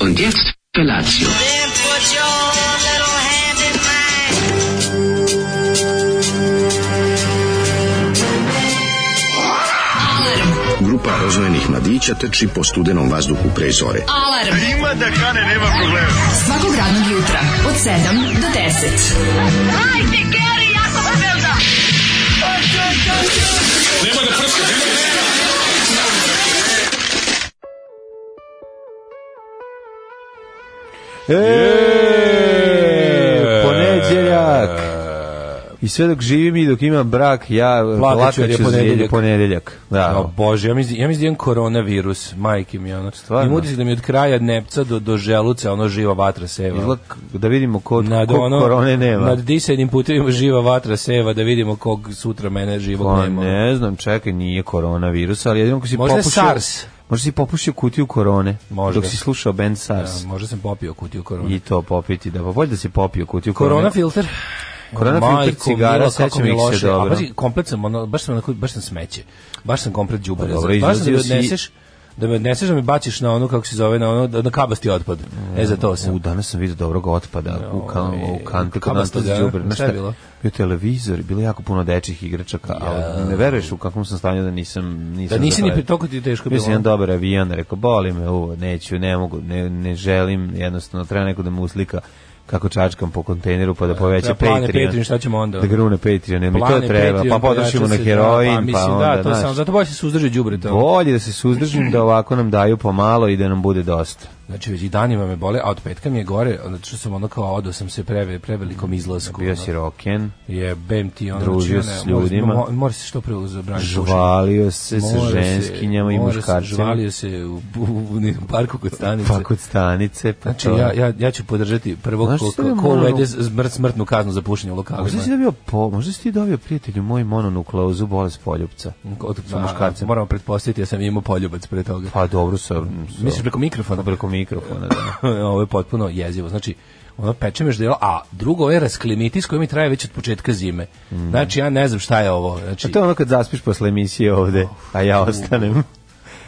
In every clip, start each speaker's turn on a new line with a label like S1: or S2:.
S1: Und jetzt Felatio.
S2: Grupa rozvojenih mladića teči po studenom vazduhu pre zore.
S3: Alarm!
S4: A ima da kane, nema problema.
S3: Svakog radnog jutra, od 7 do 10.
S5: Hajde, Geri, jako se velda!
S4: Nema da prska, nema da prska.
S6: E, Eee, ponedeljak. I sve dok živim i dok imam brak, ja
S7: Plakaću jer je
S6: plakaću za
S7: ponedeljak.
S6: ponedeljak. Da.
S7: O bože, ja mislim, ja mislim da imam koronavirus, majke mi ono.
S6: Stvarno?
S7: Imam utisak da mi od kraja nepca do, do želuca ono živa vatra seva.
S6: Izgleda k- da vidimo kod kod
S7: ono,
S6: korone nema.
S7: Nad disajnim putevima živa vatra seva da vidimo kog sutra mene živog
S6: Pa
S7: nema. ono.
S6: ne znam, čekaj, nije koronavirus, ali jedino ako si
S7: Možda je
S6: popušio...
S7: SARS.
S6: Možda si popušio kutiju korone,
S7: Možda.
S6: dok si slušao band
S7: Ja,
S6: SARS.
S7: možda sam popio kutiju korona.
S6: I to popiti, da pa bolje da si popio kutiju korone.
S7: Korona filter.
S6: Korona filter cigara, sećam
S7: kako mi
S6: ih se
S7: loše.
S6: dobro.
S7: A baš komplet sam, ono, baš sam, onako, baš sam smeće. Baš sam komplet đubre.
S6: Pa dobro,
S7: baš sam da me
S6: izlazio si-
S7: odneseš, da me odneseš da me baciš na ono kako se zove, na ono da- na kabasti otpad. E za to sam.
S6: U, danas sam vidio dobrog otpada u, kan, u kantu kod
S7: Kaba
S6: nas to
S7: studio,
S6: đubre. Znaš
S7: šta je bilo?
S6: Bio televizor, bilo je jako puno dečjih igračaka, ali ne veruješ u kakvom sam stanju da nisam nisam
S7: Da nisi ni
S6: zagledao.
S7: pri toliko ti je teško
S6: Bio
S7: bilo.
S6: sam jedan dobar avijan, rekao, boli me uvo, neću, ne mogu, ne, ne želim, jednostavno, treba neko da mu uslika kako čačkam po kontejneru pa da poveća
S7: treba plane
S6: Patreon.
S7: Patreon, šta ćemo onda?
S6: Da grune Patreon, mi to
S7: Plane,
S6: treba,
S7: Patreon,
S6: pa potrošimo
S7: pojača
S6: na
S7: se,
S6: heroin,
S7: da,
S6: pa,
S7: mislim,
S6: onda,
S7: da, to
S6: znaš.
S7: sam, zato bolje se suzdrži đubre to.
S6: Bolje da se suzdržim da ovako nam daju pomalo i da nam bude dosta.
S7: Znači već i danima me bole, a od petka mi je gore, znači što sam ono kao odao sam se preve, prevelikom izlasku.
S6: Bio
S7: ono.
S6: si roken,
S7: Jebem ti ono.
S6: Družio
S7: znači,
S6: se s
S7: ono, mora-
S6: ljudima.
S7: mo- Mora se što pre zabraniti.
S6: žvalio se sa
S7: Mora se-
S6: ženskinjama i
S7: mora se-
S6: muškarcima,
S7: Žvalio se u, u, u, u parku kod stanice.
S6: pa kod stanice, pa
S7: Znači,
S6: to.
S7: ja, ja, ja ću podržati prvog
S6: Znaš
S7: ko,
S6: šta je
S7: ko, ko
S6: mono-
S7: uvede smrt, smrtnu kaznu za pušenje u lokalima.
S6: Možda si dobio, po, možda si ti dobio prijatelju moj mononukleozu bolest poljupca.
S7: Od,
S6: sa muškarcem.
S7: Moramo pretpostaviti, ja sam imao poljubac pre toga.
S6: Pa dobro sa...
S7: Mislim, preko mikrofona.
S6: preko mikrofona, da.
S7: ovo je potpuno jezivo. Znači, ono peče me ždjelo, a drugo ovo je rasklimitis koji mi traje već od početka zime. Znači, ja ne znam šta je ovo. Znači,
S6: Mhm. A to je ono kad zaspiš posle emisije ovde, a ja ostanem.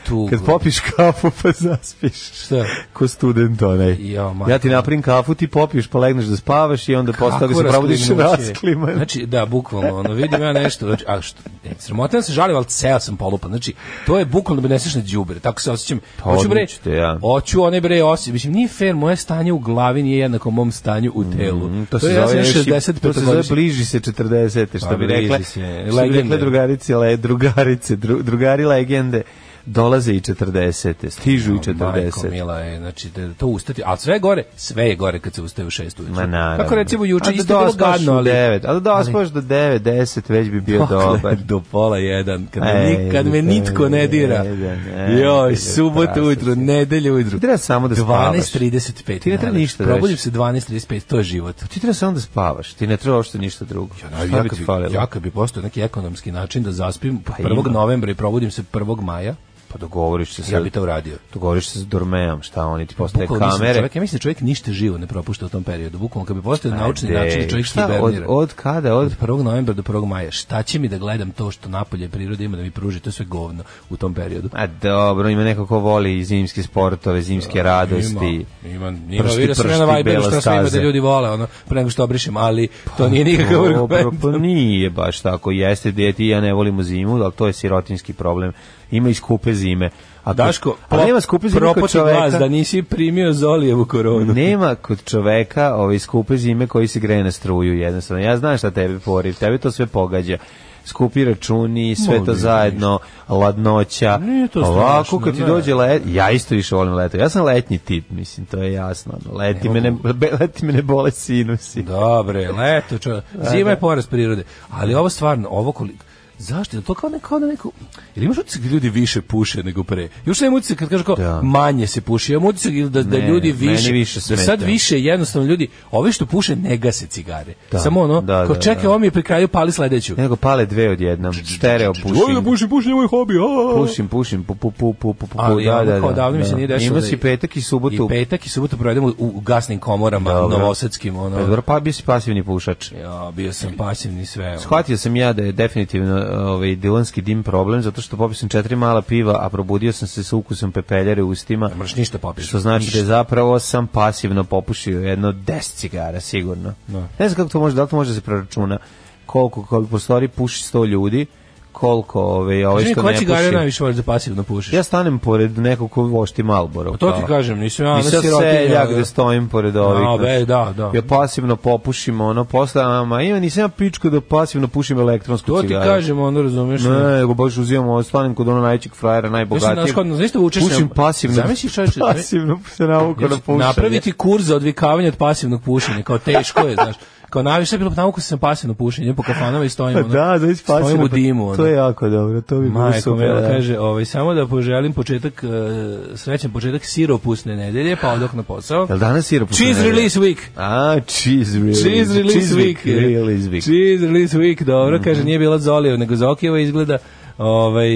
S7: tu...
S6: Kad popiš kafu pa zaspiš.
S7: Šta?
S6: Ko student onaj.
S7: Jo, majko.
S6: ja ti napravim kafu, ti popiješ pa legneš da spavaš i onda posle toga
S7: Kako
S6: se probudiš
S7: rasklinuće?
S6: raskliman.
S7: Znači, da, bukvalno, ono, vidim ja nešto, znači, a što, ne, sramotan se žalim, ali ceo sam polupan, znači, to je bukvalno da me neseš na đubre, tako se osjećam, hoću bre,
S6: Pa odličite, ja.
S7: hoću one bre, osjećam, mislim, nije fair, moje stanje u glavi nije jednako mom stanju u telu,
S6: Mm,
S7: to, je, ja sam
S6: još i-
S7: 65
S6: to se zove bliži se 40 što
S7: Pa,
S6: bi
S7: bliži
S6: rekla
S7: se,
S6: što bi
S7: legende.
S6: rekla drugarice le drugarice dru- drugari legende dolaze i 40. Stižu i 40.
S7: Mila je, znači, da to ustati, a sve je gore, sve je gore kad se ustaje u 6
S6: Ma
S7: ujutro.
S6: naravno.
S7: Kako recimo
S6: A
S7: juče
S6: da
S7: isto je bilo
S6: dospaš
S7: gadno,
S6: u
S7: ali...
S6: devet, a da dospaš do 9, 10 već bi bio
S7: Dokle?
S6: dobar.
S7: Do pola jedan, kad, me,
S6: Ej,
S7: nik, kad me nitko ne dira.
S6: jedan, ej,
S7: Joj,
S6: ej,
S7: subota
S6: strašno
S7: ujutro,
S6: si.
S7: nedelja ujutro.
S6: Ti treba samo da spavaš.
S7: 12.35.
S6: Ti ne treba
S7: najlepše.
S6: ništa da
S7: Probudim
S6: radiš.
S7: se 12.35, to je život.
S6: Ti treba samo da spavaš, ti ne treba uopšte ništa drugo. Šta
S7: ja,
S6: bi
S7: kad
S6: ti
S7: bi,
S6: falilo?
S7: ja kad bi postao neki ekonomski način da zaspim
S6: Pa
S7: 1.
S6: ima.
S7: novembra i probudim se 1. maja,
S6: Pa dogovoriš se sa...
S7: ja bi to uradio.
S6: Dogovoriš se s Dormeom, šta oni ti postave
S7: Bukvalno mislim da
S6: kamere.
S7: čovjek, ja mislim da čovjek ništa živo ne propušta u tom periodu. Bukvalno kad bi postao naučni
S6: Ej,
S7: način da čovjek
S6: šta, od,
S7: hibernira.
S6: od kada? Od,
S7: 1. novembra do 1. maja. Šta će mi da gledam to što napolje priroda ima da mi pruži? To je sve govno u tom periodu.
S6: a dobro, ima neko ko voli zimske sportove, zimske radosti.
S7: Ima, ima, ima
S6: Pršti,
S7: vidio sam ja na
S6: pršti,
S7: Viberu
S6: bela
S7: što sve ima da
S6: staza. Pa,
S7: ljudi vole, ono, pre nego što obrišem, ali to nije nikakav
S6: Dobro,
S7: argument.
S6: pa nije baš tako. Jeste, deti, ja ne volimo zimu, ali to je sirotinski problem. Ima i skupe zime. A
S7: Daško,
S6: ali nema skupe zime kod
S7: propoti glas da
S6: čoveka.
S7: nisi primio Zolijevu koronu.
S6: Nema kod čoveka ove skupe zime koji se greje na struju jednostavno. Ja znam šta tebe pori, tebe to sve pogađa. Skupi računi, sve
S7: Molim,
S6: to zajedno, ladnoća.
S7: Nije to
S6: Ovako
S7: strašno,
S6: kad ti
S7: ne.
S6: dođe let, ja isto više volim leto. Ja sam letnji tip, mislim, to je jasno. ono. Leti me ne, be- leti me ne bole sinusi.
S7: Dobre, leto, čo, zima je poraz prirode. Ali ovo stvarno, ovo koliko... Zašto? Je li to kao, neko, kao da neko... Ili imaš utisak da ljudi više puše nego pre? Još nemam utisak kad kažu kao
S6: Da.
S7: manje se puši. Ja imam utisak ili da, da
S6: Ne,
S7: ljudi
S6: meni
S7: više...
S6: više
S7: da
S6: smeta.
S7: sad više jednostavno ljudi... Ovi što puše ne gase cigare.
S6: Da.
S7: Samo ono,
S6: Da,
S7: kao
S6: da,
S7: čekaj,
S6: da.
S7: ovo mi je pri kraju, pali sledeću.
S6: Nego pale dve odjednom, stereo
S7: Ovo da
S6: pušim.
S7: puši, puši, ovo je hobi. a.
S6: Pušim, pušim, pu, pu, pu, pu, pu, pu,
S7: Ali
S6: da,
S7: ono
S6: da,
S7: kao
S6: da,
S7: davno mi se
S6: da.
S7: nije desilo
S6: Imao
S7: da-
S6: si petak i subotu.
S7: I petak i subotu provedemo u, u gasnim komorama,
S6: Dobro.
S7: novosadskim, ono...
S6: Pa dobro, pa bio si pasivni pušač.
S7: Ja, bio sam pasivni sve. ono.
S6: Shvatio sam ja da je definitivno ovaj dilanski dim problem zato što popio sam četiri mala piva, a probudio sam se sa ukusom pepeljare u ustima.
S7: Ne moraš ništa popiš.
S6: Što znači da je zapravo sam pasivno popušio jedno 10 cigara sigurno. Ne znam kako to može, da li to može da se preračuna koliko koliko prostori puši 100 ljudi, koliko ovaj ovaj
S7: Kaži mi,
S6: što
S7: koja
S6: ne
S7: cigara
S6: puši.
S7: najviše voliš da pasivno pušiš?
S6: Ja stanem pored nekog ko vošti Malboro.
S7: Pa to ti kažem, nisam ja na
S6: Nisam
S7: sirotinja,
S6: seljak
S7: da.
S6: gde stojim pored ovih.
S7: A, be,
S6: znaš.
S7: da, da.
S6: Ja pasivno popušim ono, posle, a, ma ima, nisam ja pičko da pasivno pušim elektronsku
S7: To
S6: cigaru.
S7: ti kažem, ono razumeš.
S6: Ne, nego baš uzimam, ovo, stanem kod ono najvećeg frajera, najbogatijeg.
S7: znaš kod- znaš što vučeš na-
S6: Pušim pasivno.
S7: Zamisli, Znači, čoveče, zamisli-
S6: pasivno se navuko na pušenje.
S7: Napraviti kurs za odvikavanje od pasivnog pušenja, kao teško je, znaš. Kao najviše je bilo nauku sam pasivno pušenje, po kafanama i stojim, ono,
S6: Da, znači pasivno.
S7: stojim u dimu. Ono.
S6: To je jako dobro, to bi bilo
S7: Majko
S6: super.
S7: Mila
S6: da.
S7: kaže, ovaj, samo da poželim početak, e, srećan početak siropusne nedelje, pa odok na posao.
S6: Jel danas sirop?
S7: Cheese release week!
S6: A, cheese release.
S7: Cheese release week.
S6: Release week. Mhm.
S7: Cheese release week, dobro, kaže, nije bila Zolio, nego Zokijeva izgleda, ovaj,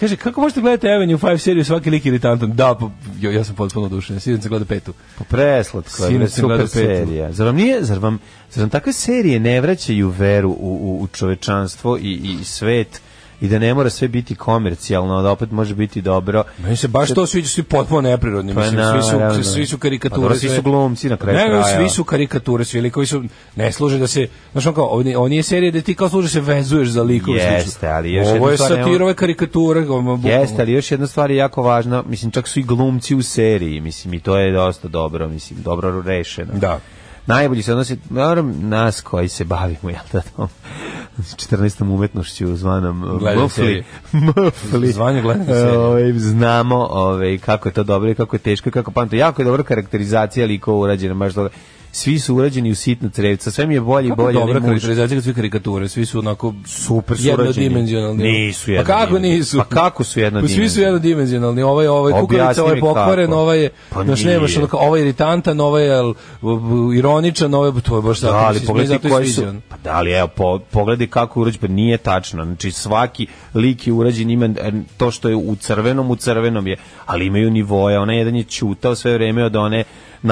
S7: Kaže, kako možete gledati Avenue 5 seriju svaki lik je iritantan? Da, pa, jo, ja sam potpuno odušen. Sjedim se gleda petu.
S6: Pa preslatko je,
S7: Sinoć
S6: bre,
S7: sam gledao
S6: super
S7: petu.
S6: serija. Zar vam, nije, zar, vam, zar vam takve serije ne vraćaju veru u, u, u čovečanstvo i, i svet i da ne mora sve biti komercijalno, da opet može biti dobro.
S7: Meni se baš to sviđa, svi potpuno neprirodni.
S6: Pa
S7: Mislim, svi,
S6: naravno.
S7: su, svi su karikature.
S6: Pa dobro, svi
S7: sve.
S6: su glumci na kraju
S7: Ne, ne,
S6: kraja.
S7: svi su karikature, svi likovi su, ne služe da se, znaš on kao, ovo nije- ovo nije serija da ti kao služe se vezuješ za likove.
S6: Jeste,
S7: slično.
S6: ali još
S7: Ovo
S6: jedna
S7: je
S6: stvar nema-
S7: satira, ovo je karikatura. ovo je bukvalno-
S6: Jeste, ali još jedna stvar je jako važna, mislim, čak su i glumci u seriji, mislim, i to je dosta dobro, mislim, dobro rešeno.
S7: Da.
S6: Najbolji se odnosi, naravno, nas koji se bavimo, jel da, tom 14. umetnošću zvanom
S7: Gledanje
S6: Mufli,
S7: serije.
S6: Mufli.
S7: Zvanje gledanje
S6: E,
S7: serije.
S6: ovaj, znamo ovaj, kako je to dobro i kako je teško i kako pamte. Jako je dobra karakterizacija likova urađena, baš dobro. Svi su urađeni u sitna crevca, sve mi je bolje i
S7: Kako
S6: bolje.
S7: dobra
S6: ali muž-
S7: karakterizacija kad svi karikature, svi su onako
S6: Super su urađeni.
S7: jednodimenzionalni.
S6: Nisu
S7: Pa kako
S6: jednodimenzionalni.
S7: nisu?
S6: Pa kako su
S7: Pa svi su
S6: jednodimenzionalni?
S7: jednodimenzionalni. Ovaj ovaj
S6: Objasni
S7: kukavica, ovaj
S6: mi
S7: je pokvaren,
S6: kako.
S7: ovaj je
S6: Pa
S7: znaš,
S6: nije.
S7: nemaš ono kao, ovaj je iritantan, ovaj je l- ironičan, ovaj to je baš tako.
S6: Da, ali
S7: mislim,
S6: pogledaj
S7: meni zato i
S6: koji
S7: sviđa ono.
S6: su...
S7: on.
S6: Pa da, ali evo, po, pogledaj kako je urađen, pa nije tačno. Znači, svaki lik je urađen, ima e, to što je u crvenom, u crvenom je, ali imaju nivoje. Ona jedan je čutao sve vreme od one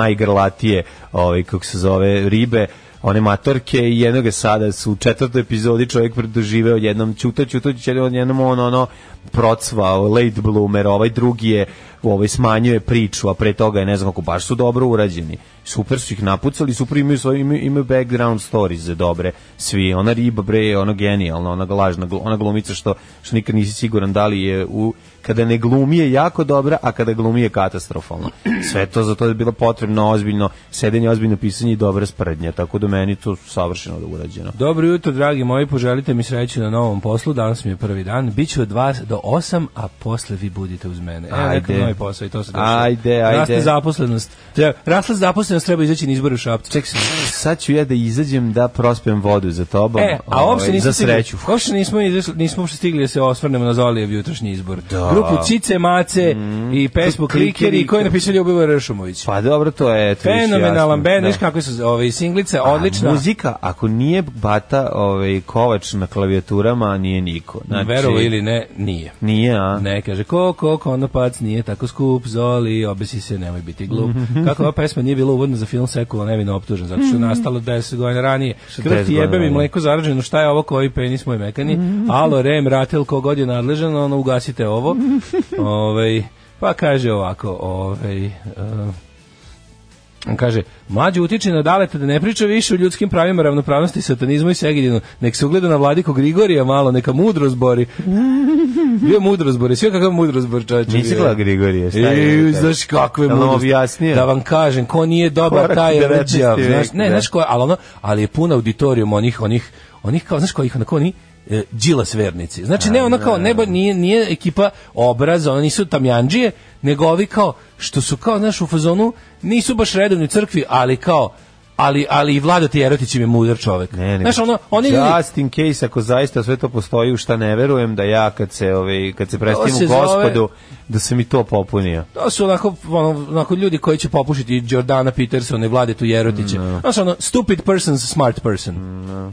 S6: najgrlatije, ovaj, kako se zove, ribe, one matorke i jednog je sada su u četvrtoj epizodi čovjek predoživeo jednom čuta, čuta, čuta, jednom on ono procvao, late bloomer, ovaj drugi je ovaj smanjuje priču, a pre toga je ne znam kako baš su dobro urađeni. Super su ih napucali, super imaju svoje imaju, imaju background stories za dobre. Svi ona riba bre, je ono genijalno, ona lažna, glu- ona glumica što što nikad nisi siguran da li je u kada ne glumi je jako dobra, a kada glumi je katastrofalno. Sve to zato je bilo potrebno ozbiljno sedenje, ozbiljno pisanje i dobra sprednja, tako da meni to savršeno da urađeno.
S7: Dobro jutro, dragi moji, poželite mi sreću na novom poslu. Danas mi je prvi dan. Biću od vas, do 8, a posle vi budite uz mene. Evo
S6: Ajde.
S7: nekakav novi posao i to se došlo.
S6: Ajde,
S7: Raste
S6: ajde.
S7: zaposlenost. Treba, rasla zaposlenost treba izaći na izbore u Šapcu. Ček se.
S6: Sad ću ja da izađem da prospijem vodu za tobom.
S7: E, a
S6: ovaj,
S7: uopšte
S6: Za
S7: nismo
S6: sreću.
S7: Stigli, uopšte nismo, izašli- nismo uopšte stigli da se osvrnemo na Zolijev jutrošnji izbor. Grupu Cice, Mace i pesmu
S6: Klikeri.
S7: Klikeri koji je napisao Ljubivo Ršumović.
S6: Mm. Pa dobro, to je... to je više
S7: Fenomenalan
S6: jasno.
S7: band,
S6: Da.
S7: znaš kakve su ove singlice, odlična.
S6: A muzika, ako nije Bata ovaj, Kovač na klavijaturama, nije niko. Znači,
S7: Verovo ili ne, nije.
S6: Nije, a?
S7: Ne, kaže, ko, ko, konopac, nije tako skup, zoli, obesi se, nemoj biti glup.
S6: Mhm.
S7: Kako ova pesma nije bila uvodna za film Sekula, nevino optužen, zato što je nastalo 10 godina ranije. Krv
S6: 10
S7: ti
S6: godina
S7: jebe mi
S6: ranije. Mhm.
S7: mleko zarađeno, šta je ovo koji penis moj mekani? Alo, rem, ratel, kogod je nadležan, ono, ugasite ovo.
S6: Mhm.
S7: Ovaj, pa kaže ovako, ovaj, eh, on kaže, mlađe utiče na daleta da ne priča više o ljudskim pravima, ravnopravnosti, satanizmu i segedinu. Nek se ugleda na vladiku Grigorija malo, neka mudro zbori. Bio je mudro zbori, sve kakav mudro zbor čovječe.
S6: Nisi
S7: bio.
S6: gledala Grigorije, šta je?
S7: E, znaš kakve
S6: Jel nam
S7: mudrosti.
S6: objasnio?
S7: Da vam kažem, ko nije dobar,
S6: Korak
S7: taj je
S6: 19.
S7: rđav.
S6: vek,
S7: Znaš, ne,
S6: da.
S7: znaš ko, ali, ono, ali je pun auditorijum onih, onih, onih kao, znaš kojih, onako oni, e, Đilas vernici. Znači ne ono kao nebo nije nije ekipa obraz, oni nisu tamjanđije, nego ovi kao što su kao znaš u fazonu nisu baš redovni u crkvi, ali kao ali ali i Vlada Tijerotić im je mudar čovek.
S6: Ne, ne.
S7: znaš ono oni ljudi
S6: Just in case, ako zaista sve to postoji, u šta ne verujem, da ja kad se, ovaj, kad se prestim
S7: se
S6: u gospodu,
S7: zove-
S6: da se mi to popunio.
S7: To su onako, ono, onako ljudi koji će popušiti Jordana Petersona i Vladetu Jerotića.
S6: Mm,
S7: No. Znaš, ono, stupid person, smart person.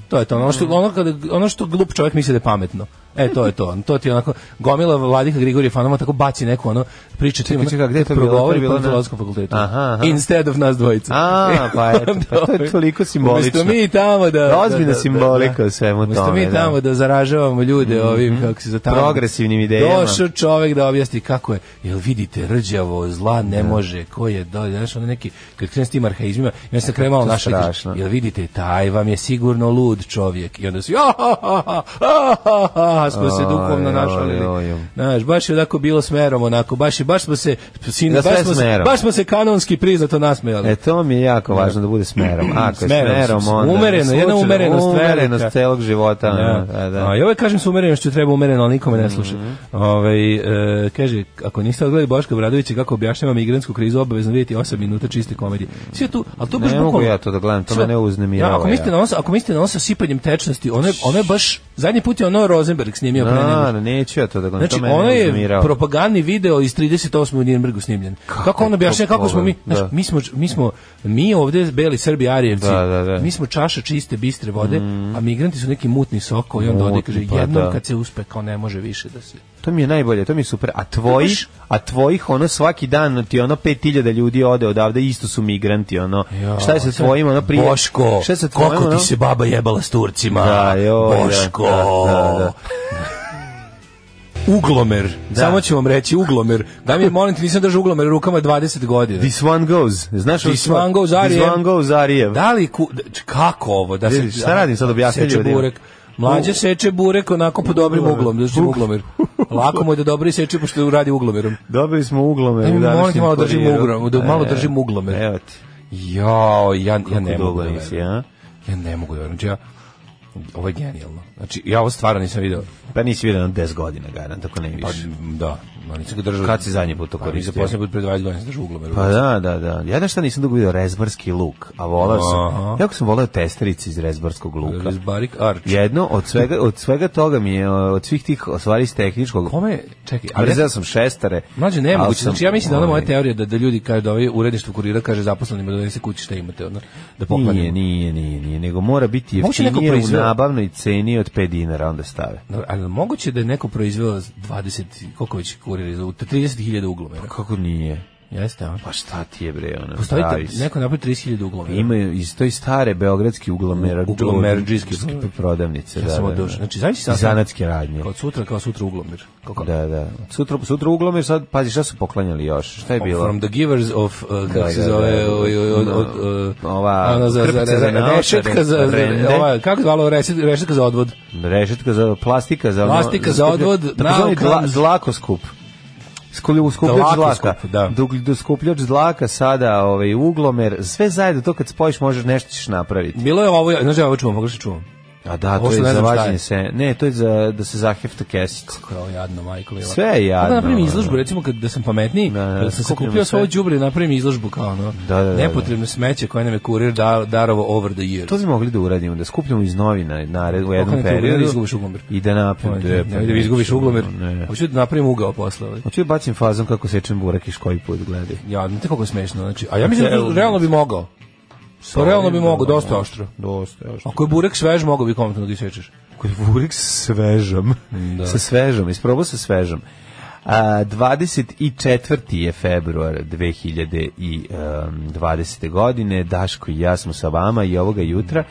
S7: To je to, ono što,
S6: Mm.
S7: ono, kada, ono što glup čovjek misli da je pametno. E, to je to. To ti je onako, gomila Vladika Grigorija Fanoma tako baci neku ono priču. Čekaj,
S6: čekaj, gde je to bilo? To je bilo na-
S7: na filozofskom fakultetu.
S6: Aha, aha.
S7: Instead of nas dvojica.
S6: A, pa eto, pa to je toliko simbolično.
S7: Umesto mi tamo da...
S6: Da, ozbiljna simbolika u svemu
S7: Umesto
S6: tome,
S7: mi
S6: da. Mhm.
S7: tamo da zaražavamo ljude ovim, kako se za tamo...
S6: Progresivnim idejama.
S7: Došao čovek da objasni kako je, jel vidite, rđavo, zla ne može, ko je, do, znaš, ono neki, kad krenu s tim arhaizmima, ja sam krenu malo
S6: To je
S7: našao, kaže,
S6: strašno.
S7: jel vidite, taj vam je sigurno lud čovjek, i onda su, ja, ha, ha, ha, ha, ha, ha, smo se
S6: Aj,
S7: duhovno
S6: aj,
S7: našali,
S6: aj, aj.
S7: znaš, baš je onako bilo smerom, onako, baš, je- baš smo se, sin,
S6: Da, sve
S7: baš, smo se,
S6: smerom.
S7: baš smo se kanonski priznato nasmejali.
S6: E, to mi je jako važno da bude smerom. Ako je
S7: Smerom,
S6: smerom, onda...
S7: umereno,
S6: Slučajno,
S7: jedna umerenost
S6: Umerenost
S7: velika.
S6: celog života. ono,
S7: Da.
S6: Da, Mhm. da.
S7: A i ovaj kažem sa umerenošću treba umereno, ali nikome ne sluša. Ovaj e, kaže ako niste odgledali Boška Bradovića kako objašnjava migrantsku krizu, obavezno vidite 8 minuta čiste komedije. Sve tu, al to
S6: Ne
S7: baš
S6: mogu
S7: bukvalno-
S6: ja to da gledam, to me ne uznemirava,
S7: Da, Ako mislite
S6: ja.
S7: na ono, sa- ako mislite na ono sa sipanjem tečnosti, ono je, ono je baš zadnji put je ono Rosenberg snimio pre nego
S6: Na, na, neću ja to da gledam.
S7: Znači,
S6: to mene
S7: ono
S6: ne
S7: je
S6: uznemirava.
S7: propagandni video iz 38. u Nürnbergu snimljen. Kako, on objašnja,
S6: to
S7: kako smo mi,
S6: problem,
S7: znači,
S6: da.
S7: mi smo, mi smo, mi ovde, beli Srbi, Arijevci,
S6: Da, da, da.
S7: mi smo čaša čiste, bistre vode, a migranti su neki mutni soko i onda ode,
S6: Mutni,
S7: kaže,
S6: pa
S7: jednom
S6: da.
S7: kad se uspe, kao ne može više da se...
S6: To mi je najbolje, to mi je super. A tvojih, a tvojih ono svaki dan ti ono 5000 ljudi ode odavde, isto su migranti ono. šta je sa tvojim ono prije?
S7: Boško,
S6: šta je sa tvojim
S7: koliko
S6: ono?
S7: ti se baba jebala s Turcima?
S6: Da, joj, da,
S7: Boško!
S6: da, da, da.
S7: Uglomer, samo ću vam reći uglomer. Da mi, molim te, nisam držao uglomer rukama 20 godina.
S6: This one goes. Znaš
S7: This
S6: ovo-
S7: one goes
S6: This
S7: Arijev.
S6: one goes Arijev.
S7: Da li ku, da- č- kako ovo da se
S6: Vidi, šta radim sad, objasni
S7: Seče
S6: ljudima.
S7: burek. Mlađe seče burek onako po dobrim uglom, da što je uglomer. Lako mu je da dobro seče pošto radi uglomerom.
S6: Dobili smo uglome.
S7: Ajme,
S6: u današnjem
S7: molim te, malo držim
S6: kuriru.
S7: ugrom- da malo
S6: E,
S7: držim uglome.
S6: Evo ti.
S7: Jao, ja ja ne
S6: Kako
S7: mogu.
S6: dugo
S7: da
S6: nisi,
S7: verujem.
S6: a?
S7: Ja ne mogu da verujem. Znači, ja ovo je genijalno. Znači, ja ovo stvarno nisam video.
S6: Pa nisi vidio na 10 godina, garant, ako ne
S7: Pa,
S6: više.
S7: da, ma nisam ga držao.
S6: Kad si zadnji put to
S7: Pa, mislim,
S6: koristio?
S7: posljednji put pre 20 godina sam držao uglomer.
S6: Pa da, da, da. Ja da šta nisam dugo vidio rezbarski luk, a volao
S7: Aha.
S6: sam. Jako sam volao testerice iz rezbarskog luka.
S7: Iz Barik Arch.
S6: Jedno od svega, od svega toga mi je, od svih tih stvari iz tehničkog,
S7: Kome, čekaj,
S6: Ali
S7: ali
S6: ja sam šestare.
S7: Mlađe,
S6: ali
S7: nemoguće.
S6: sam-
S7: Znači, ja mislim da ona moja
S6: ovaj,
S7: teorija da, da ljudi kaže da ovaj uredništvo kurira kaže zaposlenima da donese kući šta imate, ono, da poklanjamo.
S6: Nije, nije, nije, nije, nego mora biti
S7: Moguće neko
S6: jeftinije u
S7: proizveo?
S6: nabavnoj ceni od 5 dinara, onda stave.
S7: Dobro, ali moguće da je neko proizveo 20, koliko već kurira, za 30.000 uglomera.
S6: Kako nije?
S7: Jeste, a?
S6: Pa šta ti je bre, ono,
S7: Postoji
S6: pravi
S7: te-
S6: si.
S7: neko napravi 30.000 uglomera.
S6: Imaju iz toj stare beogradski uglomera,
S7: Uglomerđijski.
S6: prodavnice.
S7: ja
S6: da,
S7: sam
S6: da, da.
S7: odušen. Znači, znači
S6: I zanatske radnje.
S7: Kao sutra, kao sutra uglomer. Kao, kao,
S6: Da, da. Sutra, sutra uglomer, sad, pazi, šta su poklanjali još? Šta je bilo?
S7: From the givers of, uh, kako
S6: Da,
S7: se
S6: da,
S7: zove,
S6: da.
S7: oj, oj, od, od, uh,
S6: Ova
S7: ono za, za,
S6: krpica
S7: za,
S6: za naočare,
S7: rešetka za, za-
S6: rende.
S7: ova, kako zvalo, rešetka rešetka za odvod.
S6: Rešetka za plastika za ono-
S7: Plastika za odvod,
S6: takozvani
S7: naokan-
S6: dla, zlakoskup. Skuplju, skupljač
S7: Dlakoskup,
S6: zlaka.
S7: da.
S6: Dug, du- skupljač zlaka sada, ovaj uglomer, sve zajedno to kad spojiš možeš nešto ćeš napraviti.
S7: Bilo je ovo, znaš, ja ovo čuvam, pogrešno čuvam.
S6: A da, to
S7: Ovo
S6: je
S7: sad ne
S6: za
S7: znam šta
S6: vađenje
S7: je.
S6: se. Ne, to je za da se zahefta kesica.
S7: Kao jadno, majko Lila.
S6: Sve je jadno,
S7: Da napravim
S6: ono.
S7: izložbu, recimo kad da sam pametniji,
S6: Da, da,
S7: da, sam
S6: skupljamo sve.
S7: sakupljao svoje đubre i napravim izložbu kao ono.
S6: Da, da, da, da.
S7: nepotrebno smeće koje nam je kurir da, darovo over the year.
S6: To smo mogli da uradimo, da skupljamo iz novina na, u jednom
S7: Okrenete ugled i
S6: periodu.
S7: izgubiš uglomer.
S6: I da napravim.
S7: Ne,
S6: to
S7: ne,
S6: je-
S7: da izgubiš uglomer.
S6: Ne.
S7: Hoću da napravim ugao posle. ovaj.
S6: Hoću da Pa bacim fazom kako sečem burak i škoji put, gledaj.
S7: Ja, ne kako je smešno. Znači, a ja mislim
S6: Evo.
S7: da realno bi mogao. Pa realno bi mogao, dosta oštro.
S6: Dosta je oštro.
S7: Ako je burek svež, mogao bi komentno da isečeš.
S6: Ako je burak sa svežom.
S7: Da.
S6: Sa svežom, isprobao sa svežom. A, 24. je februar 2020. godine, Daško i ja smo sa vama i ovoga jutra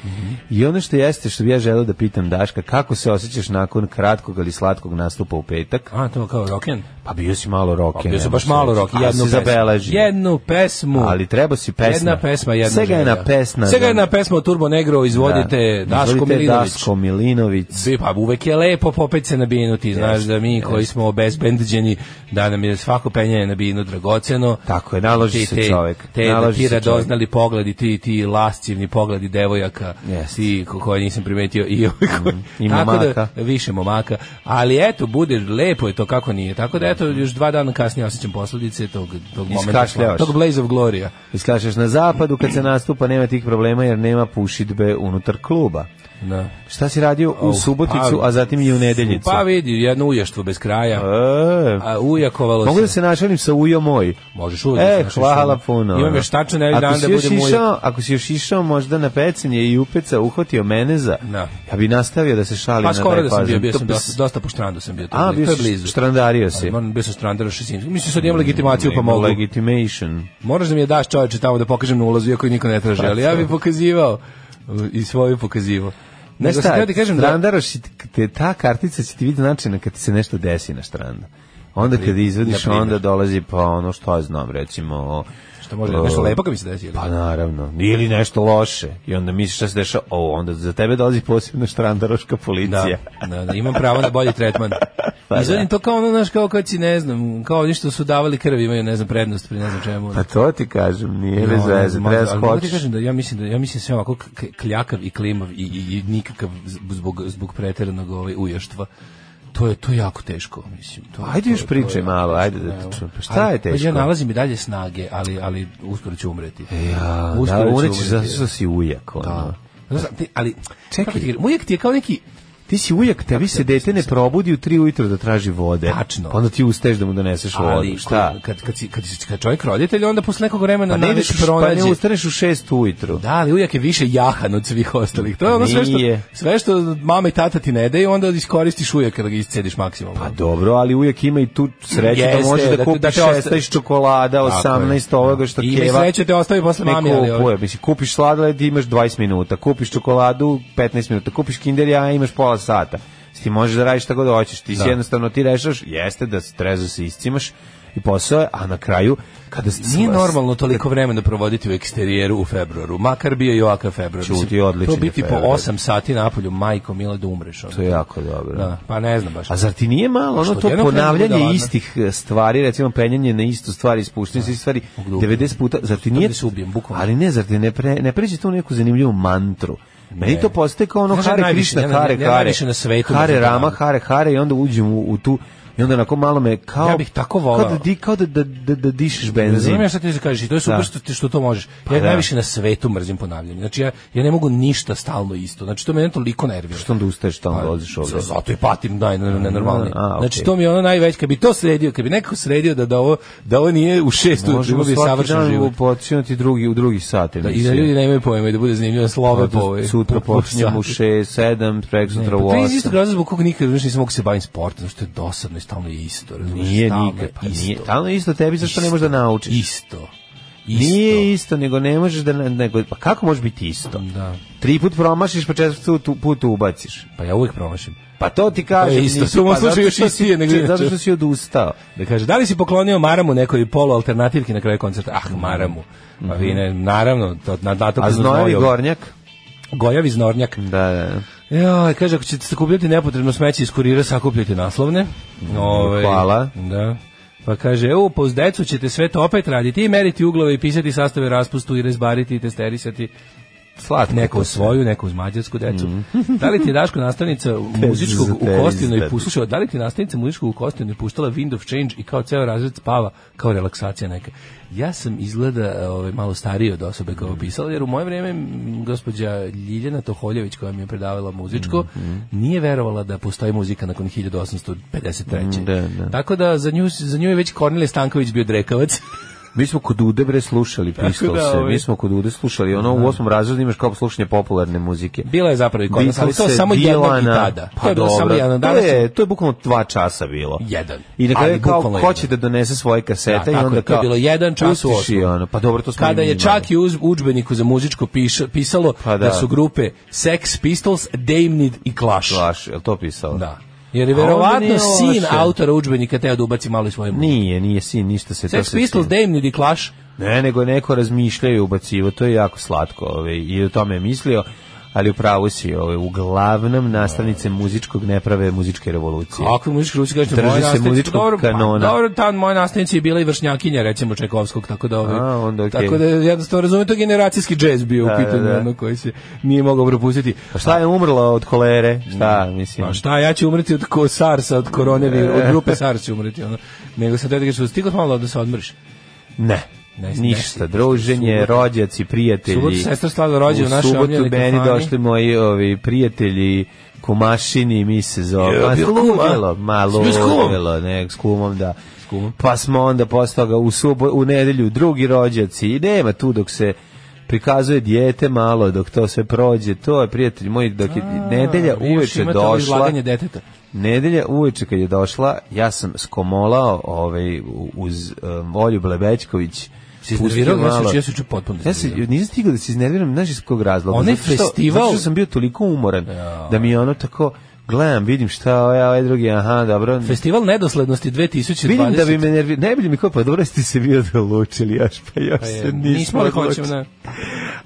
S6: i ono što jeste što bi ja želeo da pitam Daška, kako se osjećaš nakon kratkog ali slatkog nastupa u petak?
S7: A, to kao rock'n'roll.
S6: Pa bio si malo roken.
S7: Bio sam baš malo rock, jednu
S6: se
S7: pesmu.
S6: zabeleži.
S7: Jednu pesmu.
S6: Ali treba si pesma.
S7: Jedna pesma, jedna
S6: Svega je
S7: želja.
S6: na pesma.
S7: Svega je na pesma od Turbo Negro, izvodite
S6: Da.
S7: Daško
S6: Izvolite
S7: Milinović.
S6: Daško Milinović.
S7: Bi- Pa uvek je lepo popet se na binu, ti znaš
S6: Jeste,
S7: da mi koji smo obezbendeđeni, da nam je svako penjanje na binu dragoceno.
S6: Tako je, naloži
S7: Ti-
S6: se
S7: te-
S6: čovek,
S7: Te,
S6: naloži
S7: ti
S6: se čovek.
S7: radoznali pogledi, ti, ti lascivni pogledi devojaka,
S6: Jeste.
S7: ti ko- koje nisam primetio i ovi koji-
S6: I
S7: tako
S6: momaka.
S7: Da, više momaka. Ali eto, bude lepo je to kako nije. Tako da eto, još dva dana kasnije osjećam posledice tog, tog momenta.
S6: Iskašljavaš.
S7: Tog Blaze of Gloria.
S6: Iskažeš na zapadu kad se nastupa nema tih problema jer nema pušidbe unutar kluba.
S7: Da.
S6: Šta si radio u
S7: Au,
S6: Suboticu,
S7: pa-
S6: a zatim i u Nedeljicu?
S7: Pa vidi, jedno uještvo bez kraja.
S6: E,
S7: A ujakovalo
S6: mogu da se našalim sa ujo moj.
S7: Možeš uvek.
S6: E,
S7: znaš,
S6: hvala
S7: što-
S6: puno.
S7: Imam još tačno nevi
S6: Ako
S7: dan
S6: si
S7: da
S6: još
S7: budem uvijek.
S6: išao- Ako si još išao možda na pecenje i upeca, uhvatio mene za,
S7: Da.
S6: ja bi nastavio da se šalim
S7: Pa
S6: na
S7: skoro
S6: taj
S7: da sam bio,
S6: fazon.
S7: bio
S6: To
S7: sam
S6: bi
S7: dosta,
S6: s-
S7: dosta po štrandu sam bio. To,
S6: A,
S7: je blizu,
S6: bio
S7: to je
S6: si
S7: blizu.
S6: štrandario si.
S7: Moram, bio sam štrandaro šesimski. Mislim, sad imam legitimaciju pa mogu.
S6: Legitimation.
S7: Moraš da mi je daš čoveče tamo da pokažem na ulazu, iako je niko ne traži, ali ja bi pokazivao uh, i svoju pokazivao.
S6: Pa, Ne
S7: Nego sam
S6: šta,
S7: htio ti kažem da,
S6: strandaroš, i t- te, ta kartica će ti biti značajna kad ti se nešto desi na strandu. Onda kada izvadiš,
S7: na primer.
S6: onda dolazi pa ono što ja znam, recimo... o,
S7: što može,
S6: o,
S7: nešto lepo kad mi se desi. ili?
S6: Pa naravno, ili nešto loše. I onda misliš šta se dešava, o, onda za tebe dolazi posebno štrandaroška
S7: Da,
S6: policija.
S7: da, da, imam pravo na bolji tretman.
S6: Pa
S7: I zatim
S6: da.
S7: to kao ono, znaš, kao kad si, ne znam, kao oni što su davali krv imaju, ne znam, prednost pri ne znam čemu.
S6: Pa to ti kažem, nije bez
S7: ono,
S6: veze,
S7: možda,
S6: treba
S7: ali mogu ti
S6: skočiš.
S7: kažem da ja mislim da ja mislim sve ovako k- k- kljakav i klimav i, i, i nikakav z- zbog zbog preteranog ovaj uještva. To je to je jako teško, mislim. To,
S6: Ajde još
S7: to- to je
S6: pričaj
S7: jako
S6: malo,
S7: teško,
S6: ajde da
S7: evo.
S6: te čujem. Pa Šta
S7: Ali,
S6: je teško? E,
S7: Ja nalazim i dalje snage, ali ali uskoro ću umreti.
S6: Ja,
S7: uskoro
S6: da,
S7: ću
S6: ureći zato
S7: umreti.
S6: što si ujak, ono.
S7: Da. Znaš, ti- ali
S6: Čekaj.
S7: čekaj, uvijek ti je kao neki
S6: Ti si ujak, tebi se dete ne probudi u tri ujutro da traži vode.
S7: Tačno.
S6: Pa Onda ti ustaješ da mu doneseš vodu.
S7: ali
S6: Šta?
S7: ko- Kad kad si- kad si- kad čovjek roditelj onda posle nekog vremena
S6: Pa ne ideš,
S7: nađeš
S6: u š- pa
S7: pronađe
S6: ne ustaneš u šest ujutru.
S7: Da, ali uvijek je više jahan od svih ostalih. To je ono sve što,
S6: Nije.
S7: sve što mama i tata ti ne daju, onda iskoristiš uvijek kada ga iscediš maksimalno.
S6: Pa dobro, ali uvijek ima i tu sreću da
S7: Jeste,
S6: možeš da,
S7: da te-
S6: kupiš
S7: da te
S6: 16 čokolada,
S7: Tako je.
S6: 18 ovoga što
S7: Ima i
S6: keva.
S7: sreće te ostavi posle
S6: ne
S7: mami, ali ovo-
S6: kupuje. Mislim, kupiš sladoled, imaš 20 minuta. Kupiš čokoladu, 15 minuta. Kupiš kinder jaja, imaš pola sata. S Ti možeš da radiš šta god hoćeš. Ti si
S7: Da.
S6: jednostavno, ti rešaš, jeste da se trezo se iscimaš i posao je, a na kraju, kada se
S7: Nije normalno toliko vremena provoditi u eksterijeru u februaru, makar bio i ovakav februar.
S6: Čuti,
S7: Mislim,
S6: odličan
S7: To biti
S6: je
S7: po
S6: februar.
S7: 8 sati napolju, majko mila da umreš. ono.
S6: To je jako dobro.
S7: Da, pa ne znam baš.
S6: A zar ti nije malo ono
S7: Što
S6: to
S7: odjednom krenu
S6: ponavljanje
S7: budalama?
S6: istih eh, stvari, recimo penjanje na istu stvar, ispuštanje se stvari
S7: grupu.
S6: 90 puta, zar ti nije...
S7: da se ubijem, bukvalno.
S6: Ali ne, zar ti ne, pre, ne pređe tu neku zanimljivu mantru? Meni
S7: Ne.
S6: to postaje kao ono
S7: Znaš šta je
S6: Hare
S7: najviše?
S6: Krishna,
S7: Ja na-
S6: Hare
S7: ja
S6: Hare,
S7: najviše na svetu
S6: Hare
S7: me
S6: Rama,
S7: zabavlja.
S6: Hare Hare i onda uđem u, u tu i onda onako malo me kao
S7: Ja bih tako
S6: Kao
S7: voleo.
S6: da, di, kao da, da, da, da dišeš benzin.
S7: Razumijem ja šta ti se kažeš i to je super
S6: Da. Pa
S7: što, ti- što to možeš. ja
S6: da.
S7: najviše na svetu mrzim ponavljanje. Znači ja, ja ne mogu ništa stalno isto. Znači to mene toliko nervira.
S6: Što onda ustaješ tamo,
S7: Pa,
S6: dolaziš ovdje?
S7: za- Zato i patim naj nenormalnije.
S6: A, a,
S7: Znači
S6: okej.
S7: to mi je ono najveće kad bi to sredio, kad bi nekako sredio da da ovo da ovo nije u 6 ujutru,
S6: Možemo
S7: bi
S6: svaki
S7: savršen
S6: dan
S7: život.
S6: upočinati drugi, u drugi sat.
S7: Da, I da
S6: emisije.
S7: ljudi nemaju pojma i da bude zanimljivo na slove po ovoj.
S6: Sutra
S7: po- po
S6: počinjemo u
S7: sati.
S6: 6, 7, prek
S7: Ne,
S6: sutra
S7: pa
S6: u
S7: to je iz
S6: 8.
S7: istog razloga zbog kog nikad više nisam mogu se bavim sportom, zato što je dosadno i stalno je isto. razumeš,
S6: Nije
S7: stalno je
S6: nikad, pa
S7: isto.
S6: nije. Stalno je isto tebi, zašto ne
S7: Isto.
S6: možeš da naučiš?
S7: Isto. Isto.
S6: Nije isto, nego ne možeš da... Nego, pa kako može biti isto?
S7: Da.
S6: Tri put promašiš, pa četvrti put, u- put ubaciš.
S7: Pa ja uvek promašim.
S6: Pa to ti kažem.
S7: To je isto,
S6: nisi-
S7: to u mom
S6: pa zato
S7: slučaju još
S6: što si-
S7: istije nego
S6: če-
S7: inače.
S6: Zato što si odustao.
S7: Da kaže, da li si poklonio maramu nekoj polualternativki na kraju koncerta? Ah, maramu. Pa vi ne, naravno, to, na, na to
S6: A znojevi gornjak?
S7: Gojavi znornjak.
S6: Da, da.
S7: Ja, kaže, ako ćete sakupljati nepotrebno smeće iz kurira, sakupljajte naslovne. Ove,
S6: hvala.
S7: Da. Pa kaže, evo, pa uz decu ćete sve to opet raditi i meriti uglove i pisati sastave raspustu i rezbariti i testerisati
S6: Slatko
S7: neko
S6: posle.
S7: svoju, neko uz mađarsku decu. da li ti je Daško nastavnica muzičkog u
S6: Te
S7: Kostinoj
S6: izdat.
S7: puštala, da li ti je nastavnica muzičkog u Kostinoj puštala Wind of Change i kao ceo razred spava kao relaksacija neka. Ja sam izgleda ovaj, malo stariji od osobe koja je
S6: Mhm.
S7: opisala, jer u moje vrijeme m, gospođa Ljiljana Toholjević koja mi je predavala muzičko,
S6: Mhm.
S7: nije verovala da postoji muzika nakon 1853.
S6: Da, da.
S7: Tako da za nju, za nju je već Kornelije Stanković bio drekavac.
S6: Mi smo kod Ude bre slušali pistol
S7: da,
S6: se.
S7: ovaj-
S6: Mi smo kod Ude slušali. Ono u osmom razredu imaš kao slušanje popularne muzike.
S7: Bila je zapravo i kod nas, ali to je
S6: Beatlese,
S7: samo jednom i
S6: Dylana.
S7: tada.
S6: Pa
S7: to je bilo samo
S6: dobro,
S7: jednom.
S6: To
S7: Danas su-
S6: je, to je bukvalno dva časa bilo.
S7: Jedan.
S6: I na
S7: Ali
S6: kraju kao,
S7: bukvalno
S6: ko
S7: jedan.
S6: će da donese svoje
S7: Da,
S6: kasete i
S7: tako
S6: onda
S7: je, to je
S6: kao...
S7: bilo jedan čas u
S6: pustiš i
S7: osam.
S6: ono, Pa dobro, to smo i
S7: Kada
S6: mi
S7: je
S6: imali.
S7: čak i uz udžbeniku za muzičko piša, pisalo
S6: Pa
S7: da.
S6: da.
S7: su grupe Sex Pistols, Damned i Clash.
S6: Laš, je li to pisalo?
S7: Da. Jer je
S6: A onda
S7: verovatno
S6: nije
S7: sin
S6: loše.
S7: autora udžbenika teo da ubaci malo i svoje muzike.
S6: Nije, nije sin, ništa se to
S7: Sex
S6: se
S7: Pistols, Damned i Clash.
S6: Ne, nego neko razmišljao i ubacivo, to je jako slatko ovaj, i o tome je mislio, ali upravo si, ovaj, uglavnom nastavnice muzičkog ne prave muzičke revolucije.
S7: Kako muzički rusi kažete,
S6: Drži
S7: moja
S6: se
S7: nastavnica-
S6: muzičkog
S7: dobro, pa,
S6: kanona.
S7: Dobro, ta moja nastavnica je bila i vršnjakinja, recimo Čekovskog, tako da ovaj,
S6: A, onda okej.
S7: tako da jednostavno razumem to je generacijski džez bio u
S6: Da, da,
S7: pitanju,
S6: da.
S7: ono koji se nije mogao propustiti.
S6: Pa šta je umrla od kolere? Šta, mislim?
S7: Pa šta, ja ću umreti od ko SARS-a, od korone, vir-
S6: E.
S7: od grupe SARS ću umreti. Ono. Nego sam teo da kažem, stigao malo da se odmrš.
S6: Ne.
S7: Ne,
S6: Ništa,
S7: ne,
S6: druženje,
S7: subotu.
S6: rođaci, prijatelji.
S7: Subotu sestra Slava rođe u našoj
S6: U subotu
S7: omiljenoj
S6: meni
S7: kafani.
S6: došli moji ovi, prijatelji kumašini, mi se zove.
S7: Je,
S6: Pa
S7: bio kuma?
S6: sludilo, malo
S7: Si bio s kumom?
S6: ludilo, ne, s kumom, da. Pa smo onda posle toga u, subo, u nedelju drugi rođaci i nema tu dok se prikazuje dijete malo, dok to sve prođe. To je, prijatelji moji, dok je nedelja
S7: Vi još
S6: uveče
S7: imate ovo
S6: došla.
S7: izlaganje deteta.
S6: Nedelja uveče kad je došla, ja sam skomolao ovaj, u- uz um, Olju Blebećković.
S7: Si
S6: Pustio
S7: iznervirao? Ja sam
S6: malo.
S7: ču- ja sam ču potpuno
S6: Ja se,
S7: iznervirao.
S6: nisam stigao da se iznerviram, znaš iz kog razloga.
S7: Onaj
S6: Zato što-
S7: festival-
S6: Zato što sam bio toliko umoran, da mi je ono tako, gledam, vidim šta ovaj, ovaj drugi, aha, dobro.
S7: Festival nedoslednosti 2020.
S6: Vidim da bi me nervi, ne bi li mi kao, pa dobro ste se bio odlučili još, pa još
S7: E,
S6: se nismo,
S7: Nismo li hoćemo
S6: odlučili.
S7: na...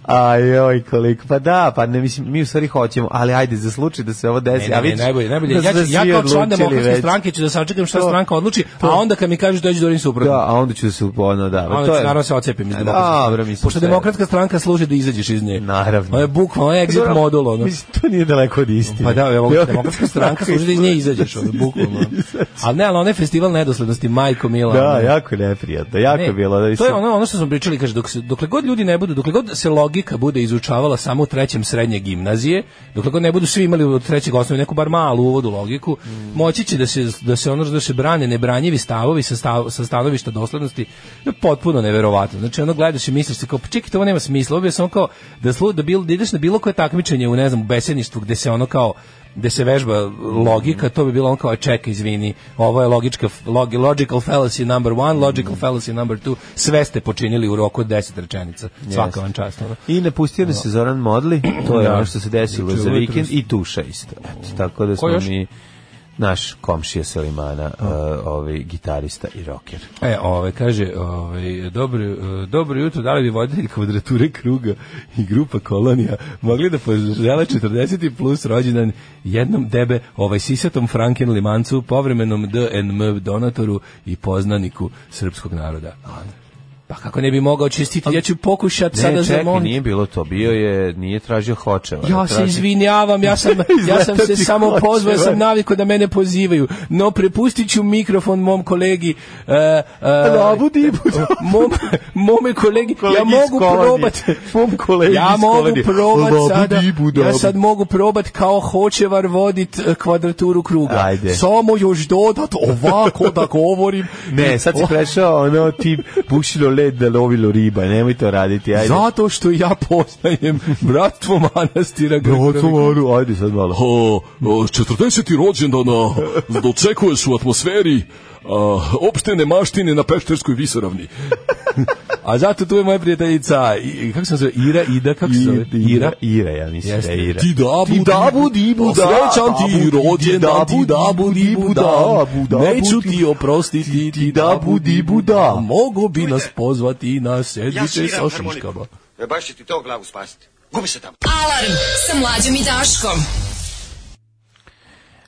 S6: Aj, oj, koliko. Pa da, pa ne, mislim, mi u stvari hoćemo, ali ajde, za slučaj da se ovo desi.
S7: Ne,
S6: E, a
S7: ne, ne,
S6: vidiš,
S7: najbolje, najbolje.
S6: da
S7: Ja,
S6: su
S7: ću-
S6: se
S7: ja
S6: svi
S7: kao član
S6: odlučili
S7: demokratske
S6: već.
S7: stranke ću da sačekam šta
S6: To-
S7: stranka odluči,
S6: to-
S7: a onda kad mi kažeš dođi do onih suprotno.
S6: Da, a onda ću se ono, da.
S7: Onda
S6: to
S7: ću
S6: je-
S7: naravno se ocepim iz
S6: A,
S7: demokratske
S6: Dobro,
S7: stranke.
S6: mislim.
S7: Pošto
S6: sve.
S7: demokratska stranka služi da izađeš iz nje.
S6: Naravno. E,
S7: Ono je bukvalno exit
S6: Dobro,
S7: modul. Ono.
S6: Mislim, to nije daleko od istine.
S7: Pa da, evo,
S6: Demokratska
S7: demokratska stranka služi da iz nje izađeš, ono, bukvalno. Ali ne, ali onaj festival nedoslednosti, majko Mila.
S6: Da,
S7: ono.
S6: jako neprijatno, jako
S7: Ne,
S6: je bilo. Da
S7: to je
S6: mislim-
S7: ono ono što smo pričali kaže dok se dokle god ljudi ne budu dokle god se logika bude izučavala samo u trećem srednje gimnazije dokle god ne budu svi imali od trećeg osnovne neku bar malu uvodu u logiku
S6: Mm.
S7: moći će da se da se ono da se brane nebranjivi stavovi sa stav, sa stanovišta doslednosti to je potpuno neverovatno znači ono gledaš i misliš se kao pa čekaj ovo nema smisla ovo je samo kao da slu da, bil, da ideš na bilo koje takmičenje u ne znam u besedništvu gde se ono kao gde se vežba logika, to bi bilo on kao čeka, izvini, ovo je logička, logi, logical fallacy number one, logical fallacy number two, sve ste počinili u roku od deset rečenica, svaka vam čast. ono.
S6: I napustio nas je Zoran Modli, to je
S7: Da.
S6: ono što se desilo
S7: Juče
S6: za
S7: ujutru
S6: vikend,
S7: s-
S6: i tuša isto. Eto, tako da smo
S7: još?
S6: mi naš komšija Selimana, uh, ovaj gitarista i rocker.
S7: E, ove, kaže, ove, dobro, e, dobro jutro, da li bi voditelj kvadrature kruga i grupa kolonija mogli da požele 40 plus rođendan jednom debe, ovaj sisatom Franken Limancu, povremenom DNM donatoru i poznaniku srpskog naroda. Pa kako ne bi mogao čestiti, ja ću pokušati
S6: Ne,
S7: sada
S6: čekaj,
S7: zamoliti.
S6: nije bilo to, bio je, nije tražio hočeva.
S7: Ja se izvinjavam, ja sam, ja sam se
S6: Izletati
S7: samo
S6: hoće,
S7: pozvao, ja sam
S6: oj.
S7: navikao da mene pozivaju, no prepustit ću mikrofon mom kolegi, e, e,
S6: Labudi,
S7: mom, mome kolegi, ja mogu probati,
S6: Mom kolegi
S7: ja
S6: iz
S7: mogu
S6: Kolonije.
S7: probat
S6: Labudi,
S7: sada, ja
S6: budabi.
S7: sad mogu probat kao hoćevar vodit e, kvadraturu kruga.
S6: Ajde.
S7: Samo još dodat ovako da govorim.
S6: Ne, sad si prešao ono ti bušilo led da lovilo riba, nemoj to raditi, ajde.
S7: Zato što ja poznajem bratstvo manastira Grkovića.
S6: Otvoru, ajde sad malo.
S8: O, o, 40. e, rođendana dočekuješ u atmosferi a, opštene maštine na Pešterskoj visoravni.
S7: A zato tu je moja prijateljica, i, kako se zove, Ira, Ida, kako se zove?
S6: Ira, Ira, ja mislim
S7: Jeste.
S6: da je Ira.
S8: Ti dabu,
S6: Ti dabu, dibu,
S8: dibu,
S6: da,
S8: srećan ti
S6: dabu,
S8: rođendan, ti
S6: di,
S8: dabu,
S6: dabu,
S8: dibu,
S6: dibu,
S8: da,
S6: dabu, dabu,
S8: neću
S6: ti-
S8: ti oprostiti, ti dabu, dibu, da, mogu bi nas pozvati na sedmice sa šuškama.
S9: E, baš će ti to glavu spasiti. Gubi se tamo.
S3: Alarm sa mlađom i Daškom.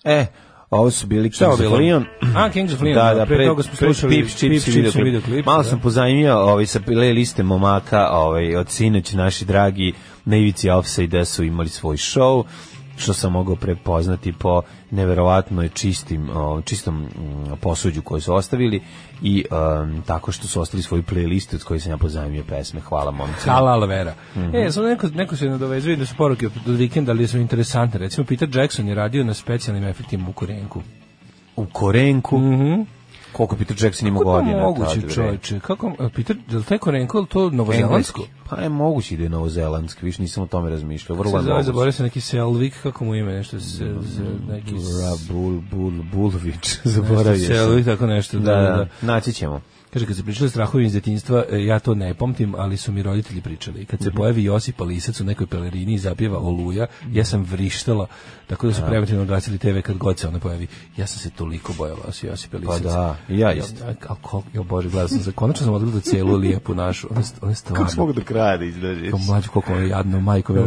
S6: E, Ovo su bili
S7: Šta je
S6: Kings
S7: ovo
S6: of
S7: bilo?
S6: Leon.
S7: A, Kings of Leon,
S6: Da,
S7: da,
S6: da,
S7: pre toga smo slušali
S6: Pips, Chips,
S7: Pips,
S6: i videoklip.
S7: Chips i videoklip,
S6: Malo
S7: da.
S6: sam pozajmio ovaj, sa liste momaka ovaj, od sinoć, naši dragi na ivici Offside su imali svoj show što sam mogao prepoznati po neverovatno čistim, o, čistom mm, posuđu koje su ostavili i em, tako što su ostali svoju playlistu od koje sam ja pozajmio pesme. Hvala momci.
S7: Kala Alvera. E, samo neko, neko se nadovezuje da su poruke od vikenda, ali su interesantne. Recimo, Peter Jackson je radio na specijalnim efektima u Korenku.
S6: U Korenku. Koliko Peter Jackson ima
S7: Kako je to
S6: Mhm. godina?
S7: moguće,
S6: tad, bre?
S7: čoveče? Kako, a, Peter, je li taj Korenko, je li to novozelandsko?
S6: Pa je moguće da je novozelandski, više nisam o tome razmišljao. Vrlo
S7: Se
S6: je
S7: zove,
S6: moguće.
S7: zaboravio sam neki Selvik, kako mu ime, nešto se, se- neki...
S6: Rabul, bul, bulvić,
S7: Nešto
S6: zaboravio sam.
S7: Selvik, tako nešto.
S6: Da, da, naći ćemo.
S7: Kaže, kad se pričali strahovi iz detinjstva, e, ja to ne pamtim, ali su mi roditelji pričali. Kad se pojavi Josip Alisac u nekoj pelerini i zapjeva Oluja, ja sam vrištala, tako da su preventivno gasili TV kad god se ona pojavi. Ja sam se toliko bojala se Josip Alisac.
S6: da, i ja isto.
S7: Al kol, jo bože, gledao sam se. Konačno sam odgledao celu lijepu našu. Ona, st- ona je stvarno.
S6: Pa do kraja da izdržiš?
S7: Kao mlađu koliko ono je jadno, majko. Da,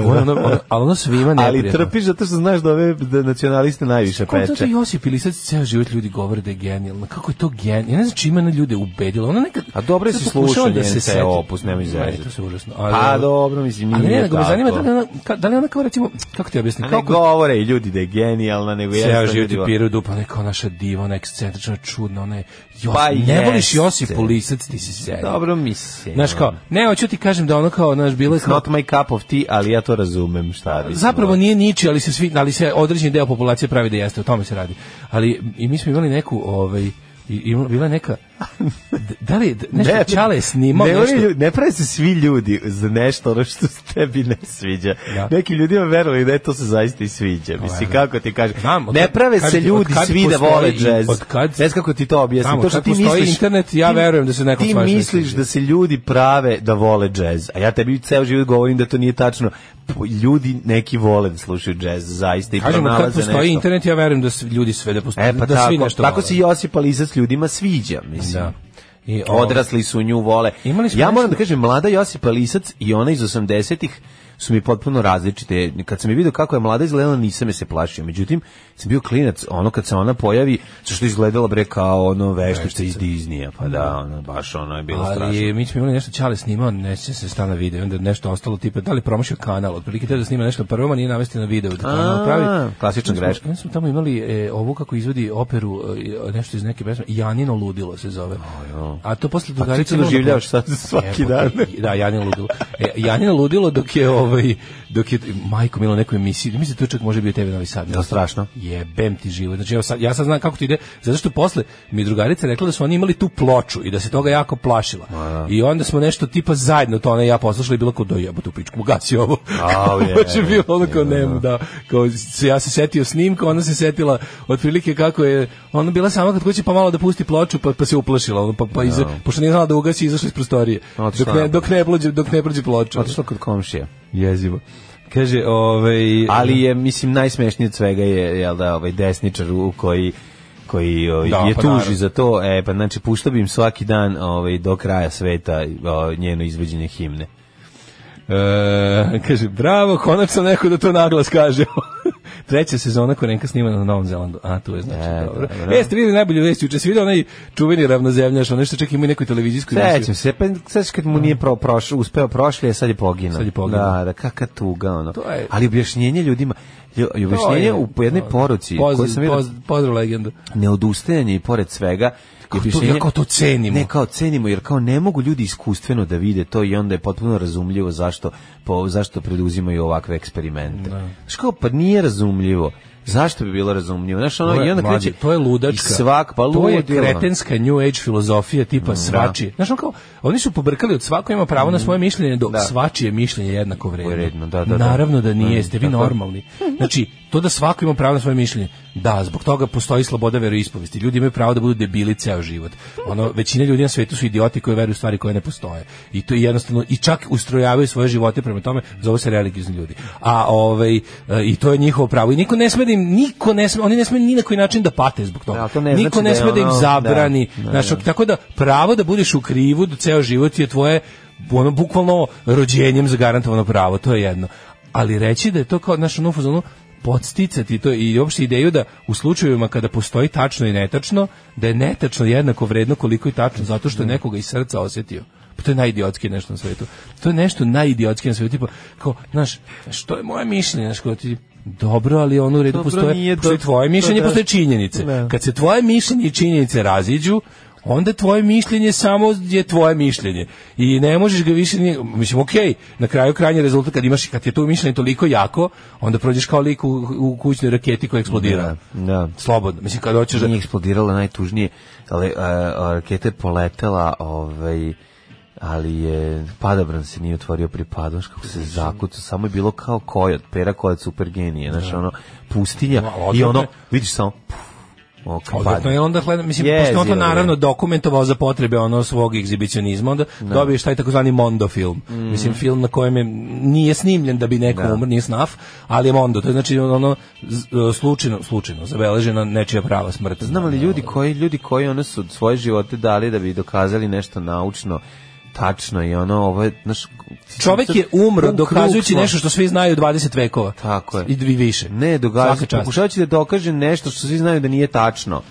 S7: Ona, ona, ona, ali ona svima
S6: Ali
S7: neprijatno.
S6: trpiš zato što znaš da ove da nacionaliste najviše
S7: Kako zato
S6: peče.
S7: Josip Ilisac ceo život ljudi govore da je genijalno. Kako je to genijalno? Ja ne znam čime ona ljude ubedila. Ona nekad...
S6: A dobro je
S7: Sad
S6: si slušao
S7: pokušavam
S6: njen ceo
S7: setim.
S6: opus, nemoj
S7: Ne,
S6: zezati.
S7: To se užasno.
S6: Pa dobro, mislim,
S7: Ali
S6: nije
S7: ne, nego me
S6: tako.
S7: zanima da li ona, ka, da li ona kao recimo, kako ti objasnim,
S6: A ne
S7: kako
S6: govore i ljudi da je genijalna, nego je...
S7: ceo život je piru dupa, ona je kao naša diva, ona je ekscentrična, čudna, ona je... Josip,
S6: Pa
S7: ne voliš
S6: jeste.
S7: Josipu Lisac, ti si sedem.
S6: Dobro mislim. ono.
S7: Znaš kao, ne, hoću ti kažem da ono kao, znaš, bilo je kao,
S6: Not my cup of tea, ali ja to razumem šta bi.
S7: Zapravo nije niči, ali se svi, ali se određeni deo populacije pravi da jeste, o tome se radi. Ali i mi smo imali neku, ovaj i- i bila je neka d- da li d- nešto Ćale je snimao
S6: ne,
S7: nešto
S6: oni ljudi- ne prave se svi ljudi za nešto ono što se tebi ne sviđa.
S7: Da.
S6: Neki ljudima veruju da je to se zaista i sviđa. Mislim, kako ti kažem.
S7: Znam, od
S6: ne
S7: kad-
S6: prave
S7: kad-
S6: se
S7: od
S6: ljudi
S7: kad
S6: svi da
S7: postoji
S6: vole
S7: i-
S6: džez.
S7: od kad-
S6: Ne znam kako ti to objasnim.
S7: Tamo,
S6: To što
S7: kad
S6: ti
S7: postoji
S6: misliš,
S7: internet, ja
S6: ti-
S7: verujem da se neko
S6: Ti
S7: svašta
S6: misliš
S7: sviđa.
S6: da se ljudi prave da vole džez. A ja tebi ceo život govorim da to nije tačno. P- Ljudi neki vole da slušaju džez, zaista. I
S7: kažemo kad
S6: pronalaze
S7: postoji
S6: nešto.
S7: internet ja verujem da svi- ljudi sve da postoje
S6: E pa
S7: da svi
S6: tako,
S7: nešto
S6: tako
S7: vole.
S6: si Josip Alisac ljudima sviđa, mislim.
S7: da. I ovaj,
S6: Odrasli su nju vole.
S7: Imali smo
S6: ja moram
S7: nešto-
S6: da kažem, mlada Josipa Lisac i ona iz 80-ih su mi potpuno različite. Kad sam je vidio kako je mlada izgledala, nisam je se plašio. Međutim, sam bio klinac, ono kad se ona pojavi, sa što je izgledala bre kao ono veštica iz Diznija, pa da, ono, baš ono je bilo
S7: ali
S6: strašno.
S7: je- mi smo imali nešto Ćale snimao, ne sjećam se stana video, onda je nešto ostalo tipa da li promašio kanal, otprilike teo da snima nešto prvo, a nije navesti na video da kanal
S6: A,
S7: pravi.
S6: klasična
S7: Mi smo-
S6: greška.
S7: Mi smo tamo imali e, ovu kako izvodi operu, e, nešto iz neke pesme, Janino ludilo se zove. A to posle
S6: A Pa ti
S7: drugarice
S6: to
S7: imala na
S6: doživljavaš sad
S7: ploči.
S6: svaki dan.
S7: Jebote, da, Janino ludilo. E, Janino ludilo dok je ovaj dok je majko milo nekoj emisiji. Mislim to čak može biti TV Novi Sad.
S6: Da, strašno.
S7: Jebem ti živo. Znači ja sad, ja sad znam kako to ide. Zato što posle mi je drugarica rekla da su oni imali tu ploču i da se toga jako plašila. I onda smo nešto tipa zajedno to ona i ja poslušali i bilo kao do jebote u pičku, gasi ovo.
S6: Au, je,
S7: Baš je bilo ono kao
S6: je, da.
S7: nemu, da. Kao, s- ja se setio snimka, ona se setila otprilike kako je, ona bila sama kod kuće pa malo da pusti ploču pa, pa se uplašila, ono, pa, pa iza, pošto nije znala da ugasi izašla iz prostorije.
S6: Otišla
S7: Dok ne,
S6: napolje.
S7: dok ne, prođe, dok ne prođe ploča.
S6: Otišla kod komšija.
S7: Jezivo. Kaže, ovaj...
S6: Ali je, mislim, najsmešnije od svega je, jel da, ovaj desničar u koji koji ovaj,
S7: Da,
S6: je
S7: pa
S6: tuži
S7: naravno.
S6: za to, e, pa znači puštao bi im svaki dan ovaj, do kraja sveta o, njeno izveđenje himne.
S7: E, kaže, bravo, konačno neko da to naglas kaže. Treća sezona Korenka snimana na Novom Zelandu. A, tu je znači,
S6: E,
S7: dobro.
S6: dobro.
S7: E, ste vidjeli najbolju vest, juče ste vidjeli onaj čuveni ravnozemljaš, onaj što čak ima i neku televizijsku
S6: Sećam se, pa sećam kad mu nije pro, prošao, uspeo prošli, a sad je poginuo.
S7: Sad je poginuo.
S6: Da, da, kaka tuga, ono.
S7: To je-
S6: Ali objašnjenje ljudima, lju- objašnjenje u jednoj poruci, koju sam
S7: Pozdrav,
S6: vidio,
S7: poz, pozdrav legendu.
S6: neodustajanje i pored svega,
S7: Kako to-
S6: objašnjenje-
S7: ja kao to cenimo.
S6: Ne, kao cenimo, jer kao ne mogu ljudi iskustveno da vide to i onda je potpuno razumljivo zašto, po, zašto preduzimaju ovakve eksperimente. Znaš kao, pa nije razumljivo. Zašto bi bilo razumljivo? Znaš, ono,
S7: To je,
S6: i onda
S7: mlađe,
S6: kreće...
S7: to je ludačka.
S6: i Svak, pa
S7: to je
S6: ludilo. Mm,
S7: kretenska new age filozofija tipa svačije. Znaš, on kao, oni su pobrkali od svako ima pravo na svoje mišljenje, dok
S6: Da.
S7: svačije mišljenje je jednako vredno.
S6: Vredno, da, da, da.
S7: Naravno da nije, ste vi
S6: tako je.
S7: normalni. Znači, to da svako ima pravo na svoje mišljenje, da, zbog toga postoji sloboda veroispovesti. Ljudi imaju pravo da budu debili ceo život. Ono, većina ljudi na svetu su idioti koji veruju u stvari koje ne postoje. I to je jednostavno, i čak ustrojavaju svoje živote prema tome, zove se religiozni ljudi. A ovaj, e, i to je njihovo pravo. I niko ne sme da im, niko ne sme, oni ne sme ni na koji način da pate zbog toga.
S6: Da, ali to ne
S7: niko
S6: znači
S7: ne
S6: da je
S7: sme da im
S6: ono-
S7: zabrani.
S6: da, da,
S7: znaš, Tako da, pravo da budeš u krivu da ceo život je tvoje ono bukvalno rođenjem zagarantovano pravo, to je jedno. Ali reći da je to kao naš ono u fazonu, podsticati to i uopšte ideju da u slučajevima kada postoji tačno i netačno, da je netačno jednako vredno koliko i tačno, zato što je nekoga iz srca osjetio. Pa to je najidiotski nešto na svetu. To je nešto najidiotski na svetu. Tipa, kao, znaš, što je moje mišljenje? Znaš, kao ti, dobro, ali ono u redu
S6: Dobro,
S7: postoje,
S6: nije
S7: postoje
S6: do-
S7: tvoje
S6: to
S7: mišljenje,
S6: da.
S7: postoje činjenice.
S6: Da.
S7: Kad se tvoje mišljenje i činjenice raziđu, onda tvoje mišljenje samo je tvoje mišljenje. I ne možeš ga više, ni- mislim, okej, na kraju krajnji rezultat kad imaš, kad je to mišljenje toliko jako, onda prođeš kao lik u, u kućnoj raketi koja eksplodira.
S6: Da, da.
S7: Slobodno. Mislim, kad hoćeš da...
S6: Nije eksplodirala najtužnije, ali uh, raketa je poletela, ovaj, ali je padobran se nije otvorio pri padoš, kako se zakucao, samo je bilo kao kojot, pera kojot super genije, znaš, ono, pustinja,
S7: Ma,
S6: i
S7: odvratno
S6: ono,
S7: je.
S6: vidiš samo, puf, ono, kad
S7: Odvratno
S6: padne.
S7: je onda hleda, mislim,
S6: Jezivo
S7: pošto on to
S6: je.
S7: naravno dokumentovao za potrebe ono svog egzibicionizma, onda dobiješ taj takozvani Mondo film. Mislim, film na kojem je, nije snimljen da bi neko
S6: Mm. Da.
S7: umr, nije snaf, ali je Mondo. To je znači ono z- slučajno, slučajno, zabeležena nečija prava smrt.
S6: Znam li ljudi koji ljudi koji ono su svoje živote dali da bi dokazali nešto naučno tačno i ono ovo je naš
S7: Čovek je umro dokazujući nešto što svi znaju 20 vekova.
S6: Tako je.
S7: I i više.
S6: ne
S7: Svaka
S6: događa
S7: čast.
S6: pokušavajući da dokaže nešto što svi znaju da nije tačno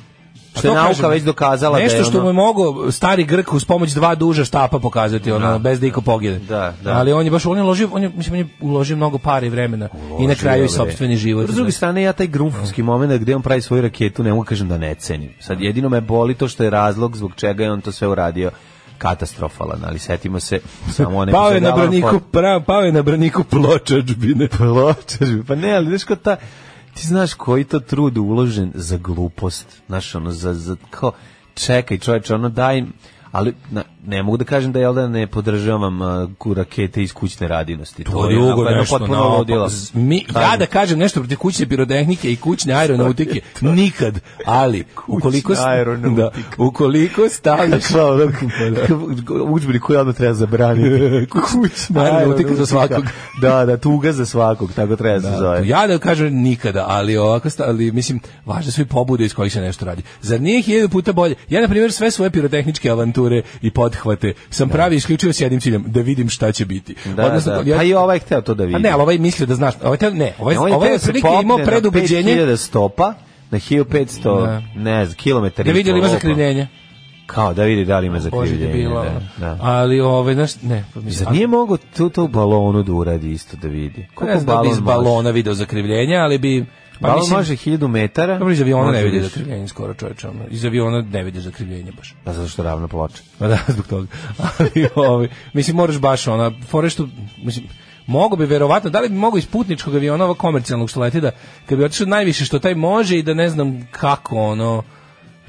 S7: Pa
S6: što je
S7: to
S6: nauka
S7: kažem,
S6: već dokazala da
S7: Nešto
S6: je
S7: što mu
S6: ono,
S7: je mogao stari Grk uz pomoć dva duža štapa pokazati, ono, bez da iko pogine.
S6: Da, da.
S7: Ali on je baš on je uložio, on je, mislim, on je uložio mnogo para i vremena i na kraju i sopstveni život. Znači,
S6: S druge strane, ja taj grunfovski moment gde on pravi svoju raketu, ne mogu kažem da ne cenim. Sad, jedino me boli to što je razlog zbog čega je on to sve uradio katastrofalan, ali setimo se samo one...
S7: Pao je na
S6: Alan
S7: braniku,
S6: Ford-
S7: pra, pao je na braniku pločačbine.
S6: pločažbe. Pa ne, ali znaš kao ta, ti znaš koji to trud uložen za glupost, znaš ono, za, za kao, čekaj čoveče, ono daj, ali na, ne mogu da kažem da jel da ne podržavam uh, ku- rakete iz kućne radinosti.
S7: To
S6: je
S7: drugo
S6: onako jedno
S7: nešto
S6: potpuno
S7: naopako.
S6: ludilo. Ono,
S7: Z- Mi, ja
S6: Kažem.
S7: da kažem nešto protiv kućne pirotehnike i kućne aeronautike, nikad, ali ukoliko, s-
S6: aeronautika.
S7: da, ukoliko stavljaš
S6: Kao ono, udžbenik koji odmah treba zabraniti. Kućna
S7: aeronautika za svakog.
S6: Da, da, tuga za svakog, tako treba se zove.
S7: Ja da kažem nikada, ali ovako sta- ali mislim važne su i pobude iz kojih se nešto radi. Zar nije hiljadu puta bolje? Ja na primjer sve svoje pirotehničke avanture i pothvate sam pravi isključivo s jednim ciljem da vidim šta će biti.
S6: Da, da.
S7: ja-
S6: Pa i ovaj je hteo to da vidi.
S7: A ne, ali ovaj mislio da znaš, ovaj te, ne, ovaj,
S6: Pa On
S7: ovaj,
S6: je
S7: je
S6: teo se
S7: otprilike
S6: popne
S7: imao
S6: na
S7: predubeđenje
S6: 5000 stopa, na 1500,
S7: Da.
S6: ne znam, kilometara.
S7: da
S6: i
S7: vidi
S6: pol
S7: li ima
S6: opa.
S7: zakrivljenje.
S6: Kao, da vidi da li ima
S7: Bože ti
S6: zakrivljenje.
S7: bila.
S6: da, da.
S7: Ali ovaj znaš, ne, pa mislim,
S6: Zar nije mogo to, to u balonu da uradi isto da vidi?
S7: ako- ne
S6: Koliko
S7: znam da bi
S6: balon
S7: iz
S6: može?
S7: balona video zakrivljenje, ali bi
S6: Pa balon može 1000 metara.
S7: Dobro, iz aviona ne
S6: može
S7: vidi
S6: više.
S7: zakrivljenje skoro čoveče. ono. Iz aviona ne vidi zakrivljenje baš.
S6: Pa zato što ravno ploče.
S7: Pa da, zbog toga. Ali, ovaj, mislim, moraš baš ona, fore što, mislim, mogo bi verovatno, da li bi mogo iz putničkog aviona, ovog komercijalnog što leti, da, kad bi otišao najviše što taj može i da ne znam kako, ono,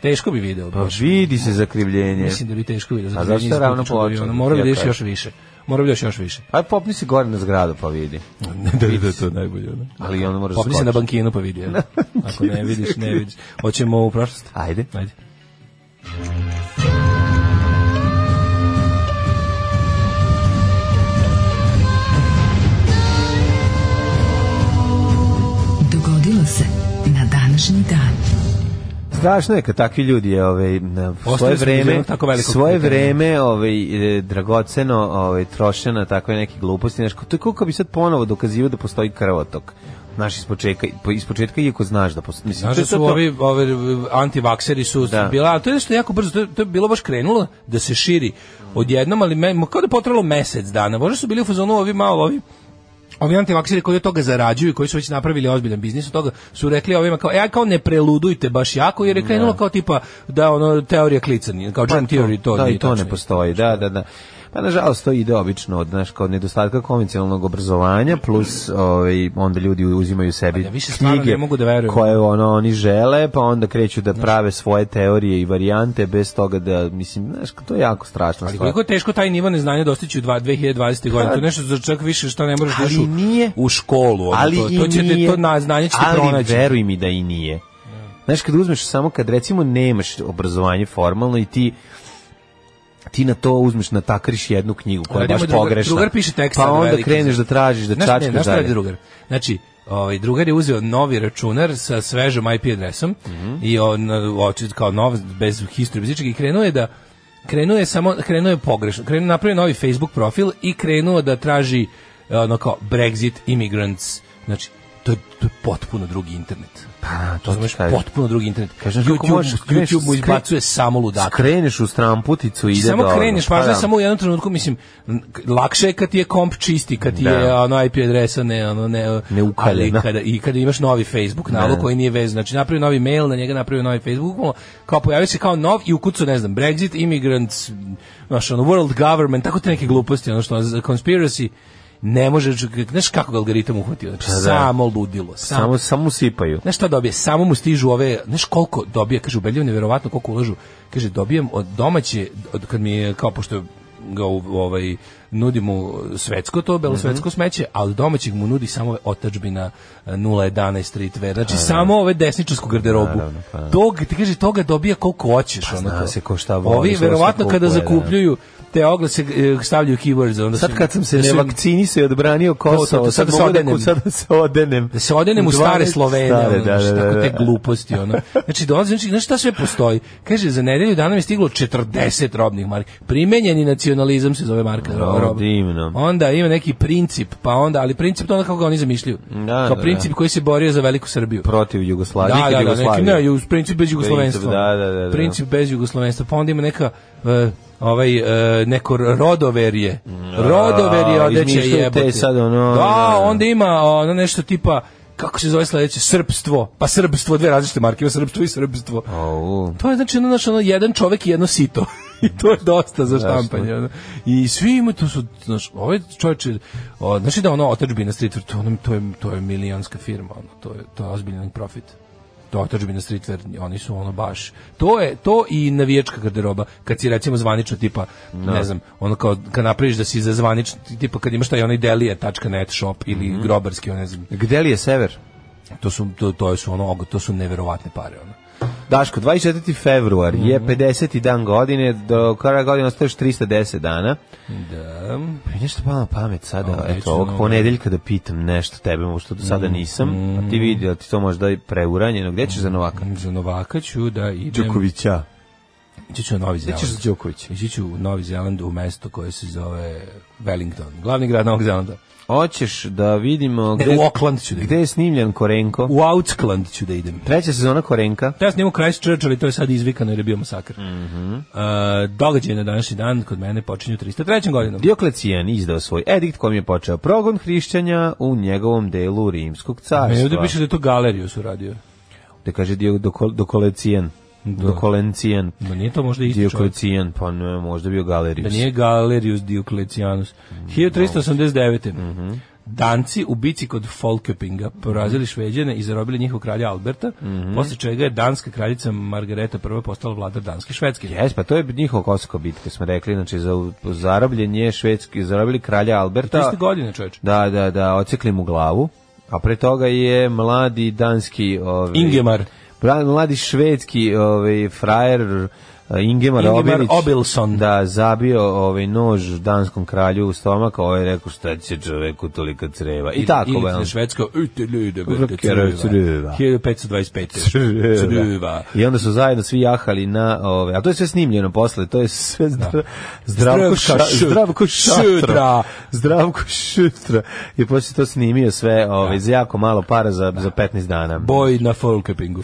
S7: teško bi video.
S6: Pa
S7: baš.
S6: vidi se zakrivljenje.
S7: Mislim da bi teško video.
S6: A zašto je ravno ploča?
S7: Morao bi da
S6: Ja
S7: ideš još
S6: kažem.
S7: više. Morao bi da ideš još više.
S6: Aj popni se gore na zgradu pa vidi.
S7: Ne da vidi to najbolje. Ono.
S6: Ali on mora
S7: Popni se na
S6: skočiti.
S7: bankinu pa vidi. ono. Ako ne vidiš, ne vidiš. Hoćemo u prošlost.
S6: Ajde.
S7: Ajde.
S3: Dogodilo se na današnji dan.
S6: Strašno je kad takvi ljudi ovaj na svoje
S7: smo iz
S6: vreme
S7: jednog tako velikog
S6: svoje
S7: pitanja.
S6: vreme ovaj e, dragoceno ovaj troše na takve neke gluposti znači to je kako bi sad ponovo dokazivao da postoji krvotok naš ispočetka ispočetka iako znaš da postoji mislim to
S7: Znaš da
S6: je
S7: su
S6: to-
S7: ovi, ovi antivakseri su
S6: Da.
S7: bila, a to je nešto jako brzo, to je, to je bilo baš krenulo da se širi odjednom, ali me, kao da je potralo mesec dana. Možda su bili u fazonu ovi malo, ovi ovi antivakseri koji od toga zarađuju i koji su već napravili ozbiljan biznis od toga su rekli ovima kao, e, a kao ne preludujte baš jako jer je krenulo kao tipa da ono teorija klicanja, kao
S6: Pa
S7: John Theory to,
S6: da,
S7: nije
S6: i to ne
S7: tačno.
S6: postoji, da, da, da. Pa nažalost to ide obično od naš kao nedostatka konvencionalnog obrazovanja plus ovaj onda ljudi uzimaju sebi
S7: Pa ja više stvarno
S6: knjige
S7: ne mogu da verujem.
S6: koje ono oni žele, pa onda kreću da prave svoje teorije i varijante bez toga da mislim, znaš, to je jako strašno
S7: Ali koliko je teško taj nivo neznanja dostići u dva- 2020. godine. To je nešto za čak više što ne možeš da ideš
S6: Pa ali
S7: u,
S6: nije
S7: u školu. ono,
S6: ali
S7: to,
S6: i
S7: to, će te,
S6: nije,
S7: to na, znanje će te
S6: ali
S7: pronaći.
S6: veruj mi da i nije znaš kad uzmeš samo kad recimo nemaš obrazovanje formalno i ti ti na to uzmeš na takriš jednu knjigu koja je
S7: Radimo
S6: baš
S7: drugar-
S6: pogrešna
S7: drugar piše tekst sad
S6: pa onda
S7: veliki.
S6: kreneš da tražiš da
S7: Znaš, ne,
S6: čačkaš
S7: znaš šta radi
S6: dalje
S7: drugar? Znači, ovaj, drugar je uzeo novi računar sa svežom IP adresom
S6: Mhm.
S7: i on očit kao nov, bez history, bez ičega i krenuo je da krenuo je samo, krenuo je pogrešno. Krenuo, napravio novi Facebook profil i krenuo da traži ono kao Brexit immigrants. Znači, to je, to je potpuno drugi internet.
S6: Pa, da,
S7: To
S6: to
S7: znaš,
S6: ti kažem.
S7: potpuno drugi internet.
S6: Kažem, kako
S7: YouTube,
S6: možeš, kreneš,
S7: YouTube mu
S6: skre-
S7: izbacuje samo ludaka.
S6: Kreneš u stramputicu i ide
S7: Znači, samo
S6: dobro.
S7: kreneš,
S6: Pa
S7: važno je
S6: da.
S7: samo u jednom trenutku, mislim, n- k- lakše je kad ti je komp čisti, kad ti
S6: Da.
S7: je ono IP adresa, ne, ono, ne,
S6: Ne ukaljena.
S7: ali kada, i kada imaš novi Facebook nalog
S6: Ne.
S7: koji nije vezan, znači napravio novi mail, na njega napravio novi Facebook, bukvalno, kao pojavio se kao nov i ukucao, ne znam, Brexit, immigrants, znaš, ono, world government, tako te neke gluposti, ono što, za conspiracy, ne možeš, znaš kako ga algoritam uhvatio, znači,
S6: Pa da.
S7: samo ludilo, samo
S6: Samo, samo sipaju.
S7: Znaš šta dobije? Samo mu stižu ove, znaš koliko dobije, kaže ubedljivo neverovatno koliko ulažu. Kaže dobijem od domaće od kad mi je kao pošto ga u- ovaj nudimo svetsko to
S6: Mhm.
S7: belosvetsko smeće, a od domaćeg mu nudi samo ove otadžbina e, 011 streetwear. Znači samo ove desničarsku garderobu.
S6: Naravno, pa naravno.
S7: Tog ti kaže toga dobija koliko hoćeš
S6: Pa
S7: ono
S6: zna
S7: kao.
S6: se ko šta voli,
S7: Ovi
S6: što se
S7: verovatno kada
S6: kupuje, da.
S7: zakupljuju te oglase e, stavljaju keywords onda
S6: Sad
S7: su-
S6: kad sam se
S7: da
S6: ne
S7: su-
S6: vakcinisao i odbranio
S7: To, to,
S6: Kosovo,
S7: to,
S6: sad
S7: sad da se
S6: mogu da
S7: odenem.
S6: ku- sad da se odenem.
S7: da se odenem u stare
S6: 12
S7: Slovene,
S6: Mhm. stare,
S7: ono,
S6: da,
S7: znaš,
S6: da,
S7: tako
S6: da,
S7: te
S6: da.
S7: gluposti, ono. Znači, dolazi, znači, znaš šta sve postoji? Kaže, za nedelju dana mi je stiglo 40 robnih marki. Primenjeni nacionalizam se zove marka.
S6: O,
S7: ro- roba.
S6: divno.
S7: Onda ima neki princip, pa onda, ali princip to onda kako ga oni zamišljaju.
S6: Da, da,
S7: Kao
S6: da.
S7: princip koji se borio za veliku Srbiju.
S6: Protiv Jugoslavije,
S7: Da,
S6: nikad
S7: da, da, neki,
S6: Jugoslavije.
S7: ne, uz princip bez jugoslovenstva.
S6: da, da, da, da.
S7: Princip bez jugoslovenstva. Pa onda ima neka e, ovaj e, neko rodoverje. Rodoverje
S6: A,
S7: odeće
S6: izmišljaju te
S7: jebote.
S6: sad, ono,
S7: Da,
S6: da.
S7: onda ima ono nešto tipa kako se zove sledeće srpstvo. Pa srpstvo, dve različite marke, ima srpstvo i srpstvo.
S6: Au.
S7: To je znači ono, znači, ono jedan čovek i jedno sito. I to je dosta za štampanje. Ono. I svi imaju to su, znaš, ovaj čovjek, o, znaš da ono otadžbina streetwear, to, ono, to, je, to je milijanska firma, ono, to je, to je ozbiljan profit. To otadžbina streetwear, oni su ono baš, to je, to i navijačka garderoba, kad si recimo zvanično tipa, ne znam, ono kao, kad napraviš da si za zvanično, tipa kad imaš taj onaj delije.net shop ili grobarski, ono, ne znam,
S6: Gde li je sever?
S7: to su, to, to su ono, to su neverovatne pare, ono.
S6: Daško, 24. februar je
S7: Mhm.
S6: 50. dan godine, do kraja godine ostaješ 310 dana.
S7: Da.
S6: Mi nešto palo na pamet sada,
S7: O, neću
S6: eto, ovog
S7: mnogo.
S6: ponedeljka da pitam nešto tebe, što do
S7: Mhm.
S6: sada nisam, a ti vidi da ti to možda i preuranjeno. Gde ćeš za Novaka?
S7: Za Novaka ću da idem...
S6: Đokovića.
S7: Ići ću u Novi
S6: Gde
S7: Zeland.
S6: ćeš za Đokovića?
S7: Ići ću u Novi Zeland u mesto koje se zove Wellington, glavni grad Novog Zelanda.
S6: Hoćeš da vidimo
S7: Ne,
S6: gde,
S7: E, u Auckland ću da idem.
S6: gde je snimljen Korenko?
S7: U Outskland ću da idem.
S6: Treća sezona Korenka.
S7: Ja snimam Christchurch, ali to je sad izvikano jer je bio masakr. Mm događaj na današnji dan kod mene počinju 303. godinom.
S6: Dioklecijan izdao svoj edikt kojim je počeo progon hrišćanja u njegovom delu rimskog
S7: Me ovdje
S6: carstva.
S7: piše da je to galeriju su radio.
S6: Da kaže Dio, doko, dokolecijan. Dokolencijan.
S7: Da nije to možda isti čovjek.
S6: Dioklecijan, pa ne, možda bio
S7: Da
S6: galerijus.
S7: nije Galerius Diocletianus.
S6: Mm,
S7: 1389.
S6: Mhm.
S7: Danci u bici kod Folkepinga porazili Šveđane i zarobili njihov kralja Alberta,
S6: Mhm.
S7: posle čega je danska kraljica Margareta I postala vladar danske Švedske.
S6: Jes, pa to je njihova kosovska bitka, smo rekli, znači za zarobljen je švedski, zarobili kralja Alberta.
S7: 300 godine, čoveče.
S6: Da, da, da, ocekli mu glavu. A pre toga je mladi danski... Ovaj,
S7: Ingemar.
S6: Bra- Mladi švedski ovaj, frajer eh, Ingemar,
S7: Ingemar
S6: Obilić,
S7: Obilson.
S6: Da, zabio ovaj nož danskom kralju u stomak, a ovaj je rekao šta će čoveku tolika creva. I, tako,
S7: ili
S6: ba,
S7: na švedsko "Ujte ljude, brate,
S6: Creva.
S7: creva." 1525. Creva.
S6: I onda su zajedno svi jahali na ove, a to je sve snimljeno posle, to je sve zdra, zdravko,
S7: Zdravka
S6: ša,
S7: Š-
S6: zdravko šutra.
S7: Šutra.
S6: Zdravko šutra. I posle to snimio sve ove, za jako malo para za, za 15 dana.
S7: Boj na Folkepingu.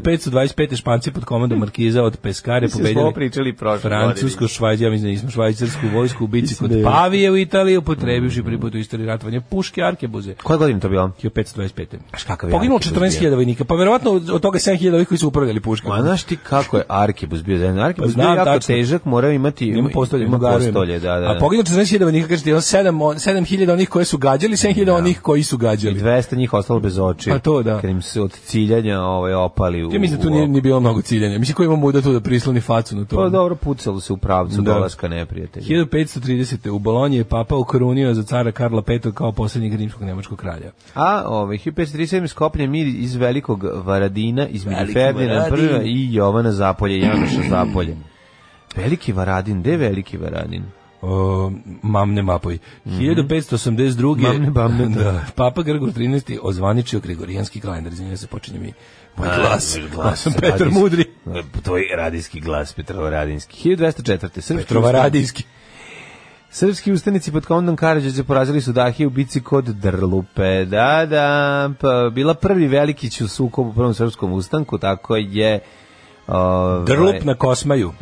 S7: 1525. Španci pod komandom Markiza od Peskare
S6: Mi Hm. smo
S7: pobedili
S6: ovo pričali prošle
S7: Francusko,
S6: godine.
S7: Švajc, ja mislim da nismo švajcarsku vojsku u bici
S6: Mislim
S7: kod
S6: da je.
S7: Pavije u Italiji, upotrebivši pri putu istoriji ratovanja puške Arkebuze.
S6: Koja godina to bila?
S7: 1525.
S6: Znaš kakav je
S7: Poginulo
S6: Arkebuz
S7: 14.000 vojnika, pa verovatno od od toga 7.000 ovih koji su upravljali puškama.
S6: Ma znaš ti kako je Arkebus bio zajedno? Arkebus
S7: Pa
S6: bio
S7: znam
S6: jako
S7: tačno.
S6: težak, morao imati
S7: Ima postolje,
S6: ima
S7: ima garujem.
S6: postolje, da, da.
S7: A poginulo 14.000 vojnika, kažete, on 7, 7.000 onih koje su gađali, 7.000 onih koji su
S6: I
S7: gađali.
S6: 200 njih ostalo bez očiju.
S7: Pa to da.
S6: Kad im se od ciljanja ovaj, opali u...
S7: Ja mislim da tu
S6: u
S7: nije, nije bilo mnogo ciljanja. Mislim ko ima muda tu da prisloni facu na to.
S6: Pa dobro, pucalo se u pravcu
S7: Da.
S6: dolaska neprijatelja.
S7: 1530. u Bolonji je papa ukorunio za cara Karla V kao posljednjeg rimskog nemačkog kralja.
S6: A ovaj, 1537 skopljen mir iz velikog Varadina, između
S7: Veliki
S6: Ferdinanda
S7: Varadin.
S6: I i Jovana Zapolje, Janoša Zapolje. Veliki Varadin, gde je Veliki Varadin?
S7: O, mamne mapoj. 1582.
S6: Mamne, bamne, da.
S7: da, Papa Grgo 13. ozvaničio Gregorijanski kalendar. Izvinjam se, počinje mi moj glas. Ja sam Petar
S6: radijski-
S7: Mudri.
S6: Tvoj radijski glas, Petrovaradinski. 1204. Srpski
S7: Petrovaradijski.
S6: Srpski ustanici pod komandom Karadžađa porazili su Dahije u bici kod Drlupe. Da, da, pa, bila prvi Velikić u sukobu u prvom srpskom ustanku, tako je... ovaj,
S7: Drlup na Kosmaju.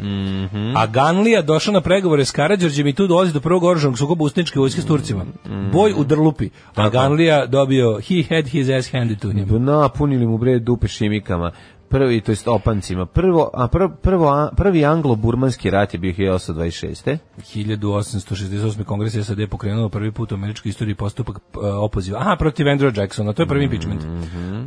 S7: A Ganlija došao na pregovore s Karađorđem i tu dolazi do prvog oružanog sukoba ustaničke vojske s Turcima. Boj u Drlupi. A Ganlija dobio he had his ass handed to him.
S6: napunili mu bre dupe šimikama prvi to jest opancima prvo a prvo, prvo a- prvi anglo-burmanski rat je bio 1826.
S7: 1868. kongres je SAD pokrenuo prvi put u američkoj istoriji postupak p- e, opoziva. Aha, protiv Andrew Jacksona, to je prvi impeachment.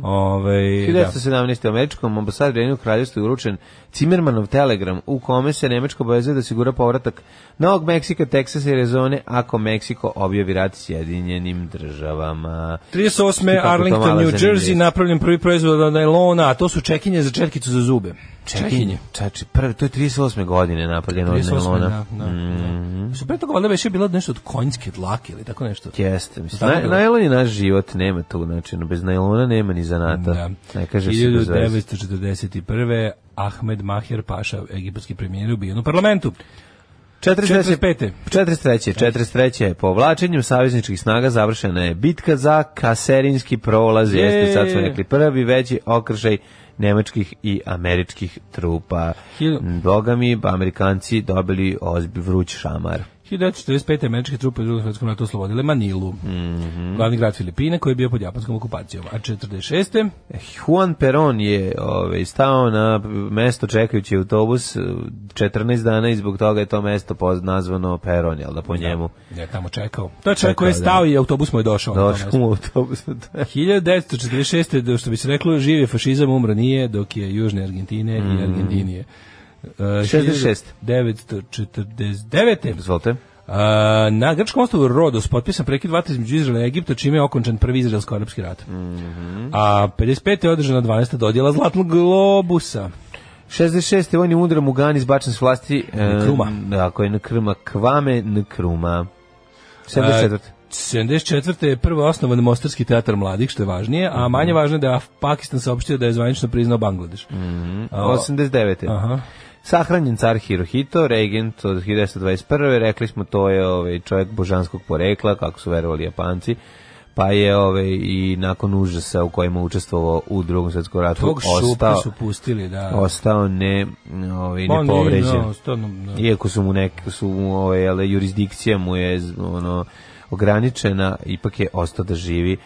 S7: Ovaj, da.
S6: 1917. u američkom ambasadoru Jedinog kraljevstva je uručen Cimermanov telegram u kome se Nemačka obavezuje da osigura povratak Novog Meksika, Teksasa i Rezone ako Meksiko objavi rat Sjedinjenim državama.
S7: 38.
S6: Kako to
S7: Arlington,
S6: mala
S7: New Jersey,
S6: zanimljivost.
S7: napravljen prvi proizvod od najlona, a to su čekinje za četkicu za zube. Čekinje.
S6: Čači, prvi, to je 38. godine napaljeno od
S7: 38,
S6: Nelona.
S7: da, da, da. Su pre toga valjda već je bilo nešto od konjske dlake ili tako nešto.
S6: Jeste, mislim,
S7: Tako
S6: naj,
S7: bilo.
S6: najlon je naš život, nema tu, znači, no, bez najlona nema ni zanata.
S7: Da.
S6: Ne kaže se bez veze.
S7: 1941. Ahmed Maher Paša, egipatski premijer, ubijen u parlamentu.
S6: 45.
S7: 45..
S6: 43. 43. Povlačenjem savezničkih snaga završena je bitka za Kaserinski prolaz.
S7: Je.
S6: Jeste, sad smo rekli prvi veći okršaj nemačkih i američkih trupa. Mm,
S7: Hiljadu-
S6: Boga mi, Amerikanci dobili ozbi vruć šamar.
S7: 1945. američke trupe u drugom svjetskom ratu oslobodile Manilu,
S6: Mhm.
S7: glavni grad Filipina koji je bio pod japanskom okupacijom. A 46.
S6: Juan Perón je ovaj, stao na mesto čekajući autobus eh, 14 dana i zbog toga je to mesto poz- nazvano Perón, jel da po njemu?
S7: Ja tamo čekao. To je čovjek
S6: Čekao,
S7: koji je stao
S6: da.
S7: i autobus mu je došao. Ono, na to
S6: Došao
S7: mesto.
S6: mu autobus.
S7: 1946. do što bi se reklo, živi fašizam, umro nije, dok je Južne Argentine
S6: Mhm.
S7: i Argentinije. Uh,
S6: 66.
S7: 1949.
S6: Izvolite.
S7: Uh, na grčkom ostavu Rodos potpisan prekid vatre između Izraela i Egipta, čime je okončan prvi izraelsko-arapski rat.
S6: Mhm.
S7: A 55. je održana 12. dodjela Zlatnog globusa.
S6: 66. vojni udar u Gani izbačen s vlasti e,
S7: Nkruma.
S6: Tako je Nkruma Kvame Nkruma. 74.
S7: A, 74. je prvo osnovan Mostarski teatar mladih, što je važnije,
S6: Mhm.
S7: a manje važno je da je Pakistan saopštio da je zvanično priznao Bangladeš.
S6: Mhm.
S7: A,
S6: 89.
S7: Aha.
S6: Sahranjen car Hirohito, regent od 1921. Rekli smo to je ovaj čovjek božanskog porekla, kako su verovali Japanci. Pa je ovaj i nakon užasa u kojima je učestvovao u Drugom svjetskom ratu
S7: Tog šupa
S6: ostao
S7: su pustili, da.
S6: ostao ne ovaj
S7: Pa nije,
S6: nepovređen.
S7: da, stvarno, da.
S6: Iako su mu nek su mu ovaj ali jurisdikcija mu je z- ono ograničena, ipak je ostao da živi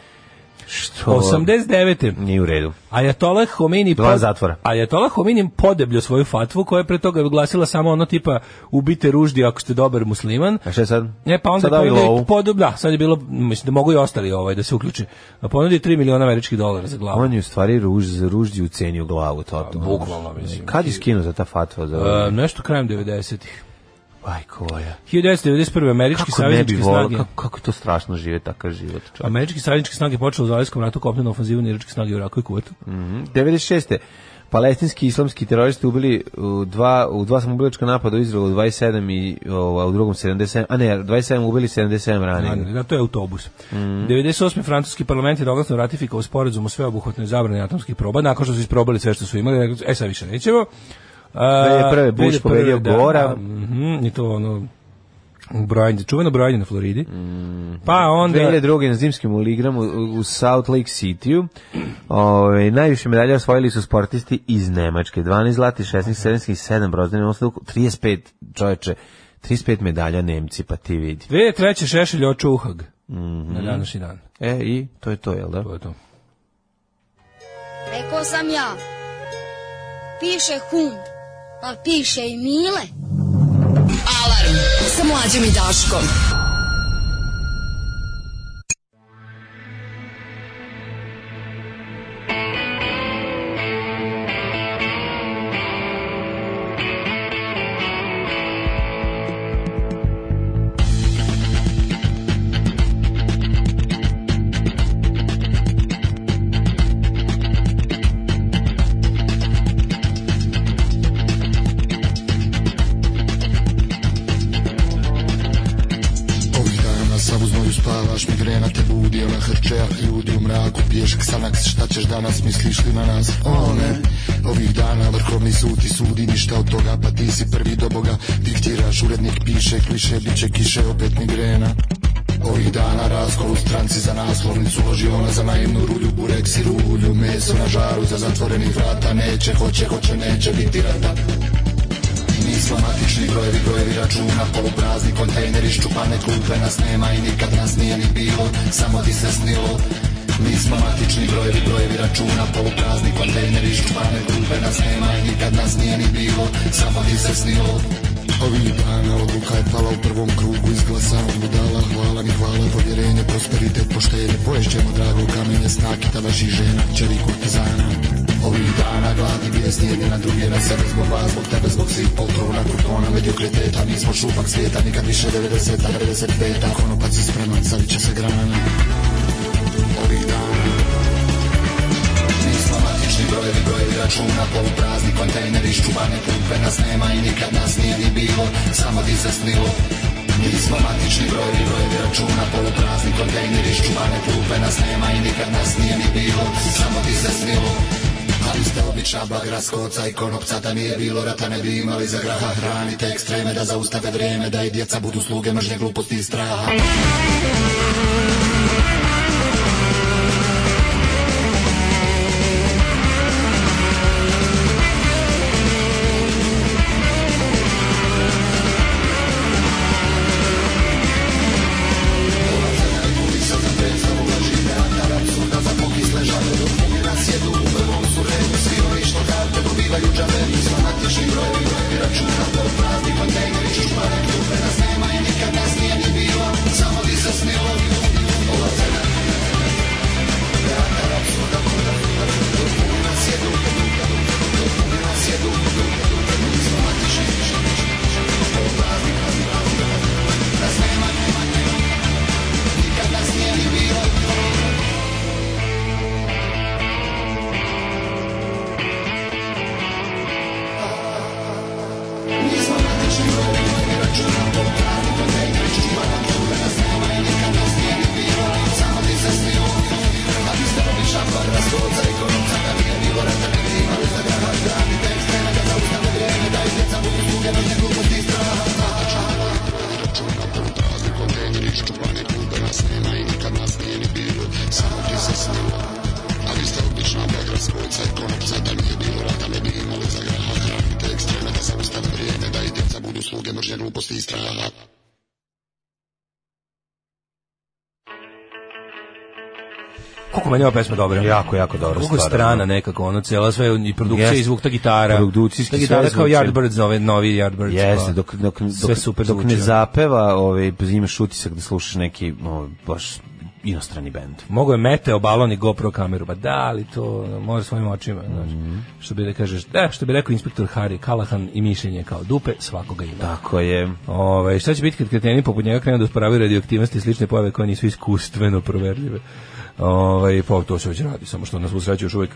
S6: što
S7: 89.
S6: nije u redu.
S7: Ajatolah Homini
S6: Mhm. Dva zatvora.
S7: Ajatolah Homini podeblju svoju fatvu koja je pre toga glasila samo ono tipa ubite ruždi ako ste dobar musliman.
S6: A šta sad?
S7: E pa onda
S6: sad ovi lovu.
S7: ponudi podub, da, sad je bilo, mislim da mogu i ostali ovaj da se uključe. A Ponudi 3 miliona američkih dolara za glavu.
S6: On je u stvari ruž, za ružđi ucenio glavu totalno.
S7: Pa, bukvalno, mislim.
S6: Kad je skinuo za ta fatva? Za...
S7: E, nešto krajem 90-ih.
S6: Ajko, koja.
S7: 1991. američki
S6: Kako ne bi
S7: saveznički
S6: volao,
S7: snage.
S6: kako, kako je to strašno žive takav život. čovječe.
S7: Američki savezničke snage počele u Zalivskom ratu kopnenu ofanzivu na iračke snage u Iraku i Kuvajtu.
S6: 96. Palestinski islamski teroristi ubili u dva u dva samoubilačka napada u Izraelu 27 i o, a u drugom 77, a ne, 27 ubili 77 ranjeni.
S7: Da, to je autobus. 98. francuski parlament je doglasno ratifikovao sporazum o sveobuhvatnoj zabrani atomskih proba, nakon što su isprobali sve što su imali, rekli su, e sad više nećemo. A,
S6: 2001. Bush
S7: 2001.,
S6: pobedio
S7: da,
S6: Gora.
S7: da, mhm, I to ono, brojanje, čuveno brojanje na Floridi. Pa onda...
S6: 2002. na zimskim oligramu u u South Lake Cityu. Ove, najviše medalja osvojili su sportisti iz Nemačke. 12 zlati, 16 sredenskih, 7 brozdani osluku, 35 čoveče, 35 medalja Nemci, pa ti vidi.
S7: 2003. Šešelj oču uhag. Na današnji dan.
S6: E, i to je to, jel da?
S7: To je to.
S10: Rekao sam ja. Piše hum, pa piše i mile.
S3: Alarm sa mlađom i Daškom.
S11: noju spavaš, migrena te budi Ona hrčeja ljudi u mraku Piješ ksanax, šta ćeš danas, misliš li na nas O ne, ovih dana vrhovni sud ti sudi Ništa od toga, pa ti si prvi do boga Diktiraš, urednik piše, kliše Bit će kiše, opet migrena Ovih dana razgol u stranci za naslovnicu Loži ona za naivnu rulju, bureks i rulju Meso na žaru za zatvorenih vrata Neće, hoće, hoće, neće biti rata Nismo matični brojevi, brojevi računa Poluprazni kontejneri, ščupane klupe Nas nema i nikad nas nije ni bilo Samo ti se snilo Mi smo matični brojevi, brojevi računa Poluprazni kontejneri, ščupane klupe Nas nema i nikad nas nije ni bilo Samo ti se snilo Ovih dana odluka je pala u prvom krugu Izglasano budala, hvala mi hvala Povjerenje, prosperitet, poštenje Poješćemo drago kamenje, snake Tadašnjih žena, čeri kurtizana Ovih dana gladni bijesni jedni na druge Na sebe zbog vas, zbog tebe, zbog svih poltrona Kurtona, mediokriteta, mi smo šupak svijeta Nikad više 90-a, 95-a Konopac je spreman, savit će se grana Ovih dana Nismo matični brojevi, brojevi računa Poluprazni kontejneri, ščubane klupe Nas nema i nikad nas nije ni bilo Samo ti se snilo Nismo matični brojevi, brojevi računa Poluprazni kontejneri, ščubane klupe Nas nema i nikad nas nije ni bilo Samo ti se snilo ali ste obična bagra skoca i konopca Da nije bilo rata ne bi imali za graha Hranite ekstreme da zaustave vrijeme Da i djeca budu sluge mržnje gluposti i straha
S7: Koliko meni ova pesma dobra?
S6: Jako, jako dobra
S7: Koliko je
S6: stvar,
S7: strana
S6: ono.
S7: nekako, ono cijela sve, i produkcija,
S6: Jeste.
S7: i zvuk, ta gitara.
S6: Produkcijski
S7: ta
S6: sve
S7: gitara kao
S6: zvuči.
S7: Yardbirds, nove, novi Yardbirds.
S6: Jeste,
S7: kao-
S6: dok, dok,
S7: pa. sve
S6: dok,
S7: super
S6: dok ne
S7: zvuči.
S6: zapeva, ovaj, imaš utisak da slušaš neki ovaj, baš inostrani bend.
S7: Mogu je meteo balon i GoPro kameru, ba da, ali to može svojim očima, znaš.
S6: Mhm.
S7: Što bi da kažeš, da, što bi rekao inspektor Hari Kalahan i mišljenje kao dupe, svakoga ima.
S6: Tako je.
S7: Ove, Ovaj, šta će biti kad kreteni poput njega krenu da usporavaju radioaktivnosti i slične pojave koje nisu iskustveno proverljive? Ove, pa to se već radi, samo što nas usreću još uvijek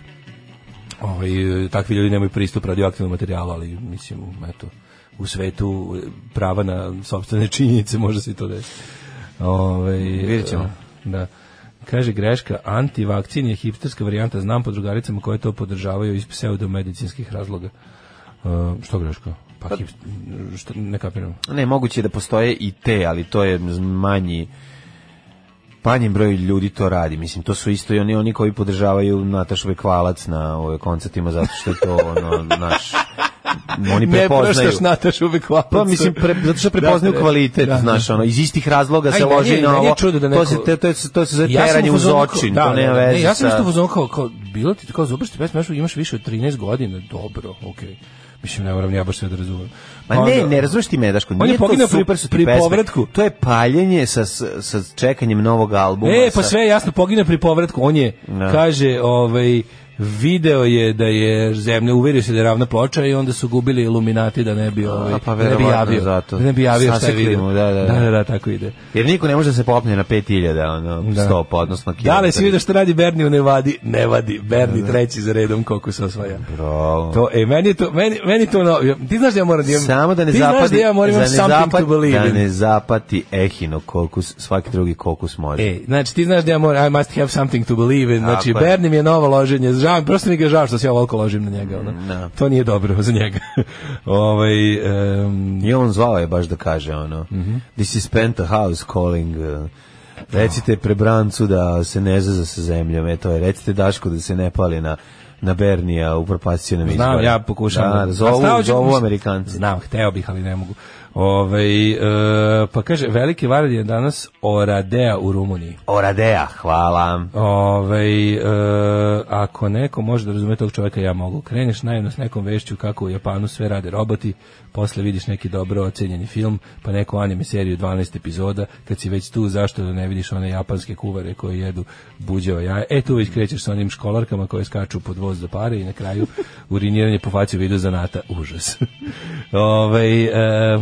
S7: ovaj, takvi ljudi nemaju pristup radioaktivnom materijalu, ali mislim, eto, u svetu prava na sobstvene činjenice može se i to desiti. Ovaj,
S6: Vidjet ćemo.
S7: Da. Kaže greška, antivakcin je hipsterska varijanta, znam po drugaricama koje to podržavaju iz pseudomedicinskih razloga. E, što greška? Pa, hipst, šta, ne kapiram.
S6: Ne, moguće je da postoje i te, ali to je manji manji broj ljudi to radi. Mislim, to su isto i oni, oni koji podržavaju Natašu Bekvalac na ove koncertima, zato što je to ono, naš... Oni prepoznaju.
S7: Nataš uvek
S6: Pa mislim pre, zato što prepoznaju
S7: Dakle,
S6: kvalitet,
S7: da.
S6: znaš, ono iz istih razloga se
S7: Aj, meni
S6: loži
S7: je-
S6: na
S7: meni je
S6: ovo.
S7: čudo da
S6: To
S7: neko-
S6: se te, to se to se zove
S7: sam
S6: teranje
S7: u
S6: uz
S7: fazonu kao-
S6: očin,
S7: da,
S6: to nema
S7: da, da,
S6: veze.
S7: ne, ja sam
S6: sa-
S7: isto uzon kao, kao bilo ti kao zubaš ti pesmu, znaš, imaš više od 13 godina, dobro, okej. Mislim, ne moram ja baš sve da razumem. Pa
S6: Ma ne,
S7: Onda-
S6: ne razumeš ti me, Daško,
S7: Ono- On
S6: nije
S7: je
S6: to
S7: poginuo pri-
S6: super su ti
S7: pri
S6: pesme.
S7: povratku.
S6: To je paljenje sa, sa, sa čekanjem novog albuma.
S7: E, pa
S6: sa-
S7: sve je jasno, pogine pri povratku. On je,
S6: Da.
S7: kaže, ovaj, video je da je zemlja, uverio se da je ravna ploča i onda su gubili iluminati da ne bi, ovaj,
S6: A, pa
S7: da ne bi
S6: verovatno
S7: javio.
S6: zato.
S7: Da ne bi javio šta je
S6: Sasekli
S7: video.
S6: mu, da, da, da.
S7: da, da, tako ide.
S6: Jer niko ne može da se popne na 5000 ono,
S7: Da.
S6: stopa, odnosno kilometara.
S7: Da li si vidio što radi Berni u Nevadi? Ne vadi, Berni treći za redom koliko se osvaja.
S6: Bravo.
S7: To, e, meni je to, meni, meni to, ono, ti znaš da ja moram da imam,
S6: Samo da ne
S7: Ti znaš
S6: zapadi,
S7: da ja moram
S6: da, ne
S7: imam something to
S6: zapati,
S7: believe
S6: da
S7: in.
S6: ne zapati ehinokokus, svaki drugi kokus može.
S7: E, znači ti znaš da ja moram, I must have something to believe in. Znači,
S6: Tako je.
S7: Berni mi je novo loženje. Žao, prosto mi ga je žao što se ja ovoliko ložim na njega. Ono.
S6: da.
S7: To nije dobro za njega. ovaj, em,
S6: I on zvao je baš da kaže ono, this is penthouse calling, uh, recite prebrancu da se ne zaza sa zemljom, e to je, recite Dašku da se ne pali na na Bernija, upropastio nam izbore.
S7: Znam, ja pokušam.
S6: Da,
S7: A stao
S6: zovu,
S7: ću-
S6: zovu Amerikanci.
S7: Znam, hteo bih, ali ne mogu. Ovaj, e, pa kaže, Veliki Varad je danas Oradea u Rumuniji.
S6: Oradea, hvala.
S7: Ovaj, e, ako neko može da razume tog čovjeka, ja mogu. Kreneš najedno s nekom vešću kako u Japanu sve rade roboti, posle vidiš neki dobro ocenjeni film, pa neku anime seriju 12 epizoda, kad si već tu, zašto da ne vidiš one japanske kuvare koji jedu buđeo jaja? E, tu već krećeš sa onim školarkama koje skaču pod voz do pare i na kraju uriniranje po faci u vidu zanata. Užas. ovaj, e,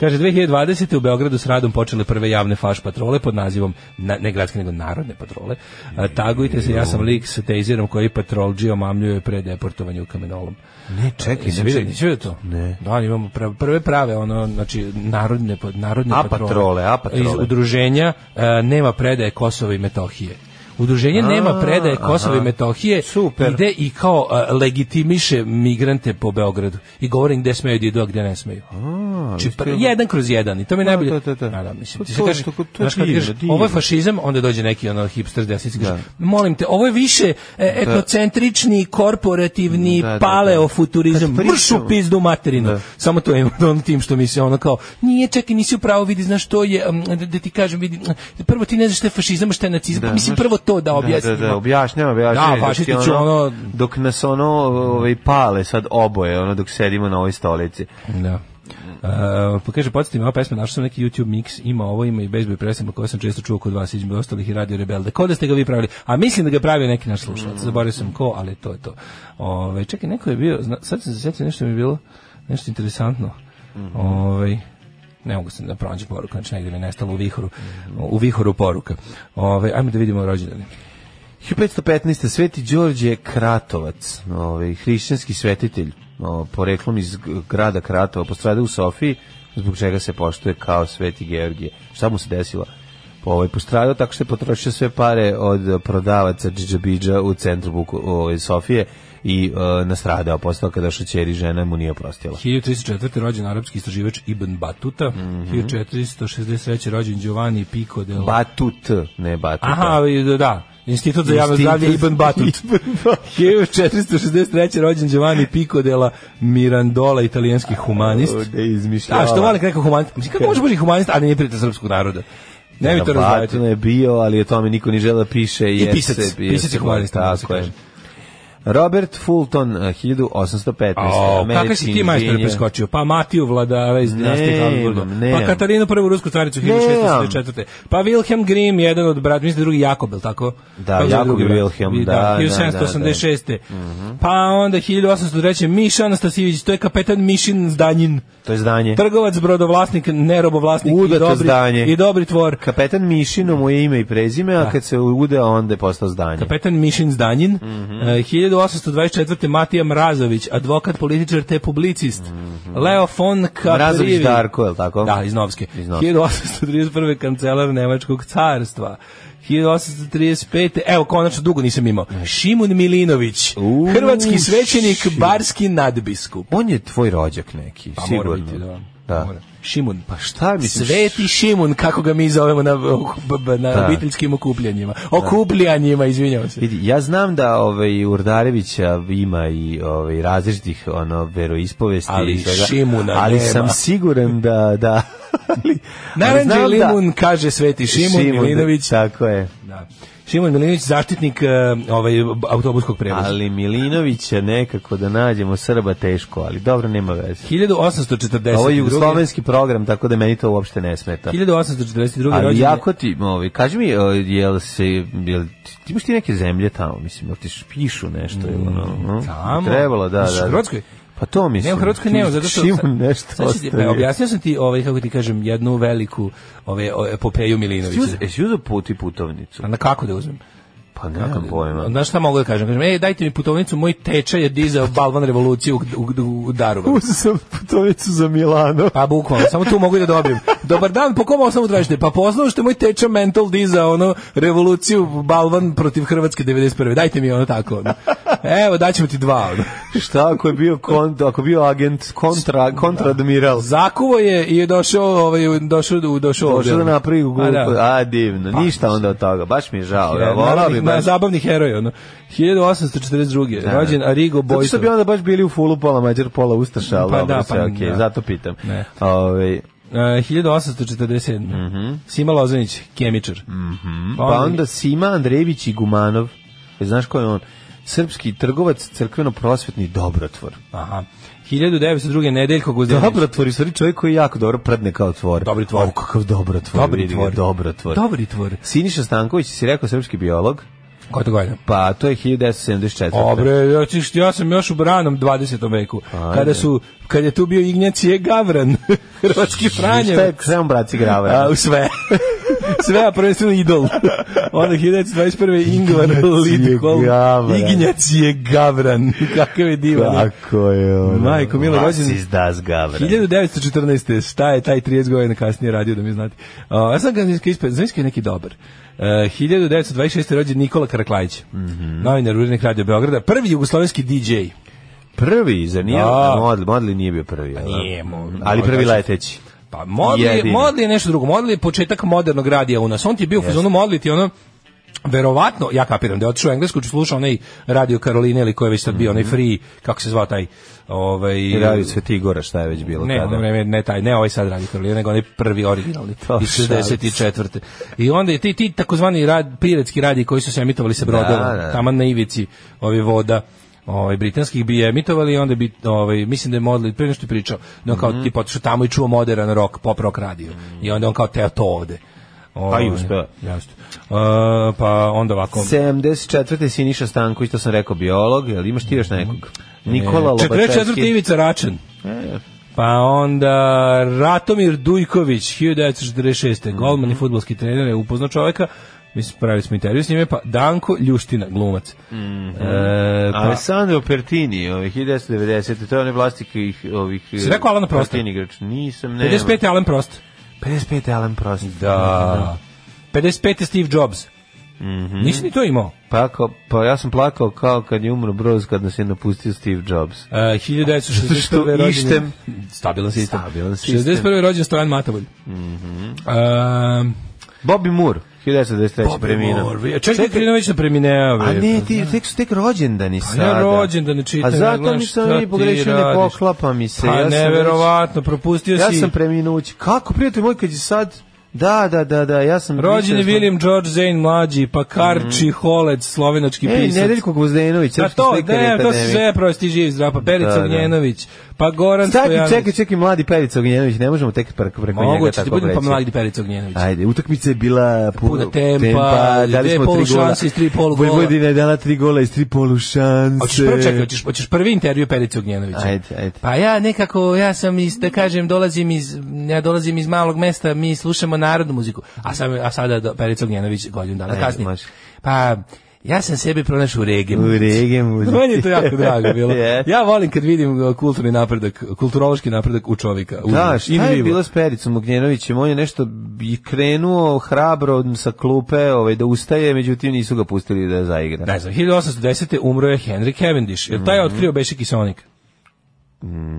S7: Kaže, 2020. u Beogradu s radom počele prve javne faš patrole pod nazivom, na, ne gradske, nego narodne patrole. A, tagujte se, ja sam lik sa tejzerom koji patrolđio mamljuje pre deportovanja u kamenolom.
S6: Ne, čekaj,
S7: Jesi
S6: ne
S7: vidio,
S6: čekaj.
S7: nisi vidio to?
S6: Ne.
S7: Da, imamo pra- prve prave, ono, znači, narodne, pa- narodne
S6: A patrole, a patrole.
S7: Iz udruženja e, nema predaje Kosova i Metohije. Udruženje
S6: A,
S7: nema predaje Kosova
S6: aha.
S7: i Metohije
S6: Super.
S7: ide i kao e, legitimiše migrante po Beogradu i govori gde smeju da idu, a gde ne smeju. Znači, pr- jedan kroz jedan i to mi je
S6: Da,
S7: najbolje.
S6: da, da, da.
S7: Da, da, mislim,
S6: Pa
S7: ti
S6: to
S7: kažeš,
S6: što- to je
S7: znaš, kad
S6: divno,
S7: kažeš,
S6: divno.
S7: ovo je fašizam, onda dođe neki ono hipster s desnice i kaže, molim te, ovo je više e, ekocentrični, korporativni,
S6: Da, da, da. Kad
S7: paleofuturizam,
S6: pričamo-
S7: mrš u pizdu materinu. Samo to je on tim što mi se ono kao, nije, čekaj, nisi u pravu, vidi, znaš to je, um, da, da ti kažem, vidi, prvo ti ne znaš šta je fašizam, a šta je nacizam, pa mislim
S6: znaš-
S7: prvo to da
S6: Da,
S7: objasnimo.
S6: da, da, objašnjava,
S7: Da,
S6: objašnjava.
S7: fašisti će ono-
S6: Dok nas ono ovaj, pale sad oboje, ono dok sedimo na ovoj stolici.
S7: Da. Uh, pa kaže, podsjeti me, ova pesma, našao sam neki YouTube mix, ima ovo, ima i bezboj presama koje sam često čuo kod vas, između ostalih i Radio Rebelde. Ko da ste ga vi pravili? A mislim da ga je pravio neki naš slušalac. Zaboravio sam ko, ali to je to. Ove, čekaj, neko je bio, zna, sad sam se sjetio, nešto mi je bilo, nešto interesantno. Ovaj, ne mogu sam da pronađem poruku, znači negdje mi je nestalo u vihoru, u vihoru poruka. Ove, ajmo da vidimo rođendane.
S6: 1515. Sveti Đorđe Kratovac, ovaj, hrišćanski svetitelj, o, poreklom iz g- grada Kratova, postradao u Sofiji, zbog čega se poštuje kao Sveti Georgije. Šta mu se desilo? Po, ovaj, postradao tako što je potrošio sve pare od e, prodavaca Džidžabidža u centru Vuko- ovaj, Sofije i e, nastradao postao kada šećeri žena mu nije oprostila.
S7: 1304. rođen arapski istraživač Ibn Batuta, 1463. rođen Giovanni Pico de la
S6: Batut, ne Batut.
S7: Aha, da, da. Institut za javno
S6: Institut
S7: zdravlje
S6: za-
S7: Ibn Batut.
S6: Ibn Batut.
S7: 1463. rođen Giovanni Pico della Mirandola, italijanski humanist.
S6: Da je izmišljala.
S7: A što volim kako humanist? Mislim, kako može biti humanist, a nije prijatelj srpskog naroda? Ne mi to razdvajati.
S6: Batun je bio, ali o tome niko ni žele da piše.
S7: I
S6: jer
S7: pisac,
S6: se- jer
S7: pisac
S6: se-
S7: je humanist, tako se
S6: Tako je.
S7: kaže.
S6: Robert Fulton, eh, 1815.
S7: O, kakve si
S6: američki
S7: ti majstor
S6: inženjer.
S7: preskočio? Pa Matiju vladara iz dinastije
S6: Nemam,
S7: Habsburga. Pa
S6: nemam.
S7: Katarinu prvu rusku caricu
S6: Nemam.
S7: 1604. Pa Wilhelm Grimm, jedan od brat, mislim da je drugi Jakobel, tako?
S6: Da,
S7: Kako se zove
S6: Jakob
S7: drugi
S6: i
S7: brat?
S6: Wilhelm,
S7: I
S6: da, da, Mhm. da,
S7: 1786. Pa onda 1803. Miša Anastasijević, to je kapetan Mišin Zdanjin.
S6: To je zdanje.
S7: Trgovac, brodovlasnik, nerobovlasnik i
S6: Udato
S7: dobri,
S6: zdanje.
S7: i dobri tvor.
S6: Kapetan Mišino mu je ime i prezime, a kad se ude, onda je postao zdanje.
S7: Kapetan Mišin Zdanjin,
S6: Mhm.
S7: eh, 1824. Matija Mrazović, advokat, političar te publicist. Leo von Kaprivi.
S6: Mhm. Mrazović Darko, je li tako?
S7: Da, iz Novske.
S6: Iz Novske.
S7: 1831. kancelar Nemačkog carstva. 1835. Evo, konačno dugo nisam imao. Šimun Milinović,
S6: U,
S7: hrvatski svećenik,
S6: ši-
S7: barski nadbiskup.
S6: On je tvoj rođak neki,
S7: Pa mora
S6: sigurno.
S7: biti, da.
S6: Da.
S7: Mora. Šimun. Pa
S6: Šta misliš?
S7: Sveti Šimun, kako ga mi zovemo na, na
S6: Da.
S7: obiteljskim okupljanjima. Okupljanjima, izvinjavam se.
S6: Vidi, ja znam da ovaj Urdarevića ima i ovaj različitih ono veroispovesti
S7: Ali
S6: i svega,
S7: Šimuna
S6: ali
S7: nema.
S6: sam siguran da da ali, ali
S7: Naranđe
S6: znam
S7: limun, kaže Sveti Šimun
S6: Šimun,
S7: Milinović.
S6: tako je.
S7: Da. Šimon Milinović, zaštitnik e, ovaj, b- autobuskog prevoza.
S6: Ali Milinovića nekako da nađemo Srba teško, ali dobro nema veze.
S7: 1842.
S6: Ovo je jugoslovenski program, tako da meni to uopšte ne smeta.
S7: 1842. rođen
S6: Ali
S7: je-
S6: jako ti, ovaj, kaži mi, o, jel se, jel, ti imaš ti neke zemlje tamo, mislim, jel ti pišu nešto, jel ono, no?
S7: Mm, tamo?
S6: Trebalo, da,
S7: Misliš,
S6: da.
S7: u Hrvatskoj?
S6: Pa to mislim.
S7: Ne, u Hrvatskoj nema, zato što...
S6: Šimun nešto
S7: Sad ću ti-
S6: ostavio.
S7: Objasnio sam ti, ovaj, kako ti kažem, jednu veliku ovaj, o- epopeju Milinovića.
S6: Jesi uzeo put i putovnicu?
S7: A na kako da uzmem?
S6: Pa nemam pojma.
S7: Znaš šta mogu da kažem? Kažem, ej, dajte mi putovnicu, moj tečaj je dizao balvan revoluciju u, u, u Daruvaru.
S6: Uzeo sam putovicu za Milano.
S7: Pa bukvalno, samo tu mogu i da dobijem. Dobar dan, po kom osnovu tražite? Pa po osnovu što je moj tečaj mental dizao ono, revoluciju balvan protiv Hrvatske 91. Dajte mi ono tako. Ono. Evo, daćemo ti dva. Ono.
S6: Šta ako je bio kont, ako je bio agent kontra kontradmiral?
S7: Zakuvo je i je došao, ovaj, u- došao, u- došao,
S6: Došao da
S7: ovdje, ono.
S6: napravi glupo.
S7: A,
S6: A,
S7: da.
S6: divno.
S7: Pa,
S6: Ništa onda od toga. Baš mi je žao. Ja,
S7: Ja,
S6: volao bi
S7: naravni- E, na
S6: baš.
S7: zabavni heroj, ono. 1842. rođen Arigo
S6: Zato
S7: Bojsov.
S6: što bi onda baš bili u fulu pola mađar, pola ustaša, ali
S7: Pa
S6: dobro,
S7: da,
S6: sve
S7: pa
S6: okej,
S7: da.
S6: zato pitam.
S7: Ne.
S6: Ovaj,
S7: E, 1847.
S6: Mhm.
S7: Sima Lozanić, kemičar.
S6: pa onda Sima Andrejević i Gumanov, E, znaš ko je on? Srpski trgovac, crkveno-prosvetni dobrotvor.
S7: Aha. 1902. Nedeljko Guzdanić.
S6: Dobrotvor je u stvari čovjek koji jako dobro prdne kao tvor.
S7: Dobri tvor.
S6: Au, kakav dobrotvor.
S7: Dobri
S6: vidi ga,
S7: tvor.
S6: Dobrotvor.
S7: Dobri tvor.
S6: Siniša Stanković, si rekao srpski biolog,
S7: Koja to godina?
S6: pa to je 1974.
S7: Obre, Pa ja, ću- ja sam još u branom 20. veku. Kada su, kad je tu bio Ignjacije Gavran, hrvatski
S6: Šta je
S7: Franjevac.
S6: krem braci
S7: A,
S6: grava?
S7: u sve. sve, a prvenstveno idol. Onda 1921. Ingvar Lidekol.
S6: Gavran.
S7: Ignjacije Gavran. Kakav je divan.
S6: Kako je ono?
S7: Majko, mila,
S6: Vas
S7: rođen-
S6: iz Das Gavra.
S7: 1914. Šta je taj 30 godina kasnije radio, da mi znate. Uh, ja sam ga ispred, znam je neki dobar. Uh, 1926. rođen Nikola Karaklajić,
S6: Mhm.
S7: novinar urednik Radio Beograda, prvi jugoslovenski DJ.
S6: Prvi, zar nije?
S7: Da.
S6: Modli, Modli nije bio prvi. jel da?
S7: nije, mo-
S6: Ali prvi
S7: kažem.
S6: leteći.
S7: Pa Modli, je-
S6: Jedini.
S7: Modli je nešto drugo. Modli je početak modernog radija u nas. On ti je bio u fazonu Modli ti je ono verovatno, ja kapiram da je otišao u Englesku, ću slušao onaj Radio Karoline ili ko je već tad bio, onaj free, kako se zvao taj ovaj,
S6: Mhm. I radio sve Igora, šta je već bilo
S7: ne,
S6: tada.
S7: ono vreme, ne taj, ne ovaj sad radi Karolina, nego onaj prvi originalni
S6: To
S7: iz
S6: šalim se.
S7: 64. I onda je ti, ti takozvani rad, piratski radi koji su se emitovali sa brodova,
S6: da.
S7: taman na ivici ove voda, ovaj britanskih bi je emitovali i onda bi ovaj mislim da je Modli pre nešto je pričao no kao
S6: Mhm.
S7: tipa otišao tamo i čuo modern rock pop rock radio i onda on kao teo to ovde
S6: Pa i
S7: Ovaj,
S6: uspeo.
S7: jasno. E, pa onda ovako
S6: 74. Siniša Stanković, to sam rekao, biolog, jel imaš ti još nekog? Nikola Lobačevski.
S7: 44. Ivica Račan.
S6: E.
S7: Pa onda Ratomir Dujković, 1946.
S6: Mhm.
S7: Golman i futbolski trener je upoznao čoveka, mislim, pravili smo intervju s njime, pa Danko Ljuština, glumac.
S6: Mhm.
S7: E, pa,
S6: Alessandro Pertini, ovih 1990. To je onaj vlastnik ih, ovih...
S7: Si rekao Alana Prosta?
S6: Pertini igrač. Nisam, ne.
S7: 55. Alan Prost.
S6: 55. Alan Prost.
S7: Da. 55. Steve Jobs.
S6: Mhm.
S7: Nisi ni to imao.
S6: Pa, kao- pa ja sam plakao kao kad je umro Broz kad nas je napustio Steve Jobs.
S7: E, 1961.
S6: Što
S7: rođen-
S6: ištem.
S7: Stabilan sistem.
S6: Stabilan sistem. Mhm.
S7: 61. rođen Stojan Matavolj. E,
S6: Bobby Moore, 1993.
S7: Preminuo.
S6: preminuo.
S7: Čekaj, Krinović je preminuo.
S6: A
S7: bre.
S6: ne, ti tek su tek rođendani
S7: Pa
S6: sada.
S7: ja rođen da ne čitam.
S6: A
S7: ja
S6: zato
S7: gledam
S6: mi sam
S7: šta
S6: i
S7: ti
S6: pogrešio, ne
S7: radiš.
S6: poklapa mi se. ja
S7: Pa
S6: sam već-
S7: neverovatno, propustio
S6: Ja
S7: si.
S6: sam preminuo ući. Kako, prijatelj moj, kad je sad... Da, da, da, da, ja sam...
S7: Rođen je
S6: pričao sam-
S7: William George Zane mlađi, pa Karči Holec, slovenočki
S6: Mhm. Ej,
S7: pisac.
S6: Nedeljko Gvozdenović,
S7: Pa
S6: srpski
S7: to,
S6: slikar i
S7: ne, to se
S6: akademik.
S7: sve prosti živi zdrav, pa Perica
S6: Da, da.
S7: Ognjenović, pa Goran
S6: Čekaj,
S7: Stojanović.
S6: čekaj, čekaj, mladi Perica Ognjenović, ne možemo tek preko, preko njega
S7: Moguće ti
S6: tako
S7: budem pa
S6: reći.
S7: mladi Perica Ognjenović.
S6: Ajde, utakmica je bila pu-
S7: Puna tempa, dve polu šanse iz tri polu gola.
S6: Vojvodina je dala tri gola iz tri polu šanse.
S7: Hoćeš prvo čekaj, hoćeš, hoćeš prvi intervju Perice Ognjenovića.
S6: Ajde, ajde.
S7: Pa ja nekako, ja sam iz, da kažem, dolazim iz, ja dolazim iz malog mesta, mi slušamo narodnu muziku. A, sam, a sada do, Perica Ognjenović godinu dana
S6: Ajde,
S7: kasnije.
S6: može.
S7: Pa, ja sam sebe pronašao u rege.
S6: U rege muzici.
S7: Meni je to jako drago bilo.
S6: Jeste.
S7: Ja volim kad vidim uh, kulturni napredak, kulturološki napredak u čovjeka. u
S6: Da,
S7: živo,
S6: šta
S7: in
S6: je
S7: vivo.
S6: bilo s Pericom Ognjenovićem? On je nešto i krenuo hrabro sa klupe ovaj, da ustaje, međutim nisu ga pustili da zaigra.
S7: Ne znam, 1810. umro je Henry Cavendish. Jel taj
S6: Mhm.
S7: je otkrio Beše kiselnik?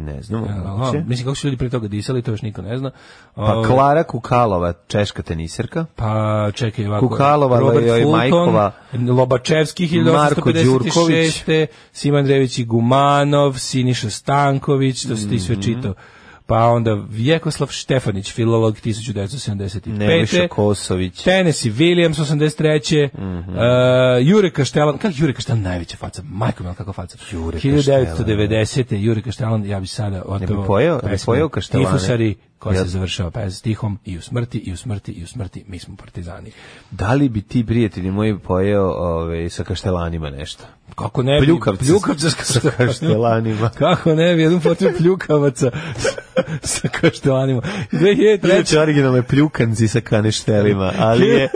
S6: Ne znam,
S7: Aha,
S6: moguće.
S7: Mislim, kako su ljudi prije toga disali, to još niko ne zna.
S6: Pa
S7: Ovaj,
S6: Klara Kukalova, češka teniserka.
S7: Pa čekaj ovako.
S6: Kukalova,
S7: Robert
S6: Leo i
S7: Fulton,
S6: Majkova,
S7: Lobačevski
S6: Marko Đurković.
S7: 1856. Siman Drević i Gumanov, Siniša Stanković, to si ti
S6: Mhm.
S7: sve čitao. Pa onda Vjekoslav Štefanić, filolog 1975.
S6: Nebojša Kosović.
S7: Tennessee Williams 83.
S6: Mhm.
S7: E, Jure Kaštelan, kako Jure Kaštelan najveća faca, majko mila kakva faca. Jure 1990. Jure Kaštelan, ja bi sada otvao.
S6: pojeo- ne bi pojeo Kaštelane.
S7: Tifusari, koja
S6: Ja-
S7: se završava pes stihom i u smrti, i u smrti, i u smrti, mi smo partizani.
S6: Da li bi ti, prijatelji moji, pojeo ovaj, sa kaštelanima nešto?
S7: Kako ne bi...
S6: Pljukavce.
S7: Pljukavce s
S6: Sa kaštelanima.
S7: Kako ne bi, jednom potrebu pljukavaca sa kaštelanima. 2003.
S6: Znači, Inače, originalno je pljukanci sa kaneštelima, ali je,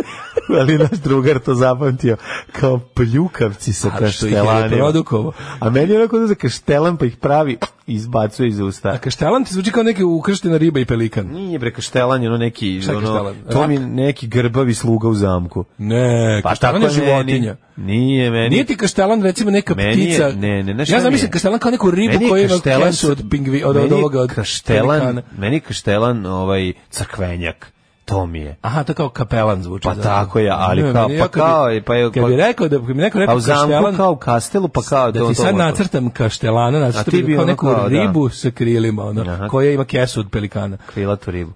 S6: ali naš drugar to zapamtio kao pljukavci sa
S7: Ali što ih je
S6: kaštelanima.
S7: reprodukovao.
S6: A meni je onako
S7: znači,
S6: da za kaštelan pa ih pravi i izbacuje iz usta.
S7: A kaštelan ti zvuči kao neke ukrštena riba i pelikan.
S6: Nije bre kaštelan, je ono neki,
S7: Šta je
S6: ono,
S7: kaštelan?
S6: to
S7: Rak?
S6: mi je neki grbavi sluga u zamku.
S7: Ne,
S6: Pa
S7: kaštelan
S6: tako
S7: je
S6: je meni.
S7: životinja.
S6: Nije meni.
S7: Nije ti kaštelan recimo neka
S6: Meni je-
S7: ptica.
S6: ne, ne, znaš šta
S7: ja
S6: mi je?
S7: zamislim kaštelan kao neku ribu
S6: Meni je
S7: koja ima
S6: kaštelan
S7: kesu od
S6: s-
S7: pingvi od
S6: meni
S7: od
S6: je
S7: ovoga od
S6: kaštelan,
S7: pelikana.
S6: meni je kaštelan ovaj crkvenjak. To mi je.
S7: Aha, to kao kapelan zvuči.
S6: Pa
S7: da.
S6: tako je, ali
S7: Ne,
S6: kao-
S7: meni
S6: pa
S7: ja kad bi-
S6: kao je, pa je-
S7: Kad
S6: pa-
S7: bi rekao da bi mi neko
S6: A
S7: rekao
S6: u zamku
S7: kaštelan,
S6: kao u kastelu, pa kao
S7: da
S6: to-
S7: ti
S6: to-
S7: sad
S6: to-
S7: nacrtam kaštelana,
S6: A ti
S7: nacrtam
S6: bi
S7: kao
S6: ono
S7: neku
S6: kao, da.
S7: ribu sa krilima,
S6: Aha.
S7: ono, koja ima kesu od pelikana.
S6: Krilatu ribu.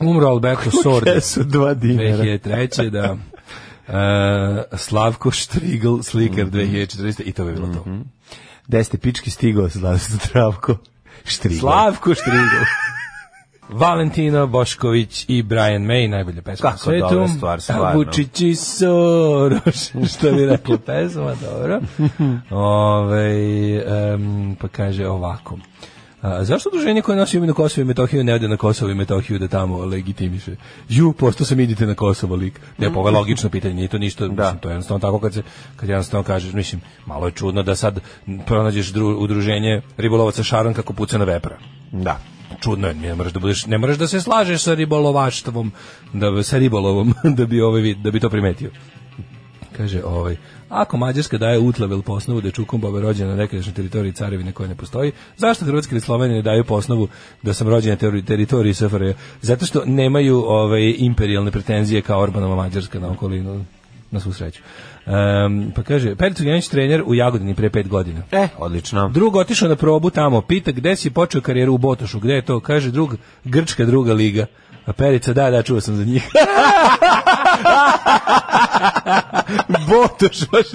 S7: Umro Alberto Sordi.
S6: Jesu dva dinara.
S7: 2003. da. E, Slavko Štrigl, slikar
S6: Mhm.
S7: 2014. I to bi bilo to.
S6: Gde ste pički stigao sa Zdravko? Štrigo.
S7: Slavko Štrigl. Valentina Bošković i Brian May, najbolja pesma
S6: Kako
S7: na svetu.
S6: dobra stvar, stvarno.
S7: Vučić i Soroš, što bi rekla pesma, dobro. Ove, em, pa kaže ovako. A, zašto druženje koje nosi ime na Kosovo i Metohiju ne ode na Kosovo i Metohiju da tamo legitimiše? Ju, posto sam idite na Kosovo lik. Ne, pa ovo je logično pitanje, nije to ništa, mislim, to je jednostavno tako kad se, kad jednostavno kažeš, mislim, malo je čudno da sad pronađeš dru, udruženje ribolovaca Šaran kako puca na vepra
S6: Da.
S7: čudno je, ne moraš da budeš, ne moraš da se slažeš sa ribolovaštvom, da sa ribolovom da bi ovaj vid, da bi to primetio. Kaže ovaj Ako Mađarska daje utlavel po osnovu da je Čukum Boba rođen na nekadašnjoj teritoriji carevine koja ne postoji, zašto Hrvatska ili Slovenija ne daju po osnovu da sam rođen na teri- teritoriji SFRJ? Zato što nemaju ovaj, imperijalne pretenzije kao Orbanova Mađarska na okolinu, na svu sreću. Em, pa kaže, Pericu Gjanić trener u Jagodini pre pet godina.
S6: E, odlično.
S7: Drugo otišao na probu tamo, pita gde si počeo karijeru u Botošu, gde je to? Kaže drug, grčka druga liga. A Perica, da, da, čuo sam za njih.
S6: Botoš baš.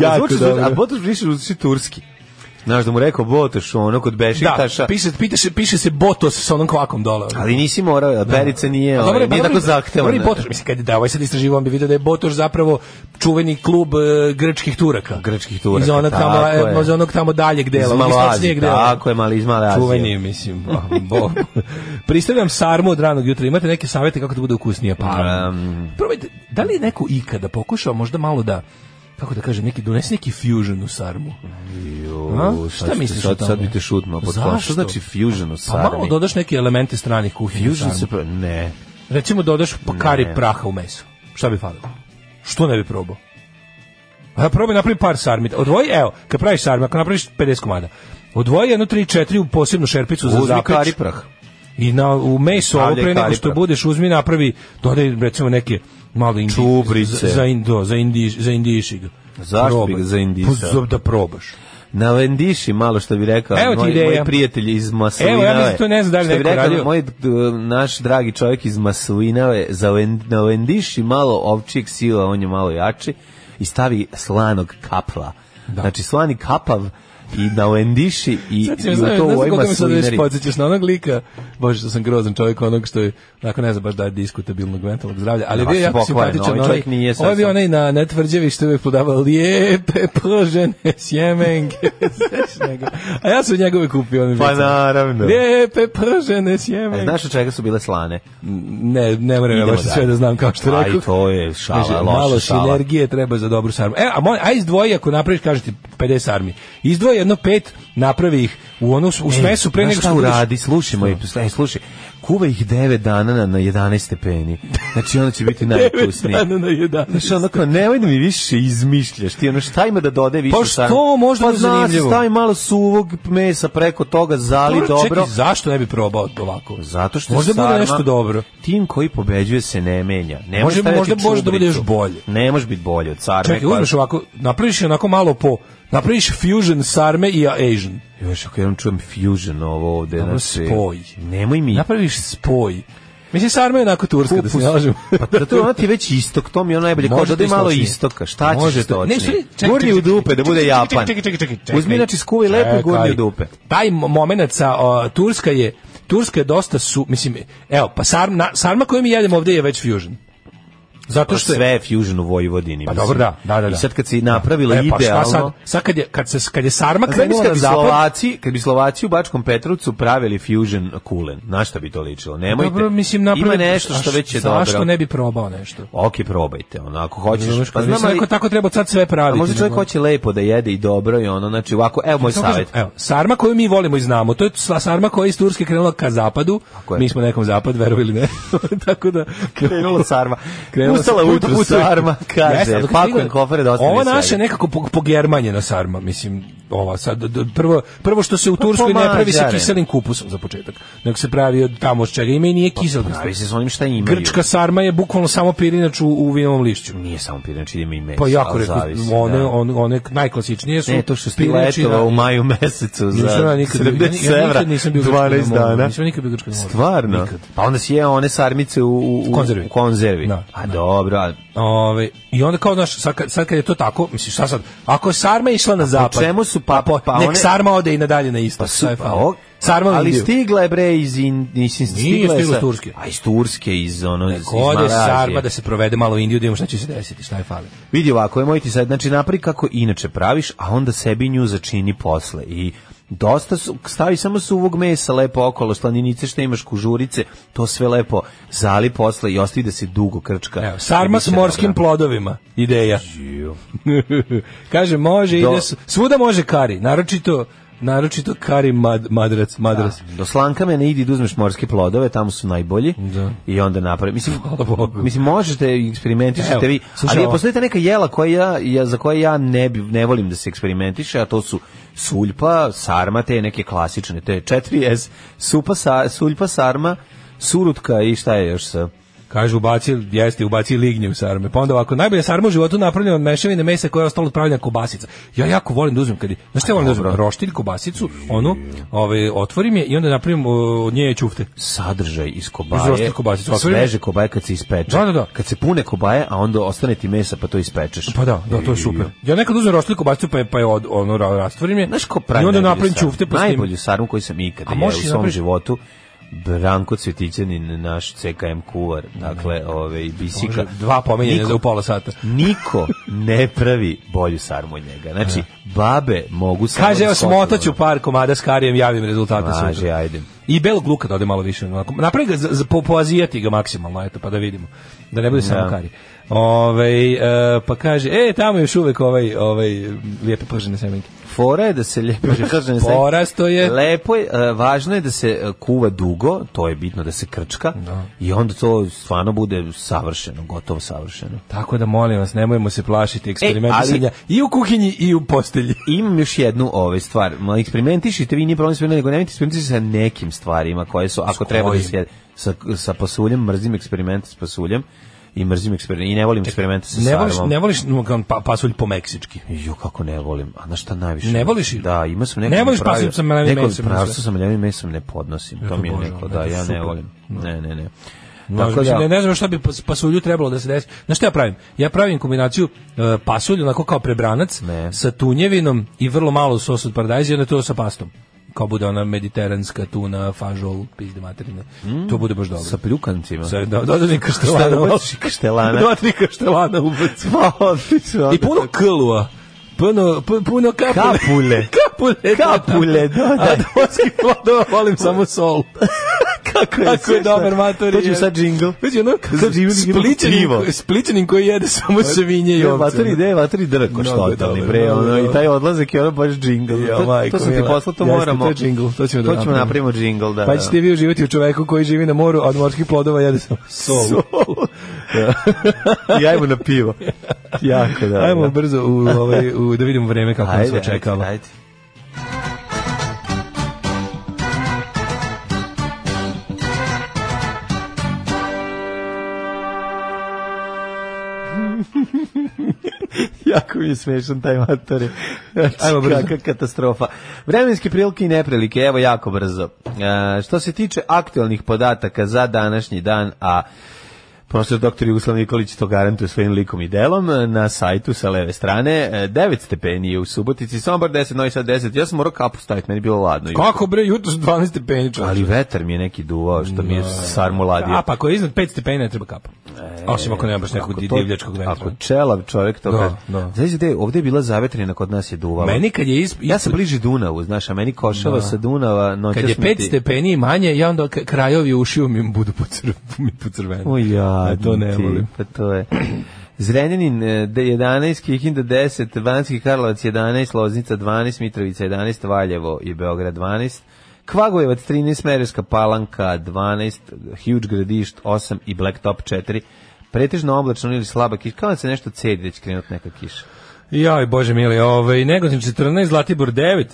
S7: Jako
S6: Zvuči za-
S7: dobro.
S6: A Botoš više zvuči turski. Znaš da mu rekao Botoš, ono kod Bešiktaša.
S7: da, piše, pita se, piše se Botos sa onom kvakom dole. ono.
S6: Ali nisi morao, a Berica nije,
S7: A
S6: ovaj, nije
S7: je, dobro
S6: tako
S7: je-
S6: zahtevan.
S7: Dobro je i Botoš, mislim, kad je da ovaj sad istraživo, on bi vidio da je Botoš zapravo čuveni klub e, grčkih Turaka.
S6: Grčkih Turaka,
S7: Iz onog tamo,
S6: tako je.
S7: e, iz onog tamo daljeg
S6: Iz
S7: dela, onog
S6: Malo
S7: istočnijeg
S6: Azije,
S7: dela.
S6: tako je, mali iz Male Azije.
S7: Čuveni, mislim. a, Bo. Pristavljam sarmu od ranog jutra. Imate neke savete kako da bude ukusnije pa.
S6: Um.
S7: Probajte, da li je neko ikada pokušao možda malo da kako da kažem, neki donesi neki fusion u sarmu. Pa
S6: A?
S7: A? Šta misliš o
S6: sad,
S7: tome?
S6: sad bi te šutno.
S7: Zašto?
S6: Što znači fusion u
S7: Pa malo
S6: sarmi?
S7: dodaš neke elemente stranih kuhinja. u
S6: Fusion
S7: sarmu.
S6: se... pro- Ne.
S7: Recimo dodaš pa kari
S6: Ne.
S7: praha u meso. Šta bi falilo? Što ne bi probao? A ja probaj napravi par sarmi. Odvoji, evo, kad praviš sarmi, ako napraviš 50 komada, odvoji jedno, tri, četiri u posebnu šerpicu za
S6: Uzmi
S7: zapeč.
S6: kariprah.
S7: I na, u meso, ovo
S6: Stavljaj
S7: pre nego što
S6: kariprah.
S7: budeš, uzmi napravi, dodaj recimo neke malo indi,
S6: Čubrice.
S7: Za, in- do, za, indi, za indišig.
S6: Zašto bi ga za indisao?
S7: Pa Da probaš.
S6: Na Lendiši, malo što bi rekao,
S7: Evo ti
S6: moji,
S7: ideja.
S6: moji prijatelji iz Maslinave.
S7: Evo, ja mislim, to ne znam da li
S6: Što bi
S7: neko
S6: rekao
S7: radio.
S6: Moj, d- naš dragi čovjek iz Maslinave, za Len- na Lendiši malo ovčijeg sila, on je malo jači, i stavi slanog kapla. Znači, slani kapav i na Lendiši i,
S7: Sad
S6: i
S7: se
S6: u to
S7: znaš, ne
S6: u
S7: znam
S6: ovoj
S7: koliko me sad već
S6: Maslinari.
S7: podsjećaš na onog lika. Bože, što sam grozan čovjek onog što je, onako ne znam baš da je diskutabilnog mentalnog zdravlja, ali je
S6: Ma,
S7: bio jako
S6: pokvaren,
S7: simpatičan.
S6: ovaj
S7: onaj-
S6: čovjek nije sad
S7: Ovaj bio
S6: sam-
S7: onaj na netvrđevi što je uvijek prodavao lijepe pržene sjemenke. Znaš njega? A ja sam njegove kupio. on mi je
S6: Pa
S7: bio-
S6: naravno.
S7: Lijepe pržene
S6: E,
S7: sjemenke.
S6: Znaš od čega su bile slane?
S7: Ne, ne moram ja
S6: Idemo
S7: baš sve
S6: dalje.
S7: da znam kao Pa što
S6: A
S7: rekao.
S6: i to je šala,
S7: Kaže,
S6: loša
S7: malo
S6: šala.
S7: sinergije treba za dobru sarmu. E, a, moj, a izdvoji, ako napraviš, kažem ti, 50 armi. Izdvoji jedno pet, napravi ih u, onu, u smesu pre
S6: Znaš
S7: nego
S6: šta
S7: što budeš-
S6: uradi, slušaj moj, slušaj, slušaj. Kuva ih 9 dana na, na 11 stepeni. Znači onda će biti najukusniji.
S7: Devet dana na 11.
S6: Znaš, ono kao, nemoj da mi više izmišljaš, ti ono šta ima da dode više
S7: Pa što možda
S6: pa
S7: mi je
S6: zna se,
S7: zanimljivo?
S6: stavi malo suvog mesa preko toga, zali
S7: Dobro,
S6: dobro.
S7: Čekaj, zašto ne bi probao ovako?
S6: Zato što je
S7: Možda
S6: sarma-
S7: bude nešto dobro.
S6: Tim koji pobeđuje se ne menja. Ne
S7: Može-
S6: stavljati
S7: možda može da bude još
S6: čubricu.
S7: bolje.
S6: Ne može biti bolje od sarme. Pa
S7: Čekaj,
S6: koja-
S7: uzmeš ovako, napraviš je onako malo po, napraviš fusion sarme i Asian.
S6: Još ako jednom čujem fusion ovo ovde.
S7: Dobro,
S6: znači,
S7: spoj.
S6: Nemoj mi.
S7: Napraviš spoj. Mislim, sarma je onako turska, da se
S6: Kupus.
S7: ne lažemo.
S6: Pa zato je ona ti već istok, to mi je ono najbolje. Kao
S7: Može
S6: da
S7: to
S6: je malo
S7: istočnije.
S6: istoka. Šta ćeš
S7: Može to-
S6: istočnije?
S7: Ne, u stvari, čekaj,
S6: Gurni
S7: čekaj,
S6: u dupe da bude
S7: čekaj, čekaj,
S6: Japan.
S7: čekaj, čekaj, čekaj, čekaj.
S6: Uzmi znači skuvaj lepo i gurni
S7: Čekaj.
S6: u dupe.
S7: Taj mo- momenat sa o, Turska je Turska je dosta su, mislim, evo, pa sarma, sarma koju mi jedemo ovdje je već fusion. Zato što je-
S6: sve je fusion u Vojvodini.
S7: Pa
S6: mislim.
S7: dobro, da, da, da, da.
S6: I sad kad si napravila
S7: E, pa šta sad?
S6: idealno...
S7: Sad kad je, kad se, kad je
S6: A
S7: Sarma
S6: Znaš
S7: krenula
S6: kad
S7: na
S6: bi
S7: zapad,
S6: Slovaci, kad bi Slovaci u Bačkom Petrovcu pravili fusion kulen, na šta bi to ličilo? Nemojte.
S7: dobro, mislim,
S6: Ima
S7: napravi...
S6: nešto što
S7: A
S6: već je dobro.
S7: Zašto ne bi probao nešto?
S6: Ok, probajte, ono, ako hoćeš.
S7: Pa znam,
S6: ali-
S7: ali... tako treba sad sve
S6: a
S7: praviti.
S6: možda čovjek
S7: nego-
S6: hoće lepo da jede i dobro i ono, znači ovako, evo moj
S7: Samo kažem,
S6: savjet.
S7: Evo, sarma koju mi volimo i znamo, to je sla- sarma koja je iz Turske krenula ka zapadu.
S6: Tako je.
S7: Mi smo nekom zapad, verovali ne. Tako da
S6: Krenula sarma.
S7: Krenula
S6: Ustala
S7: sarma.
S6: ujutru
S7: Put- put-
S6: sarma, kaže,
S7: Jeste, ali dok
S6: pakujem
S7: stigne-
S6: kofere da ostavim
S7: Ovo
S6: svega.
S7: naše je nekako po- pogermanjena sarma, mislim, ova sad, d- d- prvo, prvo što
S6: Pa
S7: se u Turskoj ne pravi se
S6: pomažarena.
S7: kiselim kupusom za početak, nego se pravi od tamo s čega ima i nije kisel.
S6: Pa Pravi se s onim šta imaju.
S7: Grčka sarma je bukvalno samo pirinač u, u vinovom lišću.
S6: Nije samo pirinači, ima i meso.
S7: Pa jako
S6: ali
S7: rekao,
S6: E, zavisi,
S7: one,
S6: da.
S7: one, one najklasičnije su
S6: Ne, to što stigla
S7: pirinači i
S6: etova u
S7: radi-
S6: maju mesecu za
S7: Nisam ja nikad, ja, nikad-
S6: 70
S7: ja
S6: evra,
S7: nikad nisam bio u Grčkoj na
S6: 12
S7: moru,
S6: dana.
S7: Nisam nikad bio u Grčkoj na moru.
S6: Stvarno?
S7: Nikad.
S6: Pa onda si jeo one sarmice u, u, u
S7: Konzervi.
S6: U konzervi.
S7: Da.
S6: A dobro, a
S7: Ove, I onda kao, znaš, sad, kad- sad kad je to tako, misliš, šta sad, ako je sarma išla na zapad,
S6: čemu su pa-
S7: po-
S6: pa
S7: nek
S6: one-
S7: sarma ode i nadalje na istok, šta je
S6: pa
S7: fali?
S6: o-
S7: Sarma u
S6: ali
S7: Indiju.
S6: stigla je bre iz in, mislim, stigla je
S7: stigla
S6: sa-
S7: iz Turske.
S6: A iz Turske, iz ono, iz, iz
S7: Ode
S6: Malazije.
S7: sarma da se provede malo u Indiju, da imamo šta će se desiti, šta je fali.
S6: Vidi ovako, nemoj ti sad, znači napravi kako inače praviš, a onda sebi nju začini posle i dosta su, stavi samo suvog mesa lepo okolo, slaninice što imaš, kužurice, to sve lepo zali posle i ostavi da se dugo krčka.
S7: Evo, sarma
S6: I
S7: s
S6: biće
S7: morskim
S6: dobra.
S7: plodovima, ideja. Kaže, može,
S6: Do-
S7: ide, s- svuda može kari, naročito, naročito kari mad, madrac, madrac.
S6: Do slanka mene idi da uzmeš morske plodove, tamo su najbolji.
S7: Da.
S6: I onda napravi. Mislim,
S7: Hvala Bogu.
S6: mislim možete i eksperimentišete
S7: Evo,
S6: vi,
S7: slušaj
S6: ali
S7: ovo.
S6: postoje ta neka jela koja ja, ja, za koje ja ne, bi, ne volim da se eksperimentiše, a to su suljpa, sarma, te neke klasične, te 4S, supa, sa, suljpa, sarma, surutka i šta je još sa...
S7: Kaže, ubaci, jeste, ubaci lignje u sarme. Pa onda ovako, najbolja sarma u životu napravljena od mešavine mesa koja je ostala od pravljena kobasica. Ja jako volim da uzmem, kad je, znaš šta ja volim da uzmem?
S6: Dobro.
S7: Roštilj, kobasicu, onu, ovaj, otvorim je i onda napravim o, od nje ćufte.
S6: sadržaj iz
S7: Iz
S6: kobaje,
S7: roštilj kobasice, otvorim.
S6: sveže kobaje kad se ispeče.
S7: Da, da, da.
S6: Kad se pune kobaje, a onda ostane ti mesa pa to ispečeš.
S7: Pa da, da, to je super. Ja nekad uzmem roštilj, kobasicu, pa je, pa je od, ono, ra- rastvorim je.
S6: Znaš ko pravi
S7: I onda
S6: najbolju
S7: napravim
S6: sarmu?
S7: ćufte, pa s tim-
S6: najbolju sarmu koju sam ikada
S7: A
S6: jeo u
S7: možeš i
S6: svom
S7: napraviš-
S6: životu. Branko Cvjetićanin, naš CKM kuvar, dakle, ove, i bisika.
S7: Može, dva pomenjene
S6: Niko-
S7: za u pola sata.
S6: Niko ne pravi bolju sarmu od njega. Znači, babe mogu samo...
S7: Kaže,
S6: da
S7: evo,
S6: skoče,
S7: smotaću
S6: ono.
S7: par komada s karijem, javim rezultate.
S6: Može,
S7: sutra.
S6: ajde.
S7: I belog luka da ode malo više. onako. Napravi ga, za, za, po, poazijati ga maksimalno, eto, pa da vidimo. Da ne bude samo
S6: Da.
S7: kari. Ove, e, pa kaže, e, tamo je još uvek ovaj, ovaj, lijepe pržene semenke.
S6: Fora je da se lijepo... kaže, ne znam-
S7: Porasto je.
S6: Lepo je, e, važno je da se e, kuva dugo, to je bitno da se krčka, i onda to stvarno bude savršeno, gotovo savršeno.
S7: Tako da molim vas, nemojmo se plašiti eksperimentisanja
S6: E, ali-
S7: i u kuhinji i u postelji.
S6: imam još jednu ovaj stvar. Ma eksperimentišite vi, nije problem sve, nego nemojte eksperimentisati sa nekim stvarima koje su, ako treba da
S7: kojim?
S6: se jede. sa, sa pasuljem, mrzim eksperimente s pasuljem i mrzim eksperiment i ne volim eksperimente sa
S7: Ne voliš,
S6: sarmom.
S7: ne voliš no, kao pa, pasulj po meksički.
S6: Jo, kako ne volim. A na šta najviše?
S7: Ne voliš?
S6: Da, ima sam neko.
S7: Ne voliš pasulj sa mlevim mesom,
S6: Neko
S7: sve.
S6: pravstvo sa mlevim mesom ne podnosim. To mi je
S7: Bože,
S6: neko,
S7: ono,
S6: da,
S7: eto,
S6: ja ne
S7: super.
S6: volim. Ne, ne, ne.
S7: Može,
S6: Tako da,
S7: mislim, Znači, ne, ne znam šta bi pas- pasulju trebalo da se desi. Znaš šta ja pravim? Ja pravim kombinaciju e, pasulj, onako kao prebranac,
S6: Ne.
S7: sa tunjevinom i vrlo malo sos od paradajza i onda to sa pastom. Kao bude ona mediteranska tuna, fažol, pizde materine. To bude baš dobro.
S6: Mm. sa pljukancima.
S7: Sa, da, dodatni
S6: Šta
S7: kaštelana.
S6: da baciš kaštelana?
S7: Dva, tri kaštelana ubaci.
S6: Pa, odlično.
S7: I puno klua. Puno, pu- puno kapule.
S6: Kapule.
S7: kapule.
S6: Kapule, da, da.
S7: A domaćih plodova volim samo sol.
S6: kako
S7: Kako je dobar matori.
S6: To ću sad džingl.
S7: Vidi ono,
S6: Sad živim trivo.
S7: spličanin, spličanin koji jede samo svinje i
S6: Pa, Ne,
S7: ovce.
S6: Vatri ide, vatri drko
S7: Mnogo
S6: što
S7: je
S6: totalni
S7: dobro,
S6: bre,
S7: mnogo je
S6: ono, i
S7: dobro.
S6: taj odlazak je ono baš džingl.
S7: Jo,
S6: To- to,
S7: majko
S6: sam ti
S7: mila.
S6: poslao, to
S7: Jeste,
S6: moramo.
S7: to je džingl, to ćemo da
S6: To ćemo
S7: napravimo.
S6: napravimo džingl, da.
S7: Pa
S6: da.
S7: ćete vi uživati u čoveku koji živi na moru, a od morskih plodova jede samo sol.
S6: I ajmo na pivo. jako, da.
S7: Ajmo
S6: da.
S7: brzo u, ovaj, u, da vidimo vreme kako nas
S6: Ajde,
S7: očekava.
S6: ajde, ajde. jako mi je smešan taj matori. Znači,
S7: Ajmo brzo.
S6: Kakva katastrofa. Vremenske prilike i neprilike, evo jako brzo. E, što se tiče aktualnih podataka za današnji dan, a Profesor dr. Jugoslav Nikolić to garantuje svojim likom i delom e, na sajtu sa leve strane. e, 9 stepeni je u Subotici, Sombar 10, Novi Sad 10. Ja sam morao kapu staviti, meni je bilo ladno.
S7: Kako bre, jutro su 12 stepeni čovječe.
S6: Ali vetar mi je neki duvao što mi je sarmu ladio.
S7: A pa ako je iznad 5 stepeni ne treba kapa. Osim ako nema baš nekog
S6: to-
S7: divljačkog vetra.
S6: Ako čelav čovjek to
S7: Da,
S6: kaže.
S7: da.
S6: Znaš gde, ovde je bila zavetrina, kod nas je duvala.
S7: Meni kad je isp...
S6: ja sam bliži Dunavu, znaš, a meni košava sa Dunava noćas
S7: Kad je
S6: mi
S7: 5
S6: ti-
S7: stepeni i manje, ja onda k- krajovi ušiju mi budu po crv- mi po crveni.
S6: O ja,
S7: to ne
S6: ti,
S7: volim.
S6: Pa to je. Zrenjanin e, de- 11, Kikinda 10, Banski Karlovac 11, Loznica 12, Mitrovica 11, Valjevo i Beograd 12, Kvagojevac 13, Merevska Palanka 12, Huge Gradišt 8 i Blacktop 4. Pretežno oblačno ili slaba kiša, kao da se nešto cedi da će krenuti neka kiša.
S7: Jaj, bože mili, ovaj, Negotin 14, Zlatibor 9,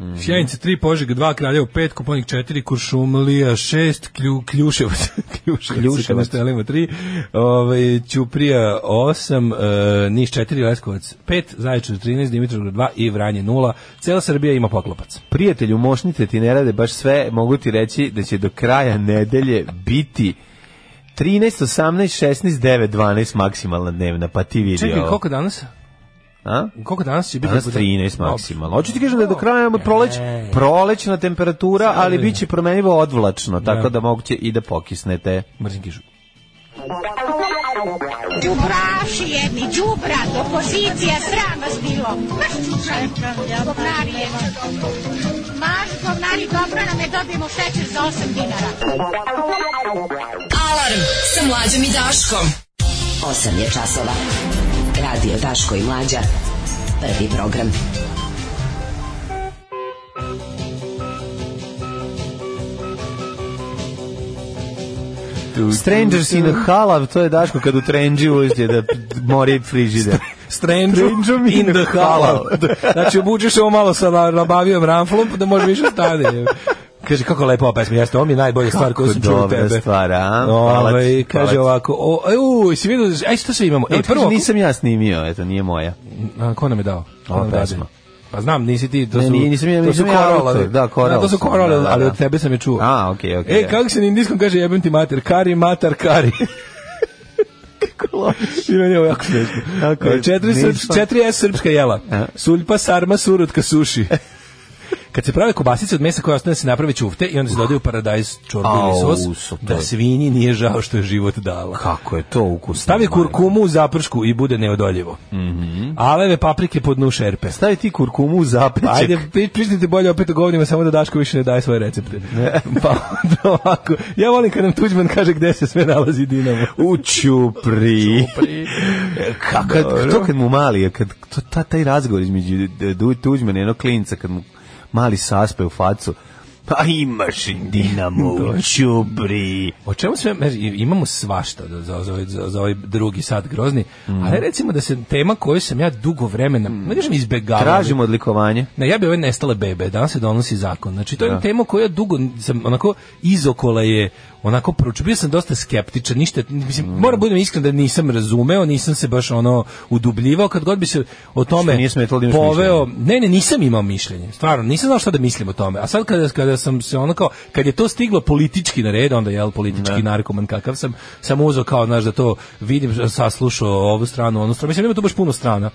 S6: Mhm.
S7: Sjenica 3, Požeg 2, Kraljevo 5, Koponik 4, Kuršumlija 6, Klju, Kljuševac, Kljuševac,
S6: Kljuševac.
S7: Kljuševac. 3, ovaj, Ćuprija 8, e, Niš 4, Leskovac 5, Zaječar 13, Dimitrovgrad 2 i Vranje 0. Cela Srbija ima poklopac.
S6: Prijatelju, mošnice ti ne rade baš sve, mogu ti reći da će do kraja nedelje biti 13, 18, 16, 9, 12 maksimalna dnevna, pa ti vidi
S7: Čekaj,
S6: ovo.
S7: koliko danas?
S6: A?
S7: Koliko danas će biti?
S6: Danas 13 maksimalno. Hoću ti kažem da je do kraja
S7: E.
S6: proleć, prolećna temperatura, ali bit će promenivo odvlačno, tako da moguće i da pokisnete.
S7: Mrzim kišu.
S5: Đubraši jedni, đubrat, opozicija, sram vas bilo. Maš čučaj, govnari jedan. Maš govnari, dobro nam je, dobijemo šećer za 8 dinara.
S3: Alarm sa mlađom i Daškom.
S12: 8 je časova. Radio Daško i Mlađa. Prvi program.
S6: Strangers in a Halav, to je Daško kad u trenđi uđe da mori frižider.
S7: Strange
S6: Strange
S7: in the
S6: halal.
S7: halal. znači, obučeš ovo malo sa la- nabavijom ramflom, da može više stane. Kaže, kako lepo ova pesma, jeste, ovo mi je najbolja stvar koju
S6: Kako
S7: sam čuo od
S6: dobra
S7: tebe.
S6: stvar, a? Hvala ti,
S7: Ovaj, kaže
S6: hvala ti.
S7: ovako, o, e, u, si vidio, aj šta sve imamo?
S6: E,
S7: Ej, prvo,
S6: nisam ja snimio, eto, nije moja.
S7: a, ko nam je dao? Ko
S6: Ova
S7: nam dade?
S6: pesma.
S7: Pa znam, nisi ti, to
S6: Ne,
S7: su,
S6: nije, nisam ja-
S7: to su
S6: nisam ja
S7: korala,
S6: autor, da, koral
S7: To su
S6: sam,
S7: korale,
S6: da, da,
S7: ali
S6: da.
S7: od tebe sam je čuo.
S6: A, okej, okej,
S7: E,
S6: da.
S7: kako se na indijskom kaže, jebem ti mater, kari, matar, kari. I meni je ovo jako smešno.
S6: Tako je,
S7: Četiri,
S6: nisam.
S7: srps, četiri S srpska jela.
S6: A.
S7: Suljpa, sarma, surutka, suši. Kad se prave kobasice od mesa koje ostane se naprave ćufte i onda se dodaju paradajz, čorbu ili
S6: Au,
S7: sos,
S6: su to.
S7: da svinji nije žao što je život dala.
S6: Kako je to ukusno?
S7: Stavi
S6: majko? Mhm.
S7: kurkumu u zapršku i bude neodoljivo. Aleve paprike po dnu šerpe.
S6: Stavi ti kurkumu u zapećak.
S7: Ajde, pri- pričnite bolje opet o govnima, samo da Daško više ne daje svoje recepte. pa onda ovako, ja volim kad nam Tuđman kaže gde se sve nalazi Dinamo.
S6: U čupri. Kako,
S7: Dobro.
S6: to kad mu mali, je, kad, to, ta, taj razgovor između D- D- Tuđmana i jednog klinca, kad mu mali saspe u facu, pa imaš i dinamo u čupri.
S7: O čemu sve, znaš, i- imamo svašta za, za, za, ovaj- za, za ovaj drugi sat grozni, ali recimo da se tema koju sam ja dugo vremena, ne kažem izbegavao.
S6: Tražimo odlikovanje.
S7: Ne, ja bi ove nestale bebe, danas se donosi zakon. Znači, to je tema koja dugo, sam onako, izokola je, onako, proučio. Bio sam dosta skeptičan, ništa, mislim,
S6: Mm.
S7: moram budem iskren da nisam razumeo, nisam se baš, ono, udubljivao, kad god bi se o tome
S6: Što nije smetalo da imaš
S7: poveo, ne, ne, nisam imao mišljenje, stvarno, nisam znao šta da mislim o tome, a sad kada, kada sam se ono kao, kad je to stiglo politički na red, onda jel, politički narkoman kakav sam, sam uzeo kao, znaš, da to vidim, saslušao ovu stranu, onu stranu, mislim, ima tu baš puno strana,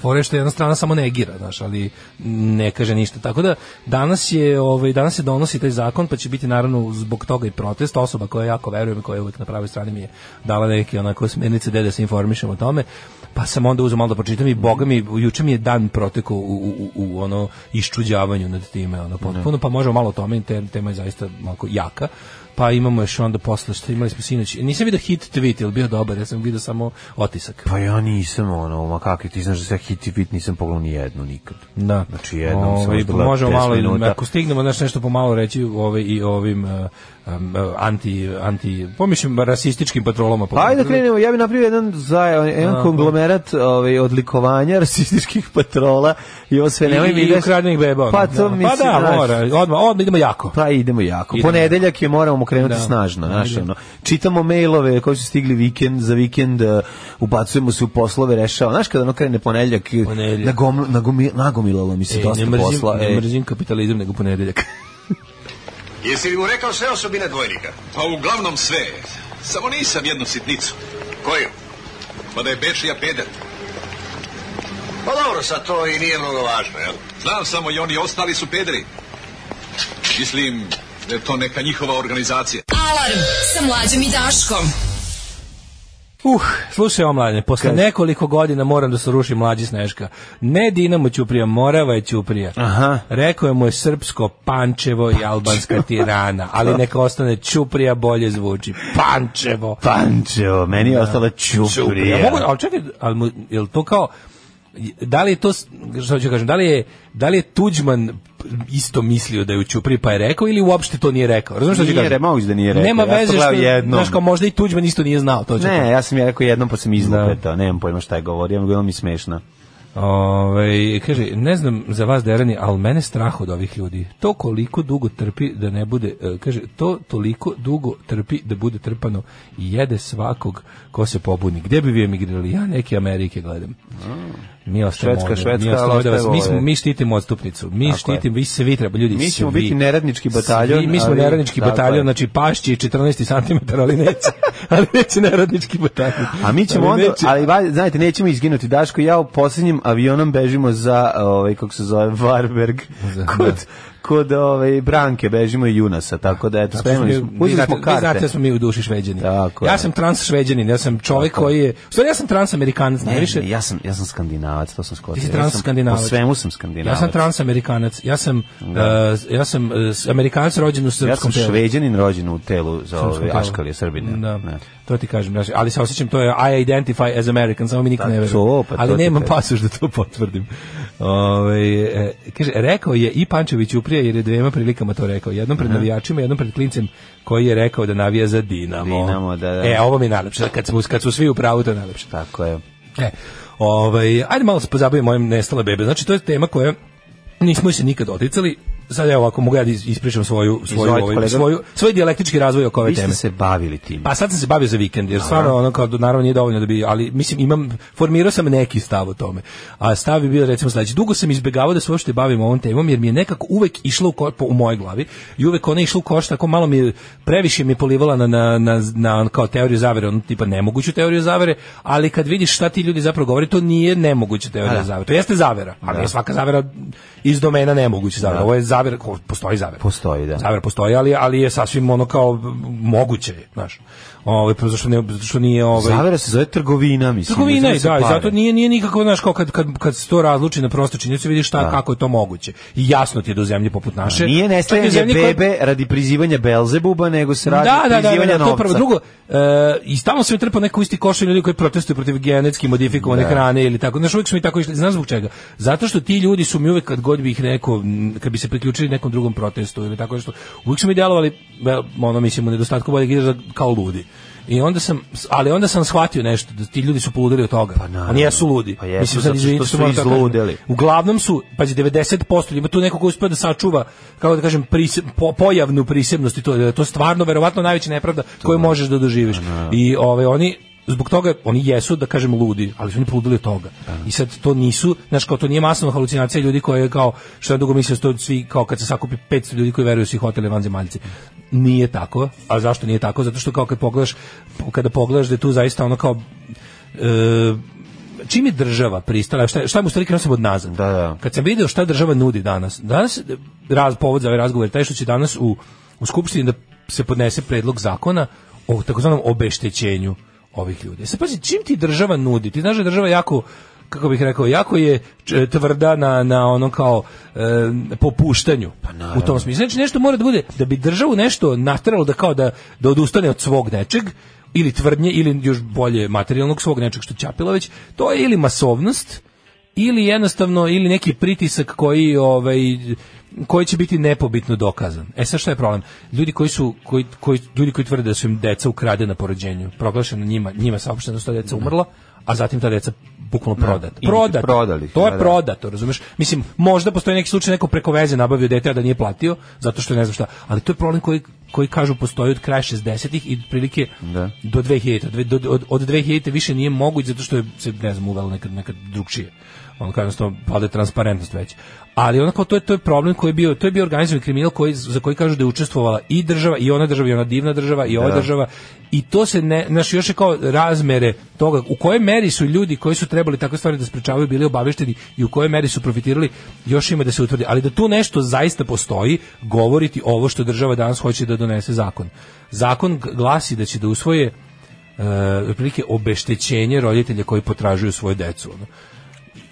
S7: Fore što jedna strana samo negira, znaš, ali ne kaže ništa. Tako da danas je ovaj danas se donosi taj zakon, pa će biti naravno zbog toga i protest osoba koja jako verujem i koja je uvek na pravoj strani mi je dala neke onako smernice gde da se informišem o tome. Pa sam onda uzeo malo da pročitam i boga mi juče mi je dan protekao u, u, u- u ono iščuđavanju nad time, ono potpuno, pa možemo malo o tome, te- tema je zaista malo jaka pa imamo još onda posle što imali smo sinoć. Nisam vidio hit tweet, ili bio dobar, ja sam vidio samo otisak.
S6: Pa ja nisam ono, ma kakvi, ti znaš da se ja hiti fit nisam pogledao ni jednu nikad.
S7: Da.
S6: Znači, jednom sam
S7: Ovaj,
S6: odgledao
S7: možemo
S6: 10
S7: malo
S6: minuta.
S7: ako stignemo znači nešto pomalo reći ovaj i ovim eh, em, eh, anti anti pomišljam rasističkim patrolama.
S6: Pa ajde da krenemo, ja bih napravio jedan, zaj, jedan konglomerat ovaj, odlikovanja rasističkih patrola i ovo sve nemoj
S7: Nemoj
S6: mi
S7: i
S6: ideš-
S7: ukradenih beba. ono.
S6: Pa to
S7: da.
S6: mislim,
S7: Pa da,
S6: znaš,
S7: mora. Odmah, odmah idemo jako.
S6: Pa idemo jako.
S7: Idemo.
S6: Ponedeljak je moramo krenuti
S7: Da.
S6: snažno, znaš,
S7: Ajde.
S6: ono. Čitamo mailove koji su stigli vikend za vikend, uh, ubacujemo se u poslove, rešavamo. Znaš kada ono krene ponedeljak,
S7: Ponedeljak.
S6: nagom, nagomi- nagomilalo mi se
S7: E,
S6: dosta
S7: ne mrzim,
S6: posla.
S7: ne
S6: ej.
S7: mrzim kapitalizam nego ponedeljak.
S9: Jesi li mu rekao sve osobine dvojnika?
S4: Pa uglavnom sve.
S13: Samo nisam jednu sitnicu. Koju? Pa da je Bečija peder.
S9: Pa dobro, sad to i nije mnogo važno, jel?
S13: Znam samo i oni ostali su pederi. Mislim da je to neka njihova organizacija.
S12: Alarm sa mlađom i Daškom.
S7: Uh, slušaj omladine, posle nekoliko godina moram da se ruši mlađi Sneška. Ne Dinamo Ćuprija, Morava je Ćuprija. Aha. Rekao je mu je srpsko Pančevo i albanska tirana, ali neka ostane Ćuprija bolje zvuči. Pančevo.
S6: Pančevo, meni je ostala ono. Ćuprija.
S7: Mogu, ali čekaj, ali mu, je li to kao da li je to što ću kažem, da li je da li je Tuđman isto mislio da je u Ćupri pa je rekao ili uopšte to nije rekao. Razumeš što ću
S6: Nije,
S7: kažem?
S6: re- moguće da nije rekao.
S7: Nema
S6: Ja sam
S7: veze
S6: gledao
S7: što
S6: jednom.
S7: znaš kao možda i Tuđman isto nije znao to. ću
S6: Ne,
S7: kažem.
S6: ja sam je rekao jednom pa sam izlupetao, nemam pojma šta je govorio, bilo mi smešno.
S7: Ove, Ovaj, kaže, ne znam za vas derani, ali mene strah od ovih ljudi. To koliko dugo trpi da ne bude, e, kaže, to toliko dugo trpi da bude trpano i jede svakog ko se pobuni. Gde bi vi emigrirali? Ja neke Amerike gledam. Mi ostajemo
S6: Švedska,
S7: ovde,
S6: Švedska,
S7: mi, ostajemo ovde,
S6: ali ostaje
S7: mi, smo,
S6: ovde.
S7: mi štitimo odstupnicu. Mi
S6: Tako je.
S7: štitimo, vi svi treba, ljudi,
S6: Mi ćemo
S7: svi.
S6: biti neradnički bataljon,
S7: Svi, mi smo
S6: ali-
S7: neradnički
S6: tako je.
S7: bataljon, znači pašći je 14 cm, ali neće, ali neće neradnički bataljon.
S6: A mi ćemo
S7: Ali
S6: onda,
S7: neće-
S6: ali valj- znajte, nećemo izginuti. Daško i ja u posljednjim avionom bežimo za, ovaj, kako se zove, Varberg, kod, kod ovaj, Branke, bežimo i Junasa, tako da, eto,
S7: Zato što
S6: spremili
S7: mi-
S6: smo,
S7: vi
S6: uzeli
S7: znate-
S6: smo
S7: vi
S6: karte.
S7: znate da smo mi u duši šveđani.
S6: Tako je.
S7: ja sam trans šveđanin, ja sam čovjek koji je... U stvari ja sam trans amerikanac,
S6: Ne,
S7: ne, više.
S6: ne, ja sam, ja sam skandinavac, to sam skotio.
S7: Ti si
S6: ja
S7: trans
S6: sam,
S7: skandinavac.
S6: Po svemu sam
S7: Ja
S6: skandinavac.
S7: sam trans amerikanac. Ja sam, uh, ja sam uh, s- amerikanac rođen u
S6: Ja
S7: srpskom
S6: sam
S7: telu.
S6: šveđanin rođen u telu za
S7: Srpskom
S6: ove
S7: telu.
S6: Aškalije Srbine.
S7: Da. To ti kažem, znači, ali se osjećam, to je I identify as American, samo mi niko
S6: Da,
S7: ne veruje.
S6: to, pa to
S7: ali
S6: ti
S7: nemam
S6: kažem.
S7: pasoš da to potvrdim. Ove, e, kaže, rekao je i Pančević uprije, jer je dvema prilikama to rekao. Jednom pred navijačima, jednom pred klincem koji je rekao da navija za Dinamo.
S6: Dinamo, da, da.
S7: E, ovo mi je najlepše. Kad, smo, kad su svi u pravu, to je najlepše.
S6: Tako je.
S7: E, ovaj, ajde malo se pozabavimo mojim nestale bebe. Znači, to je tema koja nismo se nikad oticali. Sad ja ovako mogu ja da is- ispričam svoju, svoju,
S6: Izvolite,
S7: ovaj,
S6: kolega.
S7: svoju, svoj dijalektički razvoj oko ove
S6: Vi ste
S7: teme.
S6: se bavili tim.
S7: Pa sad sam se bavio za vikend, jer stvarno ono kao naravno nije dovoljno da bi, ali mislim imam formirao sam neki stav o tome. A stav bi bio recimo sledeći. Dugo sam izbegavao da se uopšte bavim ovom temom jer mi je nekako uvek išlo u, ko, po- u mojoj glavi i uvek ona je išla u koš tako malo mi je- previše mi je polivala na, na, na, na kao teoriju zavere, ono tipa nemoguću teoriju zavere, ali kad vidiš šta ti ljudi zapravo govore, to nije nemoguća teorija
S6: Da.
S7: zavere. To jeste zavera, ali
S6: Da.
S7: je svaka zavera iz domena nemoguće zavera.
S6: Da.
S7: Ovo je zavera, ko- postoji zavera.
S6: Postoji, da.
S7: Zavera postoji, ali, ali je sasvim ono kao m, moguće, je, znaš. Ovaj pa zašto ne zato što nije ovaj
S6: Zavera se zove trgovina, mislim.
S7: Trgovina
S6: ne
S7: je,
S6: zove se
S7: da, i
S6: pare.
S7: zato nije nije nikako, znaš, kao kad kad kad se to razluči na prostu činjenicu, vidiš šta kako je to moguće. I jasno ti je do zemlje poput naše.
S6: Nije
S7: čak i
S6: nestajanje
S7: zemlje koja-
S6: bebe radi prizivanja Belzebuba, nego se radi
S7: da, da, da,
S6: prizivanja
S7: da, da, to
S6: novca.
S7: prvo. Drugo, e, i stalno se mi trpa neko isti koš ljudi koji protestuju protiv genetski modifikovane
S6: Da.
S7: hrane ili tako. Znaš, uvijek su mi tako išli. Znaš zbog čega? Zato što ti ljudi su mi uvijek kad god bi ih rekao, m, kad bi se priključili nekom drugom protestu ili tako nešto, uvijek su mi djelovali, e, ono mislim, u nedostatku boljeg izraza kao ludi. I onda sam, ali onda sam shvatio nešto, da ti ljudi su poludeli od toga. Pa
S6: naravno.
S7: Oni jesu ludi.
S6: Pa jesu,
S7: Mislim, sad
S6: zato što
S7: izvinite
S6: su
S7: moram to da kažem.
S6: izludeli.
S7: Uglavnom su, pazi, 90% ima tu neko ko uspio da sačuva, kako da kažem, prise- po- pojavnu prisebnost i to, da je to stvarno verovatno najveća nepravda koju možeš da doživiš. I ovaj, oni zbog toga oni jesu da kažem ludi, ali su oni poludeli od toga. I sad to nisu, znaš kao to nije masovna halucinacija ljudi koji je kao što ja dugo mislio da su to svi kao kad se sakupi 500 ljudi koji veruju svi hoteli vanzemaljci. Nije tako. A zašto nije tako? Zato što kao kad pogledaš kada pogledaš da je tu zaista ono kao e, čim je država pristala, šta, šta mu u stvari krenuo sam od nazad.
S6: Da, da.
S7: Kad sam video šta država nudi danas, danas eh, raz, povod za ovaj razgovor je taj što će danas u, u Skupštini da se podnese predlog zakona o takozvanom obeštećenju ovih ljudi. E Sad pazi, čim ti država nudi, ti znaš da je država jako kako bih rekao, jako je č- tvrda na, na ono kao eh, popuštanju u tom smislu. Znači nešto mora da bude, da bi državu nešto nateralo da kao da, da odustane od svog nečeg, ili tvrdnje ili još bolje materijalnog svog nečeg što ćapila već, to je ili masovnost ili jednostavno ili neki pritisak koji ovaj koji će biti nepobitno dokazan. E sad šta je problem? Ljudi koji su koji, koji, ljudi koji tvrde da su im deca ukradena po rođenju, proglašeno njima, njima saopšteno da su ta deca umrla, a zatim ta deca bukvalno prodata.
S6: i
S7: Prodata.
S6: prodali su,
S7: To
S6: da,
S7: je
S6: da.
S7: prodato, razumeš? Mislim, možda postoji neki slučaj neko preko veze nabavio dete a da nije platio zato što je ne znam šta, ali to je problem koji koji kažu postoji od kraja 60-ih i otprilike do 2000 dve- do, od, od 2000 više nije moguć zato što je se ne znam uvelo nekad nekad drugčije on kao jednostavno pada transparentnost već. Ali onako to je to je problem koji je bio, to je bio organizovani kriminal koji za koji kažu da je učestvovala i država i ona država i ona divna država i ova
S14: Da.
S7: država i to se ne naš još je kao razmere toga u kojoj meri su ljudi koji su trebali takve stvari da sprečavaju bili obavešteni i u kojoj meri su profitirali još ima da se utvrdi ali da tu nešto zaista postoji govoriti ovo što država danas hoće da donese zakon zakon g- glasi da će da usvoje e, otprilike obeštećenje roditelja koji potražuju svoju decu ono.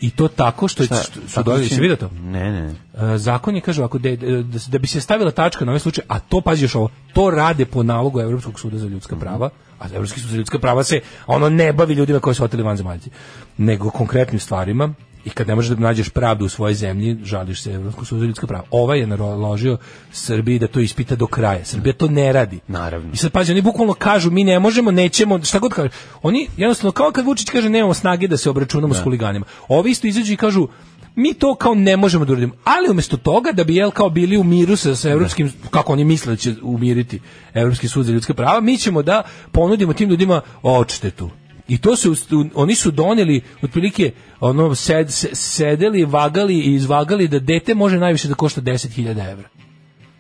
S7: i to tako što,
S6: Šta,
S7: što su
S6: tako
S7: dodali,
S6: će-
S7: si vidio to?
S6: Ne, ne.
S7: E, zakon je kaže ovako da, je- da, se- da bi se stavila tačka na ovaj slučaj, a to pazi još ovo, to rade po nalogu Evropskog suda za ljudska prava, a Evropski sud za ljudska prava se ono ne bavi ljudima koji su oteli van zemaljci, nego konkretnim stvarima i kad ne možeš da nađeš pravdu u svojoj zemlji, žališ se Evropskom sudu za ljudska prava. Ovaj je naložio Srbiji da to ispita do kraja. Srbija to ne radi. Naravno. I sad pazi, oni bukvalno kažu mi ne možemo, nećemo, šta god kažu. Oni jednostavno kao kad Vučić kaže nemamo snage da se obračunamo s huliganima. Ovi isto izađu i kažu mi to kao ne možemo da uradimo. Ali umjesto toga da bi jel kao bili u miru sa, sa evropskim kako oni misle da će umiriti Evropski sud za ljudska prava, mi ćemo da ponudimo tim ljudima odštetu. I to su oni su doneli otprilike ono sed, se- sedeli, vagali i izvagali da dete može najviše da košta 10.000 evra.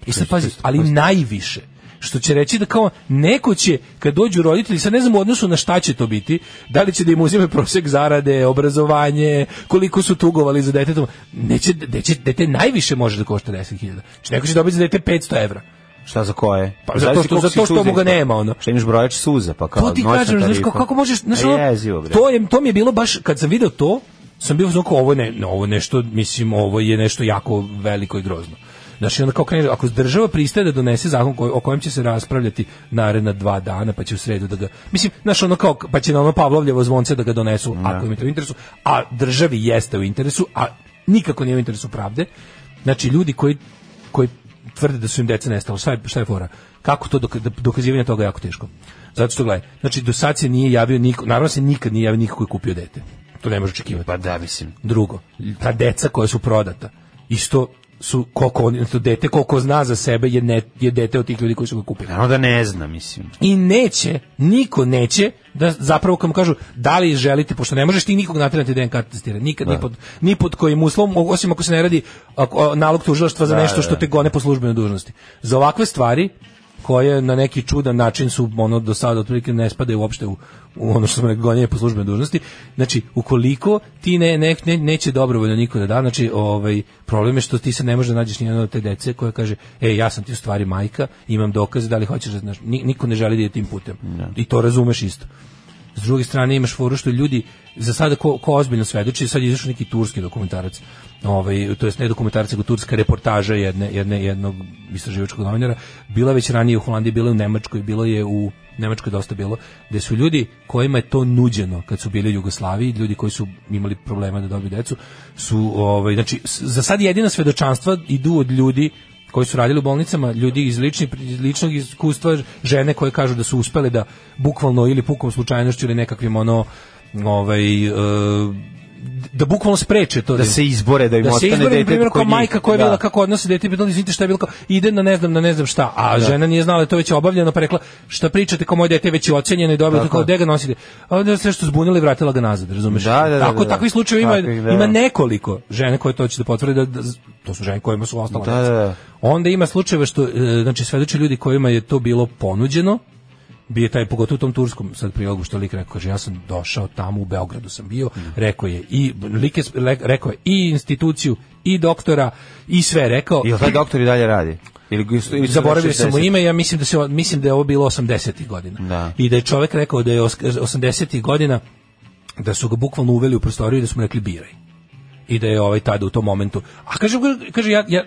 S7: I sad pazi, ali najviše što će reći da kao neko će kad dođu roditelji, sad ne znam u odnosu na šta će to biti, da li će da im uzime prosek zarade, obrazovanje, koliko su tugovali za dete, to- neće, neće, dete najviše može da košta 10.000. Znači neko će dobiti za dete 500 evra.
S6: Šta za koje?
S7: Pa zato što, zato što mu ga nema, ono.
S6: Šta imaš pa- brojač suza, pa kao
S7: To ti
S6: noćna
S7: kažem, znaš,
S6: tarifa.
S7: kao- kako možeš, znaš,
S6: A
S7: ono,
S6: jezivo, bre.
S7: to, je, to mi je bilo baš, kad sam video to, sam bio znači, ovo, ne, no, ovo nešto, mislim, ovo je nešto jako veliko i grozno. Znači, onda kao krene, ako država pristaje da donese zakon koji- o kojem će se raspravljati naredna dva dana, pa će u sredu da ga... Mislim, znaš, ono kao, pa će na ono Pavlovljevo zvonce da ga donesu, ako im je to u interesu, a državi jeste u interesu, a nikako nije u interesu pravde. Znači, ljudi koji, koji tvrde da su im deca nestala. Šta je, šta je fora? Kako to doka- dokazivanje toga je jako teško. Zato što gledaj, znači do sad se nije javio niko, naravno se nikad nije javio niko koji je kupio dete. To ne može očekivati. Pa da, mislim. Drugo, ta deca koja su prodata, isto su koliko oni, to dete koliko zna za sebe je, ne, je dete od tih ljudi koji su ga kupili.
S6: Naravno da ne zna, mislim.
S7: I neće, niko neće da zapravo kad mu kažu da li želite, pošto ne možeš ti nikog naterati da DNK testira, nikad, ni,
S6: Da.
S7: pod, ni pod kojim uslovom, o- osim ako se ne radi ako, o, nalog tužilaštva za
S6: Da,
S7: nešto
S6: da,
S7: što
S6: da.
S7: te gone po službenoj dužnosti. Za ovakve stvari koje na neki čudan način su ono do sada otprilike ne spadaju uopšte u, u ono što smo rekli gonjenje po službenoj dužnosti. Znači, ukoliko ti ne, ne, ne- neće dobrovoljno niko da da, znači ovaj problem je što ti se ne može da nađeš ni jedno od te dece koja kaže: "Ej, ja sam ti u stvari majka, imam dokaze, da li hoćeš da znaš?" Ni- Niko ne želi da ide tim putem. I to razumeš isto. S druge strane imaš foru što ljudi za sada ko, ko ozbiljno svedoči, sad je izašao neki turski dokumentarac. Ovaj to jest ne dokumentarac, nego turska reportaža jedne jedne jednog istraživačkog novinara. Bila je već ranije u Holandiji, bila je u Nemačkoj, bilo je u Nemačkoj dosta bilo, gde su ljudi kojima je to nuđeno kad su bili u Jugoslaviji, ljudi koji su imali problema da dobiju decu, su ovaj znači s- za sad jedina svedočanstva idu od ljudi koji su radili u bolnicama, ljudi iz, lični, iz ličnog iskustva, žene koje kažu da su uspele da bukvalno ili pukom slučajnošću ili nekakvim ono ovaj e, da bukvalno spreče to
S6: Da se izbore, da im
S7: se
S6: ostane
S7: izbore, na
S6: dete
S7: primjer,
S6: kod
S7: kao
S6: njih.
S7: majka koja je
S6: Da.
S7: bila kako odnosi dete pitali izvinite šta je bilo kao ide na ne znam na ne znam šta a
S6: Da.
S7: žena nije znala da je to već obavljeno pa rekla šta pričate kao moje dete je već je ocenjeno i dobilo
S6: Tako
S7: kao
S6: je.
S7: gde ga nosite a onda se što zbunila i vratila ga nazad razumeš
S6: Da, da, da,
S7: tako
S6: da, da.
S7: takvi slučajevi ima
S6: Takvih, da.
S7: ima nekoliko žene koje to će da potvrde da, da- to su žene kojima su ostala
S6: Da, da, da.
S7: Onda ima slučajeva što, e, znači, svedoče ljudi kojima je to bilo ponuđeno, bi je taj, pogotovo u tom turskom sad prilogu što lik rekao, kaže, ja sam došao tamo, u Beogradu sam bio,
S6: Mhm.
S7: rekao je i, lik je sp- le- rekao je i instituciju, i doktora, i sve je rekao.
S6: Jel taj doktor i dalje radi? Ili, ga- ili su
S7: Zaboravio sam mu
S6: 60?
S7: ime, ja mislim da, se, o- mislim da je ovo bilo 80. godina.
S6: Da.
S7: I da je čovek rekao da je os- 80. godina da su ga bukvalno uveli u prostoriju i da su mu rekli biraj. I da je ovaj tada u tom momentu. A kaže, kaže ja, ja,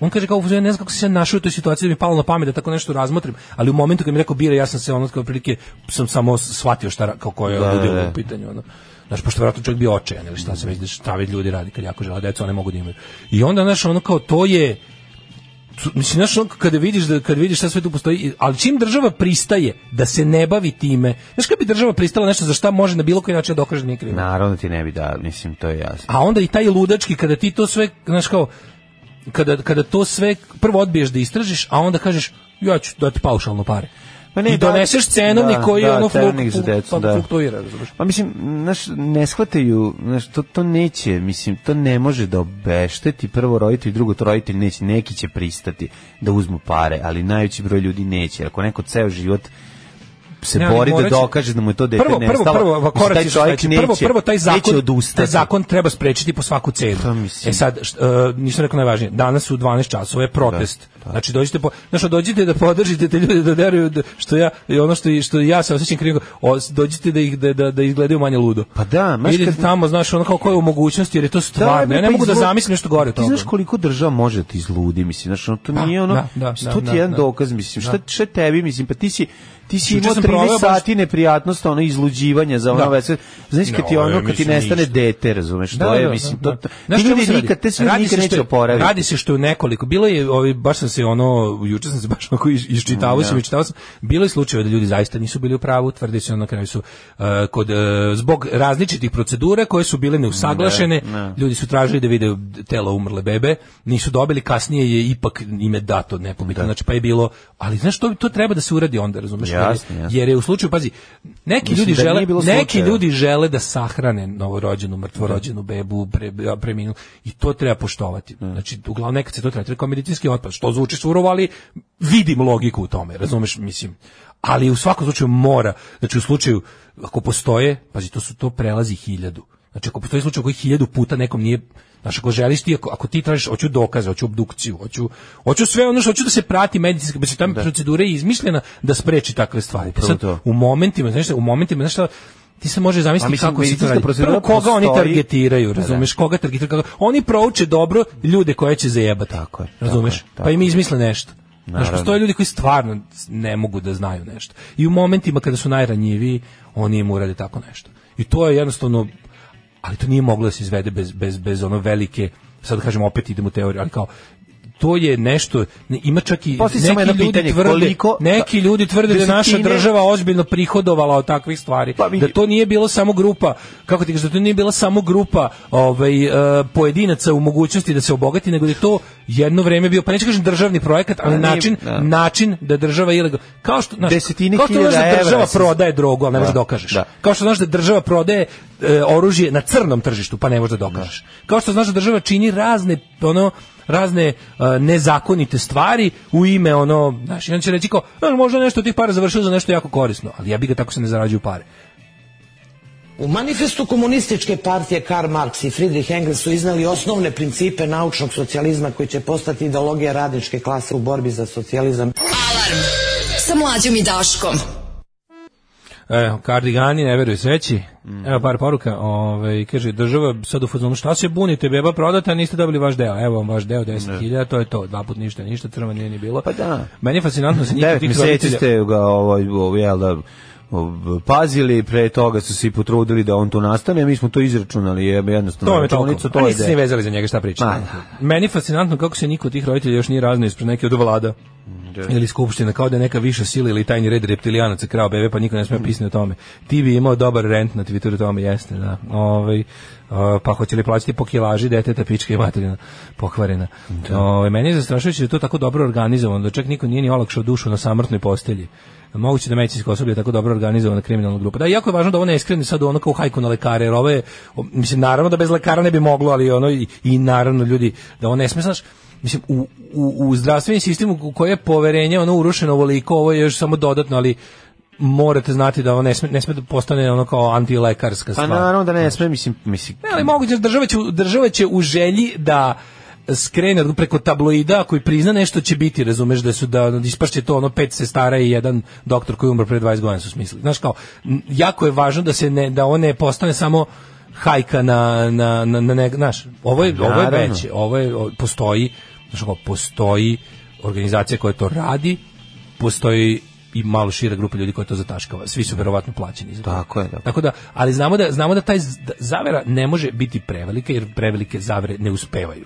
S7: on kaže kao, u fazonu, ne znam kako sam se našao u toj situaciji da mi je palo na pamet da tako nešto razmotrim, ali u momentu kad mi je rekao biraj, ja sam se ono kao prilike, sam samo shvatio šta, ra- kao ko je
S6: Da, da,
S7: ludilo
S6: da.
S7: u pitanju. Ono. Znaš, pošto vjerojatno čovjek bio očajan ili šta se već, šta već ljudi radi kad jako žele decu, one mogu da imaju. I onda, znaš, ono kao, to je, su- mislim znaš ono kada vidiš da kad vidiš šta sve tu postoji i- ali čim država pristaje da se ne bavi time znaš kad bi država pristala nešto za šta može na bilo koji način da dokaže da nije kriva
S6: Naravno ti ne bi da, mislim, to je jasno.
S7: a onda i taj ludački kada ti to sve znaš kao kada, kada to sve prvo odbiješ da istražiš a onda kažeš ja ću dati paušalno pare.
S6: Pa
S7: I doneseš cenovnik
S6: da,
S7: koji
S6: da,
S7: je ono
S6: cenovnik za
S7: fluk-
S6: decu,
S7: fluk-
S6: da.
S7: fluktuira, razumeš?
S6: Pa mislim, znaš, ne shvataju, znaš, to, to neće, mislim, to ne može da obešteti prvo roditelj, drugo to roditelj neće, neki će pristati da uzmu pare, ali najveći broj ljudi neće, jer ako neko ceo život se
S7: Ne, ali
S6: bori da
S7: morat će-
S6: dokaže da mu je to dete
S7: prvo, prvo,
S6: nestalo,
S7: prvo, prvo,
S6: mislim,
S7: korak
S6: taj
S7: je
S6: čovjek
S7: sledeći.
S6: neće,
S7: prvo, prvo taj
S6: neće
S7: zakon, taj
S6: odustati.
S7: zakon treba sprečiti po svaku cenu. E sad, št, e, nisam rekao najvažnije, danas u 12 časova je protest. Znači dođite po, znači dođite da podržite te ljude da deruju da, što ja i ono što i- što ja se osećam krivo, o, dođite da ih da, da, da izgledaju manje ludo. Pa
S6: da,
S7: znaš Idete tamo, znaš, ono kao ko je u mogućnosti, jer je to stvarno.
S6: bre,
S7: ja ne
S6: pa
S7: mogu da
S6: izvoli-
S7: zamislim nešto gore od
S6: Ti
S7: toga.
S6: znaš koliko država može da ti izludi, mislim, znaš, ono, to
S7: Da,
S6: nije ono,
S7: da, da, da,
S6: to ti je
S7: da,
S6: jedan
S7: da.
S6: dokaz, mislim, šta,
S7: Da.
S6: šta tebi, mislim, pa ti si, ti si
S7: Juče
S6: imao
S7: sam proveo
S6: 13
S7: baš-
S6: sati neprijatnost, ono, izluđivanja za ono,
S7: Da.
S6: da. znaš, kad ti
S7: Ne,
S6: ono,
S7: ovo je,
S6: kad ti
S7: mislim,
S6: nestane
S7: ništa.
S6: dete, razumeš, to je, mislim, to, to,
S7: Znaš
S6: ti
S7: čemu se
S6: ljudi
S7: radi?
S6: nikad, te sve
S7: Radi se
S6: nikad
S7: što
S6: neće
S7: je-
S6: oporaviti.
S7: Radi se što je u nekoliko, bilo je, ovi, baš sam se ono, juče sam se baš onako iš- iščitavao
S6: Mm,
S7: sam,
S6: da.
S7: iščitavao sam, bilo je slučajeva da ljudi zaista nisu bili u pravu, tvrdi se ono, na kraju su, e, kod, e, zbog različitih procedura koje su bile neusaglašene,
S6: Da, da.
S7: ljudi su tražili da vide tela umrle bebe, nisu dobili, kasnije je ipak ime dato nepobitno, znači pa je bilo, ali znaš, to, to treba da se uradi onda, razumeš? Jer je-
S6: Jasno, jasno.
S7: Jer je u slučaju, pazi, neki
S6: Mislim
S7: ljudi
S6: da nije
S7: žele,
S6: bilo
S7: neki
S6: slučajeva.
S7: ljudi ljudi žele da sahrane novorođenu, mrtvorođenu bebu, pre, preminu i to treba poštovati. Znači, uglavnom nekad se to tretira kao medicinski otpad, što zvuči surovo, ali vidim logiku u tome, razumeš, mislim. Ali u svakom slučaju mora, znači u slučaju, ako postoje, pazi, to su to prelazi hiljadu. Znači, ako postoji slučaj koji hiljadu puta nekom nije, znači ako želiš ti, ako, ako ti tražiš, hoću dokaze, hoću obdukciju, hoću, hoću sve ono što hoću da se prati medicinski, znači ta procedura je izmišljena da spreči takve stvari.
S6: Upravo
S7: Sad,
S6: to.
S7: u momentima, znaš, šta, u momentima, znaš, šta, ti se može zamisliti
S6: Pa mislim,
S7: kako se to
S6: medicinska
S7: radi.
S6: procedura
S7: Prvo, koga oni
S6: postoji.
S7: targetiraju,
S6: Pa da.
S7: razumeš? Koga targetiraju? Kako? Oni prouče dobro ljude koje će zajebati. Tako je. Razumeš?
S6: tako je,
S7: pa im
S6: tako je.
S7: izmisle nešto. Znaš,
S6: Naravno.
S7: postoje ljudi koji stvarno ne mogu da znaju nešto. I u momentima kada su najranjiviji, oni im urade tako nešto. I to je jednostavno ali to nije moglo da se izvede bez, bez, bez ono velike, sad da kažem opet idem u teoriju, ali kao to je nešto, ne- ima čak i
S6: Postoji samo
S7: neki
S6: jedno
S7: ljudi,
S6: pitanje,
S7: tvrde,
S6: koliko-
S7: neki ljudi tvrde da je naša
S6: Desetine-
S7: država ozbiljno prihodovala od takvih stvari,
S6: Pa
S7: da to nije bilo samo grupa, kako ti kažeš, da to nije bila samo grupa ovaj, e, pojedinaca u mogućnosti da se obogati, nego da je to jedno vreme bio, pa neću kažem državni projekat, ali
S6: Pa nije-
S7: način,
S6: da.
S7: način da država ilegalno, kao što, znaš,
S6: Desetine
S7: kao što znaš da
S6: hiljada evra
S7: država
S6: se-
S7: prodaje drogu, ali ne
S6: Da,
S7: možeš da dokažeš.
S6: da.
S7: Kao što znaš da država prodaje e, oružje na crnom tržištu, pa ne možeš da dokažeš. Kao što znaš da država čini razne ono razne e, nezakonite stvari u ime ono, znaš, i on će reći kao, "E, možda je nešto od tih para završilo za nešto jako korisno, ali ja bi ga tako se ne zarađuju pare.
S14: U manifestu komunističke partije Karl Marx i Friedrich Engels su iznali osnovne principe naučnog socijalizma koji će postati ideologija radničke klase u borbi za socijalizam.
S12: Alarm sa mlađom i Daškom.
S7: E, kardigani, ne veruju sreći.
S6: Mhm.
S7: Evo par poruka. Ove, kaže, država sad u fazonu, šta se bunite, beba prodata, niste dobili vaš deo. Evo vam vaš deo, 10.000, to je to. Dva put ništa, ništa, crva nije ni bilo. Pa
S6: da.
S7: Meni je fascinantno se nikad
S6: Devet
S7: tih
S6: meseci
S7: roditelja-
S6: ste ga ovaj, ovaj, jel da, ob- pazili, pre toga su se i potrudili da on tu nastane, mi smo to izračunali, je jednostavno.
S7: To vam je toliko.
S6: računicu,
S7: A
S6: je
S7: niste se
S6: de-
S7: ni vezali za njega, šta
S6: Ma,
S7: pričate. Meni je fascinantno kako se niko od tih roditelja još nije raznao ispred neke od vlada ili skupština, kao da je neka viša sila ili tajni red reptilijanaca krao bebe, pa niko ne smije pisati o tome. Ti bi imao dobar rent na Twitteru, to mi jeste, da. Ovaj, a, pa hoće li plaćati po kilaži deteta, pička i materina pokvarena. Ovaj, meni je zastrašujuće da je to tako dobro organizovano, da čak niko nije ni olakšao dušu na samrtnoj postelji. Moguće da medicinsko osoblje je tako dobro organizovana kriminalna grupa. Da, jako je važno da ovo ne skrene sad u ono kao hajku na lekare, jer ovo je, o, mislim, naravno da bez lekara ne bi moglo, ali ono i, i naravno ljudi, da ovo ne sme, znaš, mislim, u, u, u zdravstveni sistem u koje je poverenje ono urušeno ovoliko, ovo je još samo dodatno, ali morate znati da ovo ne sme, ne sme da postane ono kao antilekarska
S6: Pa
S7: stvar.
S6: naravno da ne sme, mislim, mislim,
S7: Ne, ali moguće država će, država će u želji da skrene od- preko tabloida koji prizna nešto će biti, razumeš da su da ispašće to ono pet sestara i jedan doktor koji je umro pre 20 godina su smislili. Znaš kao n- jako je važno da se ne da on ne postane samo hajka na na na, na ne, znaš, ovo je ovo je
S6: Naravno.
S7: veće, ovo je o- postoji, znaš kao postoji organizacija koja to radi, postoji i malo šira grupa ljudi koja to zataškava. Svi su verovatno plaćeni za to.
S6: Tako je, da.
S7: Tako da, ali znamo da znamo da taj z- da zavera ne može biti prevelika jer prevelike zavere ne uspevaju.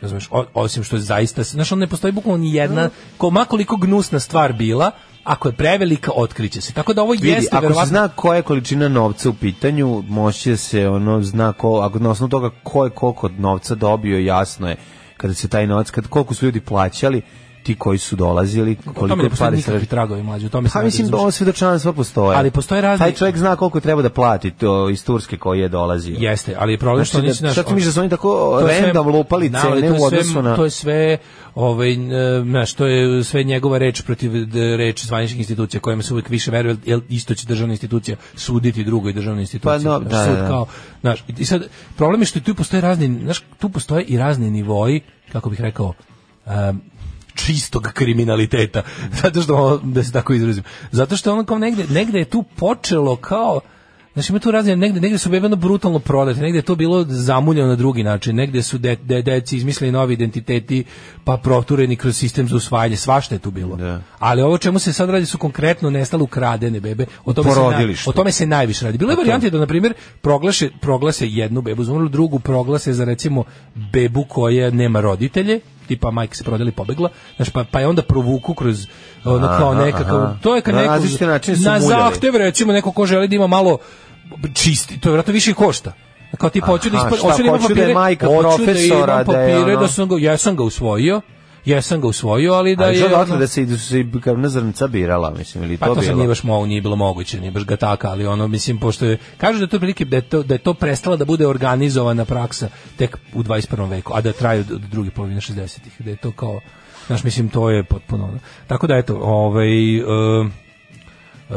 S7: Razumeš? O- osim što je zaista, znaš, on ne postoji bukvalno ni jedna, ko makoliko gnusna stvar bila, ako je prevelika, otkriće se. Tako da ovo
S6: Vidi,
S7: jeste
S6: ako se
S7: verovatno
S6: zna koja je količina novca u pitanju, moći da se ono zna ko, ako na osnovu toga ko je koliko novca dobio, jasno je kada se taj novac, kad koliko su ljudi plaćali, ti koji su dolazili,
S7: O tome
S6: koliko
S7: ne
S6: je
S7: postoje
S6: pari
S7: nikakvi tragovi mlađi, o tome se
S6: Pa
S7: ne
S6: mislim da
S7: razumeš.
S6: ovo svedočanstva postoje.
S7: Ali postoje razni-
S6: Taj čovjek zna koliko treba da plati to iz Turske koji je dolazio.
S7: Jeste, ali je problem što
S6: Znači,
S7: nisi
S6: da-
S7: naš...
S6: šta ti misliš da su oni tako
S7: To je sve-
S6: random lupali
S7: Da, ali
S6: cene
S7: to je
S6: u odnosu
S7: sve,
S6: na...
S7: To je sve, ovaj, e, znaš, to je sve njegova reč protiv d- reči zvaničnih institucija kojima se uvijek više veruje, jer isto će državna institucija suditi drugoj državnoj instituciji.
S6: Pa no,
S7: Znaš,
S6: da,
S7: sud
S6: da, da.
S7: kao, znaš, i sad, problem je što tu postoje razni, znaš, tu postoje i razni nivoi, kako bih rekao, em, čistog kriminaliteta. Zato što, ono, da se tako izrazim, zato što ono kao negde, negde je tu počelo kao, Znači ima tu razine, negde, negde su bebe ono brutalno prodati, negde je to bilo zamuljeno na drugi način, negde su de, de, deci izmislili novi identiteti, pa protureni kroz sistem za usvajanje, svašta je tu bilo. Ali ovo čemu se sad radi su konkretno nestale ukradene bebe, o tome, se, naj-
S6: porodilištu.
S7: o tome se najviše radi. Bilo je varijante da, na primjer, proglaše, proglase jednu bebu za umrlu, drugu proglase za, recimo, bebu koja nema roditelje, tipa majka se prodali pobegla, znaš, pa, pa je onda provuku kroz ono kao
S6: Aha,
S7: nekakav,
S6: aha.
S7: to je kad
S6: Na
S7: neko,
S6: različite načine su
S7: na
S6: muljali.
S7: zahtev recimo neko ko želi da ima malo čisti, to vjerojatno više i košta. Kao ti hoću da
S6: Aha,
S7: ispod,
S6: šta,
S7: hoću da imam
S6: hoću da je
S7: papire,
S6: majka
S7: hoću da
S6: profesora,
S7: imam
S6: da je
S7: papire,
S6: ono-
S7: da sam ga, jesam ga usvojio, jesam ga usvojio, ali da
S6: Ali
S7: je...
S6: što odatle
S7: ono-
S6: da se idu su se i krvna zrnca birala, mislim, ili
S7: pa to,
S6: to
S7: sad nije
S6: bilo.
S7: baš mogu, nije bilo moguće, nije baš gataka, ali ono, mislim, pošto je, kažu da je to prilike, da je to, da je to prestala da bude organizovana praksa tek u 21. veku, a da traje od, od druge polovine 60-ih, da je to kao, znaš, mislim, to je potpuno, ono. tako da, eto, ovaj, e, e,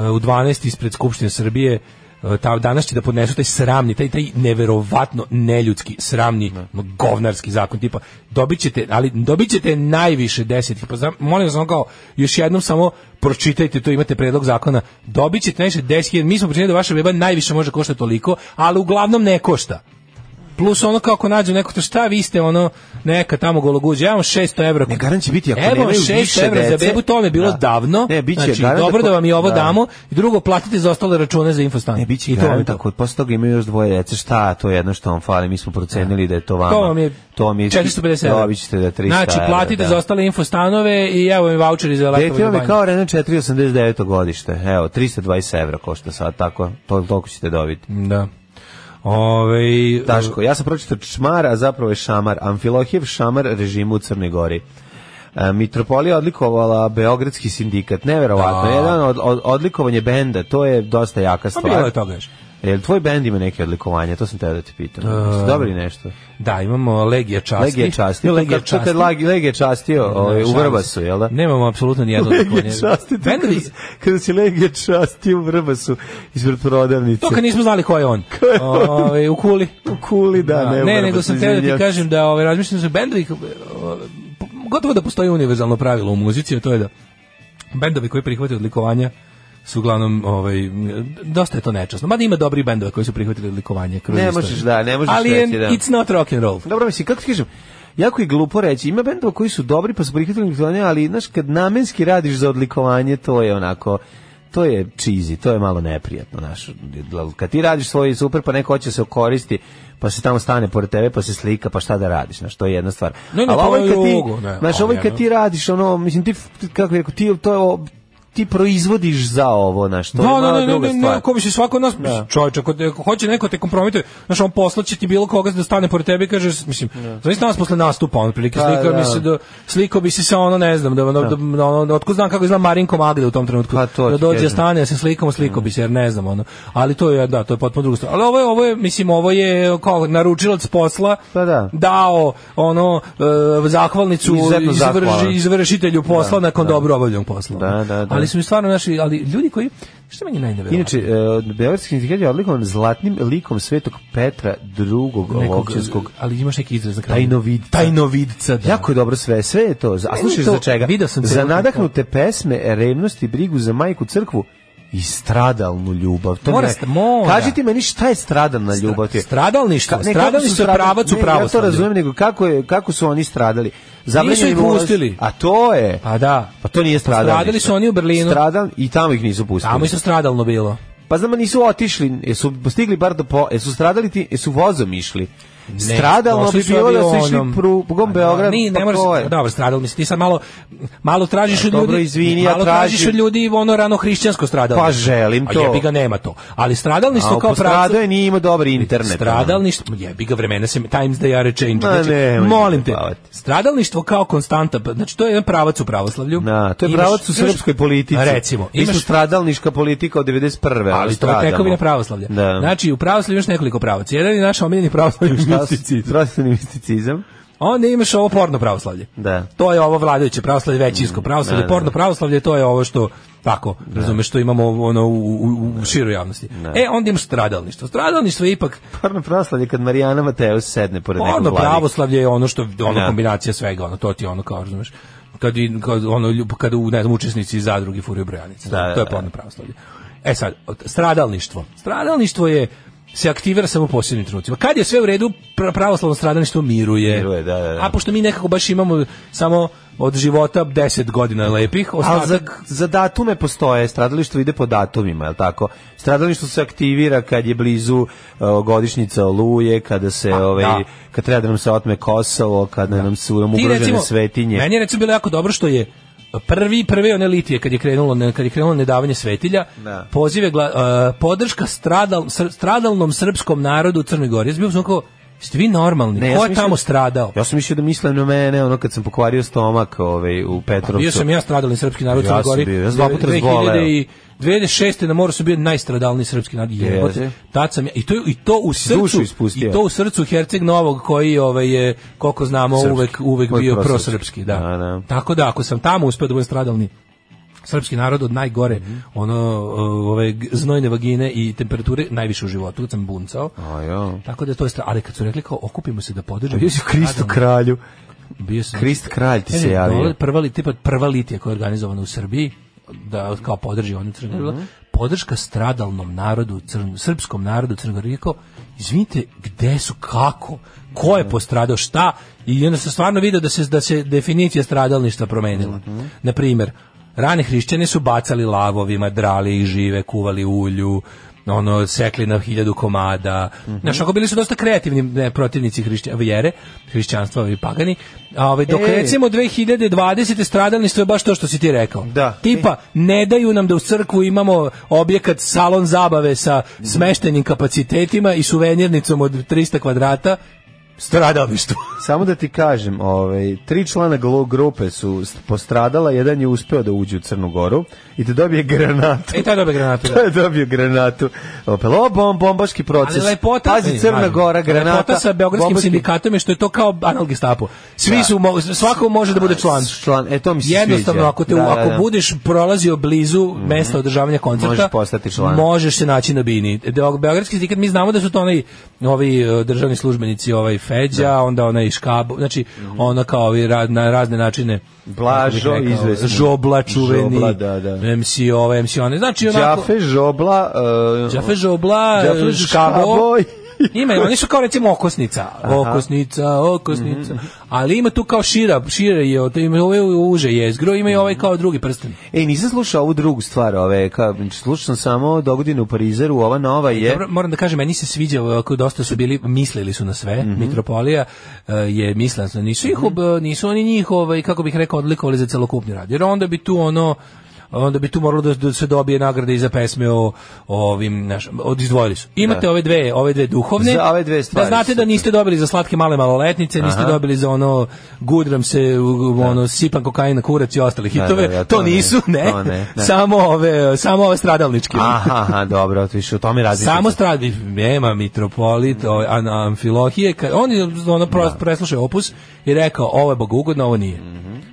S7: u 12 ispred Skupštine Srbije e, ta, danas će da podnesu taj sramni, taj, taj neverovatno neljudski, sramni, no, govnarski zakon, tipa, dobit ćete, ali dobit ćete najviše deset, pa znam, molim vas, ono kao, još jednom samo pročitajte to, imate predlog zakona, dobit ćete najviše deset, hiljada, mi smo pročitali da vaša beba najviše može košta toliko, ali uglavnom ne košta. Plus ono kako nađu neko to šta vi ste ono neka tamo gologuđa, ja imam 600 evra.
S6: Ne, garant će biti ako
S7: Evo vam
S6: nemaju
S7: 600
S6: više
S7: evra za
S6: dece.
S7: bebu, to vam je bilo
S6: Da.
S7: davno.
S6: Ne, bit će
S7: znači,
S6: garant
S7: dobro
S6: ako-
S7: da vam i ovo
S6: da.
S7: damo i drugo platite za ostale račune za infostan. Ne, biće
S6: I to je tako, posle toga imaju još dvoje dece, šta to je jedno što vam fali, mi smo procenili da je to vama.
S7: To vam je,
S6: to vam je
S7: 450 evra.
S6: Dobit ćete da 300
S7: Znači,
S6: evra,
S7: platite
S6: da.
S7: za ostale infostanove i evo im voucheri za
S6: Dete
S7: lektove
S6: vam je kao Renault 489 godište. Evo, 320 evra košta sad, tako, to, toliko ćete dobiti.
S7: Da. Ove,
S6: Daško, ja sam pročitao čmar, a zapravo je šamar. Amfilohijev šamar režimu u Crnoj Gori. E, Mitropolija odlikovala Beogradski sindikat, neverovatno,
S7: Da. Pa
S6: jedan od, od, odlikovanje benda, to je dosta jaka stvar.
S7: bilo je toga još.
S6: Jel tvoj bend ima neke odlikovanja, to sam teo da ti pitam.
S7: E,
S6: Jeste dobili nešto?
S7: Da, imamo Legija časti.
S6: Legija časti,
S7: Ne,
S6: to
S7: Legija
S6: kad- to kad
S7: časti.
S6: Lagi- Legija častio ovaj, u
S7: šalim se.
S6: Vrbasu, jel da?
S7: Nemamo apsolutno nijedno odlikovanje. Bendovi-
S6: kada si Legija častio u Vrbasu ispred prodavnice.
S7: To kad nismo znali ko je on. Ove, u kuli.
S6: U kuli, da,
S7: Da,
S6: ne,
S7: ne,
S6: u
S7: nego
S6: Vrbasu,
S7: sam teo da ti
S6: izvinjam se.
S7: kažem da ovaj, razmišljam se bendovi, eh, gotovo da postoji univerzalno pravilo u muzici, a to je da bendovi koji prihvate odlikovanja su uglavnom ovaj dosta je to nečasno. Mada ima dobri bendova koji su prihvatili odlikovanje kroz
S6: Ne
S7: istoriju.
S6: možeš, da, ne možeš
S7: Ali
S6: reći,
S7: je,
S6: da.
S7: it's not rock and roll.
S6: Dobro, mislim, kako ti kažem, jako je glupo reći. Ima bendova koji su dobri pa su prihvatili odlikovanje, ali znaš, kad namenski radiš za odlikovanje, to je onako to je cheesy, to je malo neprijatno naš. Kad ti radiš svoj super, pa neko hoće se okoristi, pa se tamo stane pored tebe, pa se slika, pa šta da radiš, znaš, to je jedna stvar.
S7: Ne, ne,
S6: Ali
S7: pa
S6: ovaj
S7: ovo je
S6: kad ti,
S7: drugo, ne,
S6: znaš,
S7: ali
S6: ovaj kad
S7: jedno.
S6: ti radiš, ono, mislim, ti, kako bi rekao, ti, to je, o- ti proizvodiš za ovo, znaš, to
S7: da,
S6: je malo
S7: ne, ne,
S6: druga
S7: ne, ne,
S6: stvar.
S7: ne, ko bi se svako od nas, da. čovječe, ako, te- ako hoće neko te kompromituje, znaš, on poslaće ti bilo koga da stane pored tebe i kaže, mislim, zavisno nas posle nastupa, on prilike,
S6: Da,
S7: slikao
S6: Pa, da.
S7: mi se, da, slikao bi se sa ono, ne znam, da, da, da, da ono, otko znam kako izgleda Marinko Magda u tom trenutku,
S6: Pa to
S7: da
S6: ti
S7: dođe,
S6: kažem.
S7: stane, da se slikamo, slikao bi se, jer ne znam, ono, ali to je, da, to je potpuno druga stvar, ali ovo je, ovo je, mislim, ovo je, kao, naručilac posla,
S6: Pa da.
S7: dao, ono, e, zahvalnicu
S6: Izuzetno
S7: izvrži,
S6: zahvalan.
S7: izvršitelju posla
S6: Da,
S7: nakon
S6: da.
S7: dobro obavljenog posla. ono.
S6: Da, da, da.
S7: Ali su mi stvarno naši, ali ljudi koji, što meni najneverovatnije?
S6: Inače, e, Beogradski sindikat je odlikovan zlatnim likom svetog Petra drugog
S7: nekog,
S6: Lovćanskog
S7: ali imaš neki izraz na kraju.
S6: tajnovidca.
S7: Tajnovidca, da.
S6: Jako je dobro sve, sve je to. A
S7: Meni
S6: slušaš
S7: to-
S6: za čega?
S7: video sam
S6: za
S7: celokupno.
S6: nadahnute pesme, revnost i brigu za majku crkvu i stradalnu ljubav. To
S7: Mora
S6: mi je-
S7: sta- mora.
S6: Kaži ti meni šta je stradalna ljubav? ti?
S7: stradalništvo.
S6: Ka- ne, kako
S7: Stradalništvo
S6: su
S7: je pravac u
S6: ne, Ja to
S7: pravoslavlju.
S6: razumijem, nego kako, je, kako su oni stradali? Zabranjen
S7: ih
S6: im ulaz-
S7: pustili.
S6: A to je...
S7: Pa da.
S6: Pa to nije stradalništvo.
S7: Stradali su oni u Berlinu.
S6: Stradal, I tamo ih nisu pustili.
S7: Tamo je isto stradalno bilo.
S6: Pa znam, nisu otišli, jesu stigli bar do po, jesu stradali ti, jesu vozom išli.
S7: Ne,
S6: Stradalno bi
S7: došli su
S6: bilo da su išli
S7: avionom.
S6: prugom Beograd.
S7: Ni,
S6: pa
S7: ne moraš,
S6: to je.
S7: dobro, stradalo mislim, ti sad malo, malo tražiš
S6: Pa
S7: od ljudi,
S6: dobro, izvini, ja
S7: malo tražiš
S6: tražim.
S7: od ljudi ono rano hrišćansko stradalništvo.
S6: Pa želim to.
S7: A jebi ga, nema to. Ali stradalništvo
S6: A,
S7: kao pravcu...
S6: postradao je, nije imao dobar internet. ono.
S7: Stradalništvo, jebi ga vremena se, times they are a change.
S6: Ma,
S7: Znači,
S6: nemoj
S7: molim
S6: se
S7: te,
S6: zabavati.
S7: stradalništvo kao konstanta, pa, znači to je jedan pravac u pravoslavlju.
S6: Da, to je
S7: Imaš-
S6: pravac u
S7: imaš-
S6: srpskoj politici.
S7: Recimo,
S6: imaš
S7: imaš-
S6: stradalniška politika od 91.
S7: ali to je
S6: stradamo.
S7: tekovina pravoslavlja.
S6: Da.
S7: Znači, u pravoslavlju imaš nekoliko pravaca. Jedan je naš omiljeni pravoslavlju
S6: Šta su-
S7: misticizam.
S6: Pravoslavni misticizam.
S7: Onda imaš ovo porno pravoslavlje.
S6: Da.
S7: To je ovo vladajuće pravoslavlje, većinsko pravoslavlje,
S6: da,
S7: porno pravoslavlje, to je ovo što tako, razumeš, što imamo ono u, u, u široj javnosti. E, onda imaš stradalništvo. Stradalništvo je ipak
S6: Porno pravoslavlje kad Marijana Mateus sedne pored nekog
S7: Porno
S6: vladika.
S7: Pa ono, pravoslavlje je ono što ono
S6: Da.
S7: kombinacija svega, ono to ti je ono kao razumeš. Kad, i- kad ono ljub- kad u ne znam učesnici iz zadruge furaju brojanice.
S6: Da,
S7: to je
S6: da,
S7: porno pravoslavlje. E sad od- stradalništvo. Stradalništvo je se aktivira samo u posebnim trenucima. Kad je sve u redu, pra- pravoslavno stradalništvo miruje.
S6: Miruje, da, da, da.
S7: A pošto mi nekako baš imamo samo od života 10 godina lepih,
S6: Ali za,
S7: ostatak
S6: za datume postoje, stradalištvo ide po datumima, je li tako? Stradalištvo se aktivira kad je blizu uh, godišnjica Oluje, kada se, ovaj,
S7: da.
S6: kad treba da nam se otme Kosovo, kada nam se nam
S7: Ti,
S6: ugrožene
S7: recimo,
S6: svetinje.
S7: Meni je recimo bilo jako dobro što je uh, prvi prve one litije kad je krenulo ne- kad je krenulo nedavanje svetilja
S6: Da.
S7: pozive gla, e, podrška stradal, sr- stradalnom srpskom narodu u Crnoj Gori. Ja sam bio u fazonu kao, jeste vi normalni?
S6: Ne, ja
S7: Ko
S6: sam
S7: je
S6: mislio-
S7: tamo stradao?
S6: Ja sam mislio da mislim na mene, ono kad sam pokvario stomak ovaj, u Petrovcu.
S7: Bio sam ja stradalni srpski narod u
S6: Ja
S7: Crnoj
S6: sam
S7: Gori.
S6: bio, ja sam dva puta
S7: 2000
S6: razboleo.
S7: i 2006. na moru su bio najstradalni srpski narod. Jebote.
S6: Jeste.
S7: Tad sam ja, i, to, i to u
S6: Dušu
S7: srcu,
S6: ispustio.
S7: i to u srcu Herceg Novog koji ovaj, je, koliko znamo,
S6: Srpski.
S7: uvek, uvek
S6: Uvek
S7: bio
S6: prosrpski.
S7: prosrpski. Da.
S6: Da, da.
S7: Tako da, ako sam tamo uspeo da budem stradalni srpski narod od najgore ono uh, ove g- znojne vagine i temperature najviše u životu kad sam buncao
S6: A ja.
S7: tako da to je stra... ali kad su rekli kao okupimo se da podržimo
S6: Bio si u Kristu
S7: stradalne-
S6: kralju.
S7: bio sam
S6: Pa Krist kralj ti
S7: Ne,
S6: se
S7: ne,
S6: javio.
S7: dole- Prva li tipa prva litija koja je organizovana u Srbiji da kao podrži onu Crnu Goru, podrška stradalnom narodu, crn, srpskom narodu Crne Gore. I kao, izvinite, gde su, kako, ko je postradao, šta? I onda sam stvarno video da se, da se definicija stradalništva promenila. Na primjer, rane hrišćane su bacali lavovima, drali ih žive, kuvali ulju, ono sekli na hiljadu komada. Znaš, ako bili su dosta kreativni ne, protivnici hrišća, vjere, hrišćanstva ovi pagani. A ovaj dok
S6: E.
S7: recimo 2020 stradalništvo je baš to što si ti rekao.
S6: Da.
S7: Tipa ne daju nam da u crkvu imamo objekat salon zabave sa smeštenim kapacitetima i suvenirnicom od 300 kvadrata. Stradalništvo.
S6: Samo da ti kažem, ovaj, tri člana glo- grupe su st- postradala, jedan je uspeo da uđe u Crnu Goru i da dobije granatu.
S7: E taj dobe granatu.
S6: To je dobio granatu. Opet, o, bom, bombaški proces.
S7: Ali lepota,
S6: Pazi,
S7: ne,
S6: Crna
S7: važno.
S6: Gora, granata.
S7: Lepota sa beogradskim
S6: bombaški-
S7: sindikatom je što je to kao anal gestapo. Svi
S6: Da.
S7: su mo- svako može da bude član.
S6: Član, e, to mi se
S7: Jednostavno,
S6: sviđa.
S7: ako te
S6: Da, da,
S7: ako
S6: da. Mhm.
S7: budeš prolazio blizu mesta održavanja koncerta,
S6: Možeš postati član.
S7: Možeš se naći na bini. De- Beogradski sindikat mi znamo da su to oni ovi e, državni službenici, ovaj Feđa, onda onaj Škabo, znači ona kao ovi ra- na razne načine
S6: Mhm. Blažo,
S7: kako bih rekao,
S6: izvesni.
S7: Žobla čuveni.
S6: Žobla, da, da.
S7: MC ove, MC one. Znači onako
S6: Đafe, Žobla, uh,
S7: Đafe Žobla,
S6: Đafe,
S7: Škabo.
S6: Škaboj.
S7: Ima, oni su kao recimo okosnica, okosnica, okosnica. Ali ima tu kao šira, šira je, od- ima ovaj uže jezgro, ima i ovaj kao drugi prsten.
S6: Ej, e, nisam slušao ovu drugu stvar, ove, ka, slušao sam samo dogodinu u Parizeru, ova nova je...
S7: E, Dobro, moram da kažem, meni se sviđa ovako, dosta su bili, mislili su na sve,
S6: Mhm.
S7: Mitropolija e, je mislila, su- nisu, ih, ob- nisu oni njih, ovaj, kako bih rekao, odlikovali za celokupni rad, jer onda bi tu ono, onda bi tu moralo da, da se dobije nagrade i za pesme o, o ovim, znaš, od- izdvojili su. Imate ove dve, ove dve duhovne.
S6: Za ove dve stvari
S7: Da znate da
S6: su-
S7: niste dobili za slatke male maloletnice, niste
S6: Aha.
S7: dobili za ono gudram se, u- u- ono sipam kokain na kurac i ostale hitove.
S6: da, da,
S7: to,
S6: to ne,
S7: nisu, ne.
S6: to ne, ne.
S7: Samo ove, samo ove stradalničke.
S6: Aha, aha, dobro, to više u tome različite.
S7: Samo stradi, nema mitropolit, ovaj, an, amfilohije, ka- on je ono pros, preslušao opus i rekao ovo je bogougodno, ovo nije.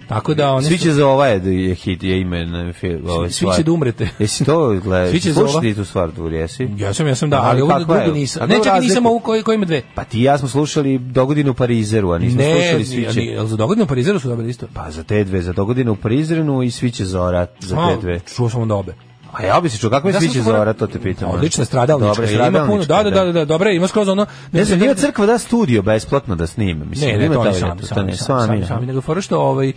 S7: Tako da oni
S6: Mhm. Svi će
S7: su-
S6: za ova je, da je hit, je ime na film. Ovaj
S7: svi će da umrete.
S6: Jesi to,
S7: Svi
S6: gledaj,
S7: će za
S6: slušaj
S7: ova.
S6: ti tu stvar, Dur, jesi?
S7: Ja sam, ja sam da,
S6: Aha,
S7: ali ovo
S6: kakva je?
S7: drugo nisam.
S6: Kakvu
S7: Ne, čak i nisam
S6: razliku?
S7: ovu koji, koji ima dve.
S6: Pa ti i ja smo slušali dogodinu u Parizeru, a nismo
S7: Ne,
S6: slušali svi će.
S7: ni- ali za dogodinu u Parizeru su dobili isto.
S6: Pa za te dve, za dogodinu u Prizrenu i svi će zora, za
S7: A,
S6: te dve.
S7: Čuo sam onda obe.
S6: A ja bi se čuo, kakve
S7: Ja
S6: svi
S7: sam
S6: će
S7: skoro-
S6: zora, to te pitam.
S7: Odlična stradalnička.
S6: Dobre,
S7: je, ima puno,
S6: stradalnička,
S7: da, da, da, da, dobro, je, ima skroz ono...
S6: Ne znam, nije crkva da studio besplatno da snime. Mislim,
S7: Ne, ne,
S6: ima
S7: to
S6: taj
S7: oni sami,
S6: lepo, to
S7: sami,
S6: ne,
S7: sami, sami,
S6: da.
S7: sami, nego fora što ovaj,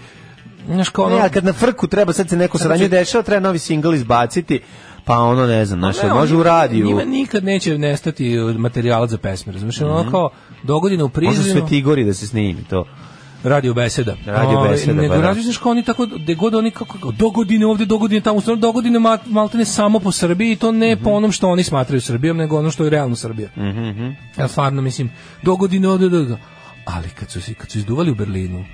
S7: znaš kao ono...
S6: Ne, a kad na frku treba, sad se neko
S7: Sad
S6: sranje
S7: znači-
S6: dešava, treba novi singl izbaciti, Pa ono, ne znam, znaš,
S7: ne,
S6: može
S7: oni-
S6: u radiju.
S7: Njima nikad neće nestati uh, materijala za pesme, razumiješ? Ono kao, dogodine u
S6: Može
S7: Prizrenu...
S6: Mhm. sve Tigori da se snimi to.
S7: Radio beseda.
S6: Radio
S7: Ovaj,
S6: beseda,
S7: Nego
S6: pa da.
S7: razmišljaš kao oni tako, gde god oni kako, do godine ovde, do godine tamo, stvarno do godine ma- maltene samo po Srbiji i to ne po
S6: Mhm.
S7: onom što oni smatraju Srbijom, nego ono što je realno Srbija. Ja stvarno mislim, do godine ovde, do Ali kad su, si- kad su izduvali u Berlinu,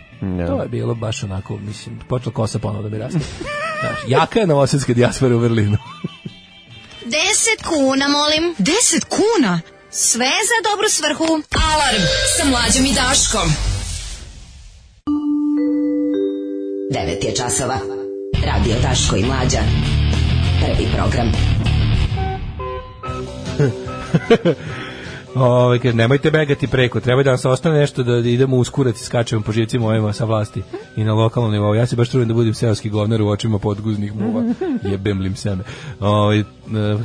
S7: To je bilo baš onako, mislim, počela kosa ponovo da mi raste. Znaš, jaka je novosadska dijaspora u Berlinu.
S10: Deset kuna, molim. Deset kuna? Sve za dobru svrhu. Alarm sa mlađom i Daškom.
S12: 9 je časova. Radio Daško i Mlađa. Prvi program.
S7: Ovaj kaže nemojte begati preko, treba da nas ostane nešto da idemo uskurac i skačemo po živcima ovima sa vlasti i na lokalnom nivou. Ja se baš trudim da budem seoski govnar u očima podguznih muva. Jebem lim seme. Ovaj e,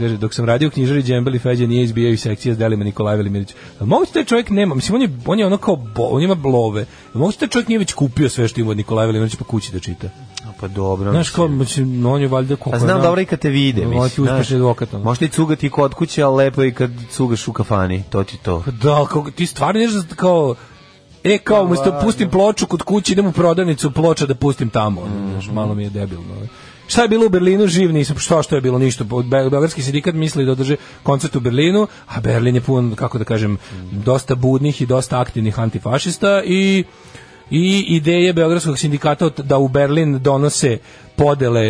S7: kaže dok sam radio u knjižari Džembeli Feđa nije izbijao iz sekcije s delima Nikolaja Velimirića. Jel Moguće da taj čovjek nema, mislim on je on je ono kao bo, on ima blove. Jel Moguće da taj čovjek nije već kupio sve što ima od Nikolaja Velimirića pa kući da čita.
S6: Pa dobro.
S7: Znaš kao, mislim, on je valjda koliko...
S6: A Pa znam
S7: je-
S6: dobro i kad te vide,
S7: On ti
S6: mislim.
S7: Pa uspešni
S6: znaš.
S7: advokat, ono.
S6: Možda i cugati i kod kuće, ali lepo je i kad cugaš u kafani, to ti to.
S7: Da, kao, ti stvarno nešto za- kao... E, kao, umesto pustim ploču kod kuće, idem u prodavnicu ploča da pustim tamo. ono, Znaš, malo mi je debilno. ono. Šta je bilo u Berlinu, živ nisam, što, što je bilo, ništa. Be- Beogradski sindikat misli da održe koncert u Berlinu, a Berlin je pun, kako da kažem, dosta budnih i dosta aktivnih antifašista i i ideje Beogradskog sindikata od- da u Berlin donose podele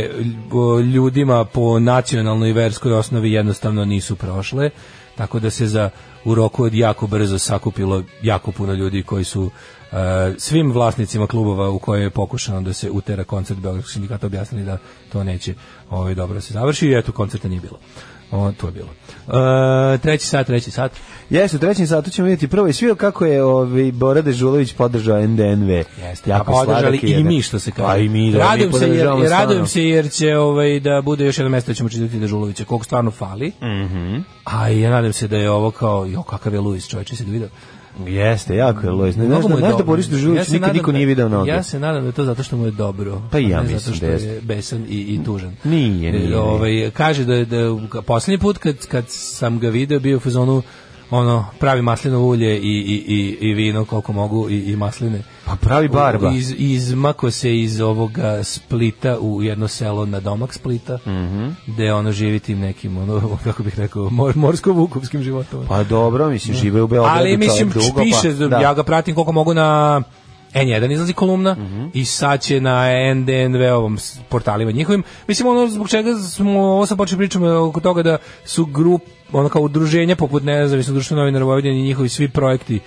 S7: lj- ljudima po nacionalnoj i verskoj osnovi jednostavno nisu prošle, tako da se za u roku od jako brzo sakupilo jako puno ljudi koji su e, svim vlasnicima klubova u kojoj je pokušano da se utera koncert Beogradskog sindikata objasnili da to neće ovaj, dobro da se završi i eto koncerta nije bilo. O, to je bilo. E, treći sat, treći sat.
S6: Jesi, u trećem satu ćemo vidjeti prvo i svio kako je ovaj, Bora Dežulović podržao NDNV.
S7: Jeste, a podržali i mi što se kaže.
S6: A Pa i mi, da,
S7: radujem
S6: mi
S7: se jer,
S6: podržavamo
S7: jer
S6: stvarno.
S7: radujem se jer će ovaj da bude još jedno mesto da ćemo čitati Dežulovića, koliko stvarno fali.
S6: Mhm.
S7: A i ja nadam se da je ovo kao jo kakav je Luis, čovjek, si ga video.
S6: Jeste, jako je Lojz. Ne, znaš da,
S7: Mnogo mu je
S6: znaš da
S7: dobro.
S6: Boris Dežulović
S7: se
S6: nikad
S7: nadam
S6: niko
S7: da-
S6: nije video noge.
S7: Ja se nadam da je to zato što mu je dobro.
S6: Pa i ja
S7: a ne
S6: mislim
S7: zato što
S6: da
S7: je
S6: jeste.
S7: besan i, i tužan.
S6: Nije, nije,
S7: E,
S6: nije.
S7: Ovaj, kaže da, je- da je ga- posljednji put kad, kad sam ga video bio u fazonu ono pravi maslinovo ulje i, i, i, i vino koliko mogu i, i masline.
S6: Pa pravi barba.
S7: Iz, izmako se iz ovoga Splita u jedno selo na domak Splita,
S6: Mhm.
S7: gde ono živi tim nekim, ono, kako bih rekao, mor, morsko-vukovskim životom.
S6: Pa dobro, mislim, žive u Beogradu.
S7: Ali mislim,
S6: čovjek dugo,
S7: piše,
S6: pa, da.
S7: ja ga pratim koliko mogu na N1 izlazi kolumna i sad će na NDNV-ovom s- portalima njihovim. Mislim, ono zbog čega smo ovo sad počeli pričamo oko toga da su grup, ono kao udruženja poput nezavisno društvo novinara Vojvodine i njihovi svi projekti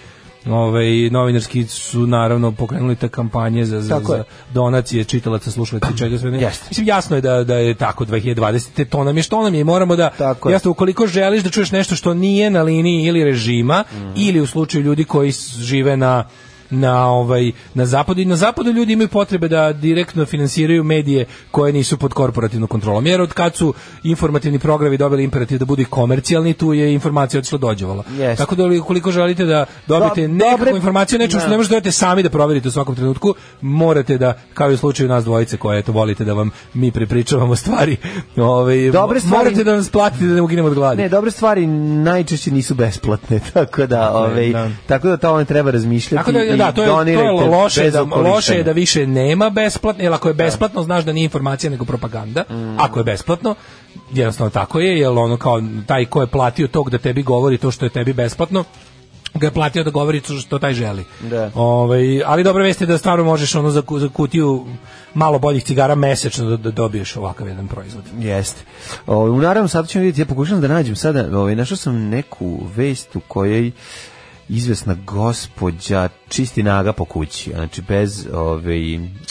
S7: Ovaj novinarski su naravno pokrenuli te kampanje za, za,
S6: Tako je.
S7: za donacije čitalaca, slušalaca i čega sve ne. Mislim jasno je da da je tako 2020 to nam je što nam je i moramo da
S6: Tako je.
S7: jasno ukoliko želiš da čuješ nešto što nije na liniji ili režima
S6: Mhm.
S7: ili u slučaju ljudi koji s- žive na na ovaj na zapadu i na zapadu ljudi imaju potrebe da direktno finansiraju medije koje nisu pod korporativnom kontrolom jer od kad su informativni programi dobili imperativ da budu i komercijalni tu je informacija otišla dođevala
S6: Jeste.
S7: tako da ukoliko želite da dobijete
S6: Do-
S7: nekakvu
S6: dobre-
S7: informaciju o nečemu što
S6: Da.
S7: ne možete dobiti sami da proverite u svakom trenutku morate da kao i u slučaju nas dvojice koje eto volite da vam mi prepričavamo stvari ovaj
S6: Dobre
S7: mo-
S6: stvari-
S7: morate da nas platite da ne uginemo od gladi
S6: Ne, dobre stvari najčešće nisu besplatne, tako da, ovaj,
S7: da.
S6: tako da o tome treba razmišljati
S7: Tako da,
S6: i
S7: da, to je, to je
S6: donirajte
S7: loše,
S6: bez
S7: da,
S6: okolišanja.
S7: loše je da više nema besplatno, jer ako je besplatno, znaš da nije informacija nego propaganda,
S6: Mm.
S7: ako je besplatno, jednostavno tako je, jer ono kao taj ko je platio tog da tebi govori to što je tebi besplatno, ga je platio da govori to što taj želi.
S6: Da.
S7: Ovaj, ali dobra vest je da stvarno možeš ono za, ku- za kutiju malo boljih cigara mesečno da, da dobiješ ovakav jedan proizvod.
S6: Jeste. O, Ovaj, u naravnom sad ćemo vidjeti, ja pokušam da nađem sada, ovaj, našao sam neku vest u kojoj izvesna gospođa čisti naga po kući, znači bez ovaj,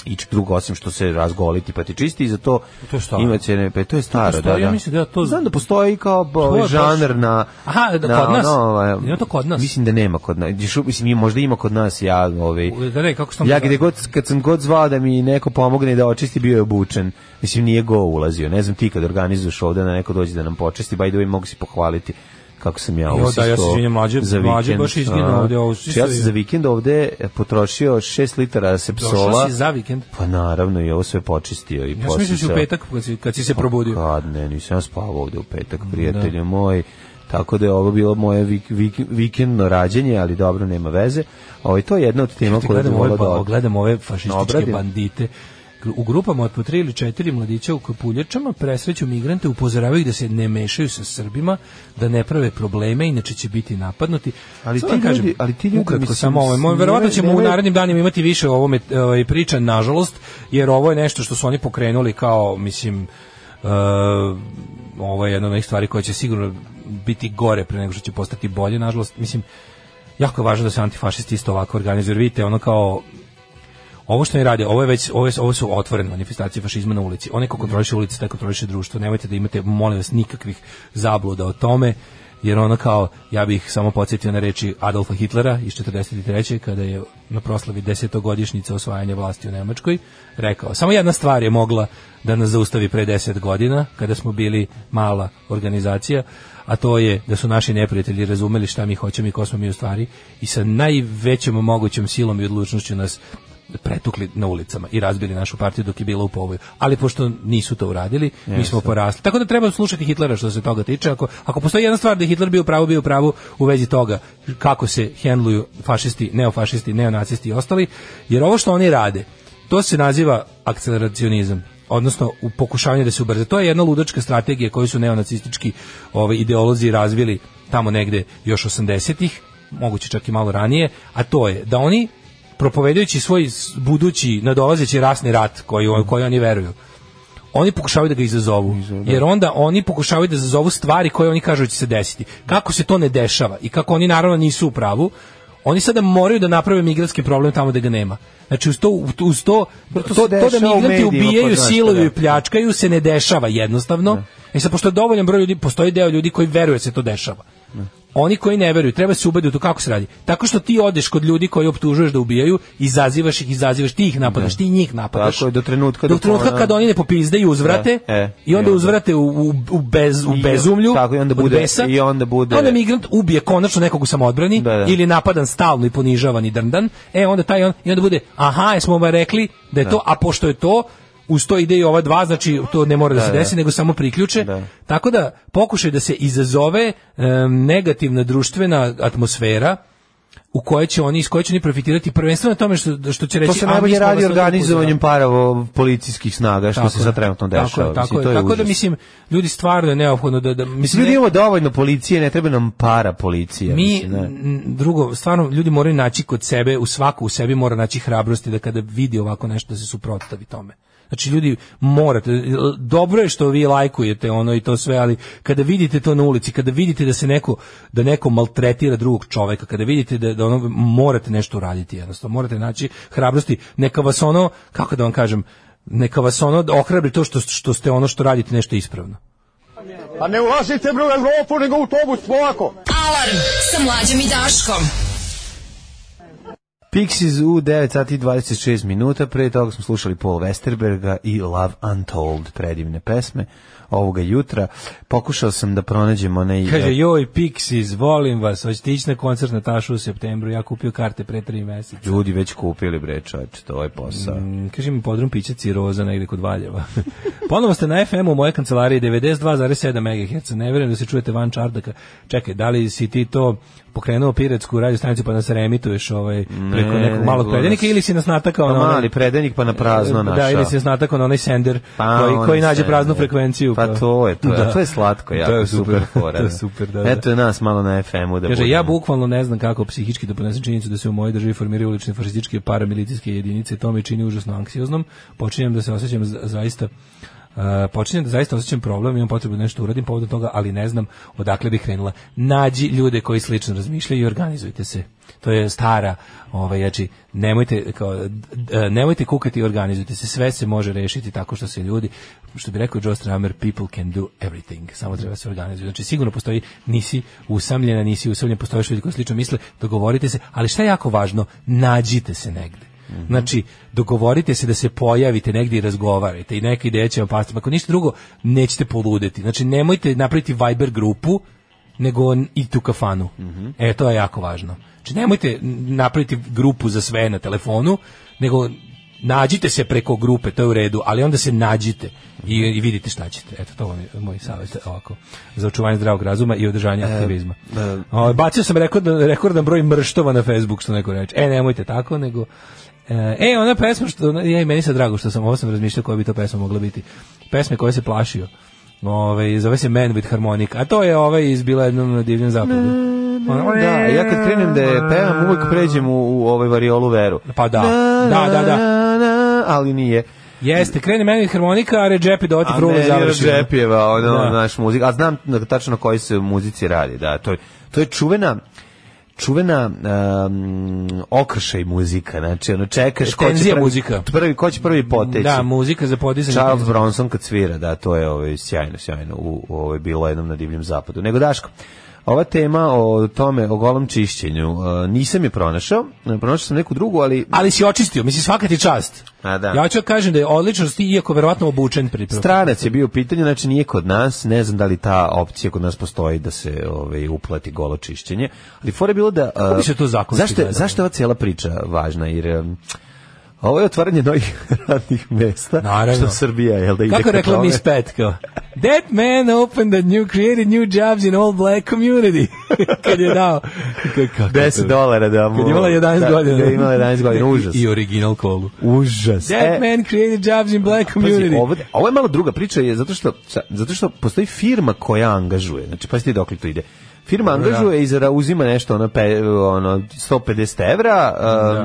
S6: ič drugo osim što se razgoliti pa ti čisti i za to,
S7: To je staro.
S6: ima cene, pa to je staro,
S7: postoji,
S6: da, da.
S7: ja mislim da to-
S6: Znam da postoji kao
S7: To je
S6: ovaj,
S7: baš-
S6: žanr na...
S7: Aha, da,
S6: na
S7: kod nas?
S6: ono, ovaj,
S7: Ima to kod nas?
S6: Mislim da nema kod nas, mislim ima- možda ima kod nas, ja ovaj,
S7: Da ne, kako sam
S6: ja gde god, kad sam god zvao da mi neko pomogne da očisti, bio je obučen. Mislim, nije go ulazio. Ne znam ti kad organizuješ ovde da neko dođe da nam počisti, by the way, mogu si pohvaliti kako sam ja
S7: Jo, da,
S6: usistao
S7: ja se izvinjam, mlađe-
S6: za
S7: mlađe
S6: vikend,
S7: baš izginuo
S6: a, Znači,
S7: ovde, ovo
S6: ja
S7: čisto
S6: sam
S7: je-
S6: za vikend ovde potrošio 6 litara sepsola.
S7: Došao si za vikend?
S6: Pa naravno, i ovo sve počistio. I
S7: Ja sam
S6: posle
S7: mislio da si u
S6: sa-
S7: petak kad si, kad si se probudio.
S6: Kad ne, nisam ja spavao ovde u petak, prijatelju moj. Tako da je ovo bilo moje vik, vik, vikendno rađenje, ali dobro, nema veze. Ovo, to je jedna od tema
S7: Ti
S6: koja
S7: gledam
S6: bi
S7: ove,
S6: volao
S7: ba,
S6: da...
S7: gledam ovaj pa, ove fašističke
S6: Obradim.
S7: bandite u grupama od po tri ili četiri mladića u kapuljačama presreću migrante, upozoravaju ih da se ne mešaju sa Srbima, da ne prave probleme, inače će biti napadnuti.
S6: Ali
S7: Sad
S6: ti
S7: vam kažem,
S6: ljudi- ali ti ljudi,
S7: ukratko
S6: mislim,
S7: samo ovo, moj,
S6: nemaju-
S7: verovatno ćemo u
S6: nemaju-
S7: narednim danima imati više o ovome ovaj, priča, nažalost, jer ovo je nešto što su oni pokrenuli kao, mislim, e, ovo je jedna od onih stvari koja će sigurno biti gore pre nego što će postati bolje, nažalost, mislim, jako je važno da se antifašisti isto ovako organizuju. jer Vidite, ono kao ovo što ne rade, ovo je već ovo, je- ovo su otvorene manifestacije fašizma na ulici. Onaj ko kontroliše ulicu, taj kontroliše društvo. Nemojte da imate molim vas nikakvih zabluda o tome jer ono kao ja bih samo podsjetio na reči Adolfa Hitlera iz 43. kada je na proslavi desetogodišnjice osvajanja vlasti u Nemačkoj rekao samo jedna stvar je mogla da nas zaustavi pre 10 godina kada smo bili mala organizacija a to je da su naši neprijatelji razumeli šta mi hoćemo i ko smo mi u stvari i sa najvećom mogućom silom i odlučnošću nas pretukli na ulicama i razbili našu partiju dok je bila u povoju. Ali pošto nisu to uradili, mi smo
S6: Jeste.
S7: porasli. Tako da treba slušati Hitlera što se toga tiče. Ako, ako postoji jedna stvar da je Hitler bio u pravu, bio u pravu u vezi toga kako se hendluju fašisti, neofašisti, neonacisti i ostali. Jer ovo što oni rade, to se naziva akceleracionizam odnosno u pokušavanje da se ubrza. To je jedna ludačka strategija koju su neonacistički ovaj, ideolozi razvili tamo negde još 80-ih, moguće čak i malo ranije, a to je da oni propovedajući svoj s- budući nadolazeći rasni rat koji, u koji oni veruju, oni pokušavaju da ga izazovu. Jer onda oni pokušavaju da izazovu stvari koje oni kažu da će se desiti. Kako se to ne dešava i kako oni naravno nisu u pravu, oni sada moraju da naprave migratski problem tamo da ga nema. Znači uz to, uz to,
S6: to se
S7: to, to da
S6: dešava u
S7: migranti
S6: medijima,
S7: ubijaju,
S6: pa znaš,
S7: siluju i
S6: da.
S7: pljačkaju se ne dešava jednostavno. E sad, pošto je dovoljan broj ljudi, postoji deo ljudi koji veruje da se to dešava. Oni koji ne veruju, treba se ubediti u to kako se radi. Tako što ti odeš kod ljudi koji optužuješ da ubijaju, izazivaš ih, izazivaš, ti ih napadaš, ti njih napadaš.
S6: Tako je, do trenutka
S7: Do
S6: dok
S7: trenutka
S6: ona-
S7: kad oni ne popizdaju, uzvrate
S6: E, e,
S7: i onda
S6: i onda-
S7: uzvrate u, u, u bez, u
S6: I-
S7: bezumlju.
S6: tako, i onda
S7: od
S6: bude-
S7: besa.
S6: i onda bude-
S7: Onda migrant ubije konačno nekog u samoodbrani
S6: da.
S7: ili je napadan stalno i ponižavan i drndan. E onda taj on i onda bude aha, jesmo vam rekli da je
S6: Da.
S7: to, a pošto je to uz to ide i ova dva, znači to ne mora da,
S6: Da,
S7: se
S6: da.
S7: desi, nego samo priključe. Tako da pokušaj da se izazove em, negativna društvena atmosfera u kojoj će oni iz koje će oni profitirati prvenstveno na tome što što će reći pa
S6: to se
S7: "A, mi
S6: najbolje
S7: smo vas
S6: radi
S7: na to upozoravali."
S6: organizovanjem paravo policijskih snaga, što
S7: Tako
S6: se
S7: je.
S6: sad trenutno
S7: Tako je,
S6: dešava.
S7: Tako,
S6: Mislim,
S7: je,
S6: to je
S7: tako da
S6: užas.
S7: mislim ljudi stvarno je neophodno da da mislim
S6: ljudi
S7: ne-
S6: imamo dovoljno policije, ne treba nam para policije.
S7: mi
S6: mislim, ne.
S7: n- drugo stvarno ljudi moraju naći kod sebe u svaku u sebi mora naći hrabrosti da kada vidi ovako nešto da se suprotstavi tome. Znači ljudi morate l- dobro je što vi lajkujete ono i to sve, ali kada vidite to na ulici, kada vidite da se neko da neko maltretira drugog čoveka, kada vidite da da ono morate nešto uraditi jednostavno, morate naći hrabrosti, neka vas ono kako da vam kažem, neka vas ono ohrabri to što što ste ono što radite nešto ispravno.
S15: Pa ne ulazite bre u Evropu, nego u autobus, polako.
S10: Alarm sa mlađom i Daškom.
S6: Pixies u 9 sati i 26 minuta, pre toga smo slušali Paul Westerberga i Love Untold, predivne pesme ovoga jutra. Pokušao sam da pronađem onaj...
S7: Kaže, joj, Pixies, volim vas, hoćete ići na koncert na Tašu u septembru, ja kupio karte pre tri meseca.
S6: Ljudi već kupili bre čoveče, to je posao.
S7: Mm, kaže mi podrum piće ciroza negde kod Valjeva. Ponovo ste na FM u moje kancelariji 92,7 MHz. Ne verujem da se čujete van čardaka. Čekaj, da li si ti to pokrenuo piretsku radio stanicu pa nas reemituješ ovaj, preko
S6: Ne,
S7: nekog
S6: ne,
S7: malog
S6: glas.
S7: predajnika ili si nas natakao
S6: Pa
S7: na onaj- E,
S6: mali predajnik pa na prazno našao.
S7: ono- Da, ili si nas natakao na onaj sender
S6: Pa,
S7: koji,
S6: onaj
S7: koji nađe
S6: sender.
S7: praznu frekvenciju.
S6: Pa to je, to je, to je slatko, jako
S7: To je
S6: super,
S7: super,
S6: fora,
S7: to je
S6: da.
S7: super, da, da.
S6: Eto nas malo na FM-u da
S7: Kaže,
S6: budemo.
S7: ja bukvalno ne znam kako psihički da podnesem činjenicu da se u mojoj državi formiraju ulične fašističke paramilicijske jedinice, to me čini užasno anksioznom, počinjem da se osjećam za- zaista Uh, počinjem da zaista osjećam problem, imam potrebu da nešto uradim povodom toga, ali ne znam odakle bih krenula. Nađi ljude koji slično razmišljaju i organizujte se. To je stara, ovaj, znači, nemojte, kao, d- d- e, nemojte kukati i organizujte se. Sve se može rešiti tako što se ljudi, što bi rekao Joe Stramer, people can do everything. Samo treba se organizovati. Znači, sigurno postoji, nisi usamljena, nisi usamljen, postoje ljudi koji slično misle, dogovorite se, ali šta je jako važno, nađite se negde. Znači, dogovorite se da se pojavite negdje i razgovarajte i neke ideje će vam pasti. Ako ništa drugo, nećete poludeti. Znači, nemojte napraviti Viber grupu nego i tu kafanu. E, to je jako važno. Znači, nemojte napraviti grupu za sve na telefonu, nego nađite se preko grupe, to je u redu, ali onda se nađite i, i vidite šta ćete. Eto, to vam je moj savjet ovako, za očuvanje zdravog razuma i održanje aktivizma. O, bacio sam rekordan, rekordan broj mrštova na Facebook, što neko reče. E, nemojte tako, nego... E, E, ona pesma što... Ja, i meni se drago što sam, ovo sam razmišljao koja bi to pesma mogla biti. Pesme koje se plašio. Ove, zove se Man with Harmonic, a to je ovaj iz bila jednom na divljem zapadu. Ono,
S6: Da, ja kad krenem da je pevam, uvek pređem u, u ovaj variolu veru.
S7: Pa da, da, da, da.
S6: ali nije.
S7: Jeste, krene meni harmonika, a Redžepi da oti
S6: A
S7: prule
S6: meni
S7: završi.
S6: Redžepijeva, ono,
S7: Da.
S6: naš muzik. A znam na- tačno na kojoj se muzici radi, da. To je, to je čuvena čuvena um, okršaj muzika, znači ono čekaš ko će
S7: Tenzija
S6: prvi,
S7: muzika.
S6: prvi, ko će prvi poteći.
S7: Da, muzika za podizanje.
S6: Charles Bronson kad svira, da, to je ovaj, sjajno, sjajno, u, u ovaj, bilo jednom na divljem zapadu. Nego Daško, ova tema o tome, o golom čišćenju, e, nisam je pronašao, e, pronašao sam neku drugu, ali...
S7: Ali si očistio, mislim, svaka ti čast.
S6: A, da.
S7: Ja ću da kažem da je odličnost, iako verovatno obučen pripravo.
S6: Stranac je bio u pitanju, znači nije kod nas, ne znam da li ta opcija kod nas postoji da se ovaj, uplati golo čišćenje, ali fora je bilo da... e,
S7: Kako bi se to zakonski
S6: zašto, je-
S7: gledalo?
S6: zašto je ova cijela priča važna, jer... em, Ovo je otvaranje novih radnih mesta.
S7: Naravno.
S6: Što Srbija, jel da ide
S7: Kako je
S6: ka
S7: rekla
S6: tome?
S7: Miss Pet, kao, That man opened a new, created new jobs in all black community. kad je dao. Ka- kako
S6: 10
S7: to?
S6: dolara da mu...
S7: Kad je imala 11
S6: da,
S7: godina.
S6: Da Pa je imala 11 godina, užas.
S7: I, i original kolu.
S6: Užas.
S7: That
S6: E,
S7: man created jobs in black community.
S6: Pazi, ovo, ovo je malo druga priča je zato što sa- zato što postoji firma koja angažuje. Znači pa ti dokle to ide. Firma
S7: Dobro,
S6: angažuje i zara uzima nešto ono, pe, ono 150 evra,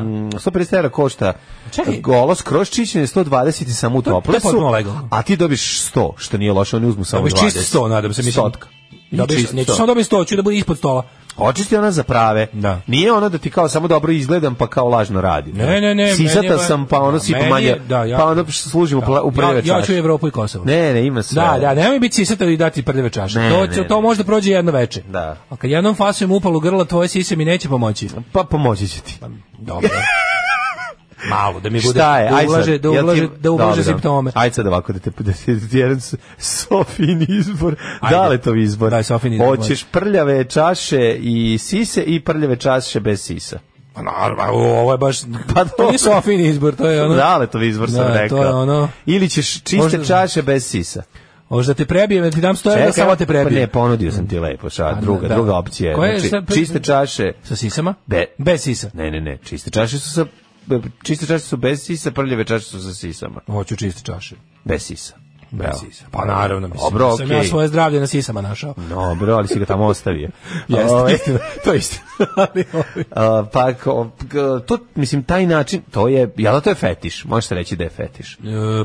S6: um, 150 evra košta
S7: Čekaj.
S6: golo skroz čišćenje 120 i samo u
S7: To- to je
S6: toplesu,
S7: potpuno legalno.
S6: a ti dobiš 100, što nije loše, oni uzmu samo
S7: Dobiš
S6: 20.
S7: čist 100, nadam se, mislim.
S6: Stotka. I
S7: Dobiješ-
S6: čist
S7: Neću
S6: 100.
S7: samo dobiti 100, ću da bude ispod stola.
S6: Očisti ona za prave.
S7: Da.
S6: Nije ono da ti kao samo dobro izgledam pa kao lažno radi.
S7: Ne, ne, ne, meni
S6: Sisata
S7: je-
S6: sam pa ono sipa
S7: meni je-
S6: manje.
S7: da, ja-
S6: pa onda služim u pla- u prve
S7: Ja, ja ću
S6: čaše.
S7: Evropu i Kosovo.
S6: Ne, ne, ima sve.
S7: Da, da, nemoj biti sisata i dati prdeve čaše.
S6: Ne,
S7: to,
S6: ne,
S7: će-
S6: ne.
S7: to možda prođe jedno veče.
S6: Da.
S7: A kad jednom fasujem upalu grla, tvoje sise mi neće pomoći.
S6: Pa pomoći će ti.
S7: Dobro. Malo, da mi bude,
S6: Šta je?
S7: da
S6: Ajde sad,
S7: ublaže, da
S6: jel ti-
S7: ublaže, da ublaže
S6: Dobro, dobro.
S7: simptome.
S6: Ajde sad ovako da te da ti da ti jedan s- Sofin izbor.
S7: Ajde.
S6: Dale to izbor.
S7: Daj, Sofin izbor,
S6: Hoćeš prljave čaše i sise i prljave čaše bez sisa.
S7: Pa naravno, ovo je baš,
S6: Pa
S7: to
S6: dobro.
S7: nije Sofin izbor, to je ono...
S6: Dale to izbor sam
S7: Da, to
S6: rekao.
S7: je ono-
S6: Ili ćeš čiste
S7: Možda-
S6: čaše bez sisa.
S7: Možda te prebijem, da ti dam 100 evra, samo te
S6: pa ne,
S7: prebijem.
S6: ponudio sam ti lepo, ša,
S7: da,
S6: druga,
S7: da.
S6: druga opcija. je,
S7: Koja je
S6: znači,
S7: sad-
S6: čiste čaše,
S7: Sa sisama?
S6: Be-
S7: Bez sisa.
S6: ne, ne, ne, čiste čaše su sa, čiste čaše su bez sisa, prljave čaše su sa sisama.
S7: Hoću čiste čaše.
S6: Bez sisa.
S7: Bez
S6: Evo.
S7: sisa. Pa naravno, mislim.
S6: Dobro,
S7: da sam ja
S6: okej.
S7: svoje zdravlje na sisama našao.
S6: Dobro, ali si ga tamo ostavio.
S7: Jeste,
S6: Ovaj,
S7: istina, to je istina. Ali ovaj-
S6: a, pa, ko- k- to, mislim, taj način, to je, jel da to je fetiš? Možeš reći da je fetiš.
S7: E,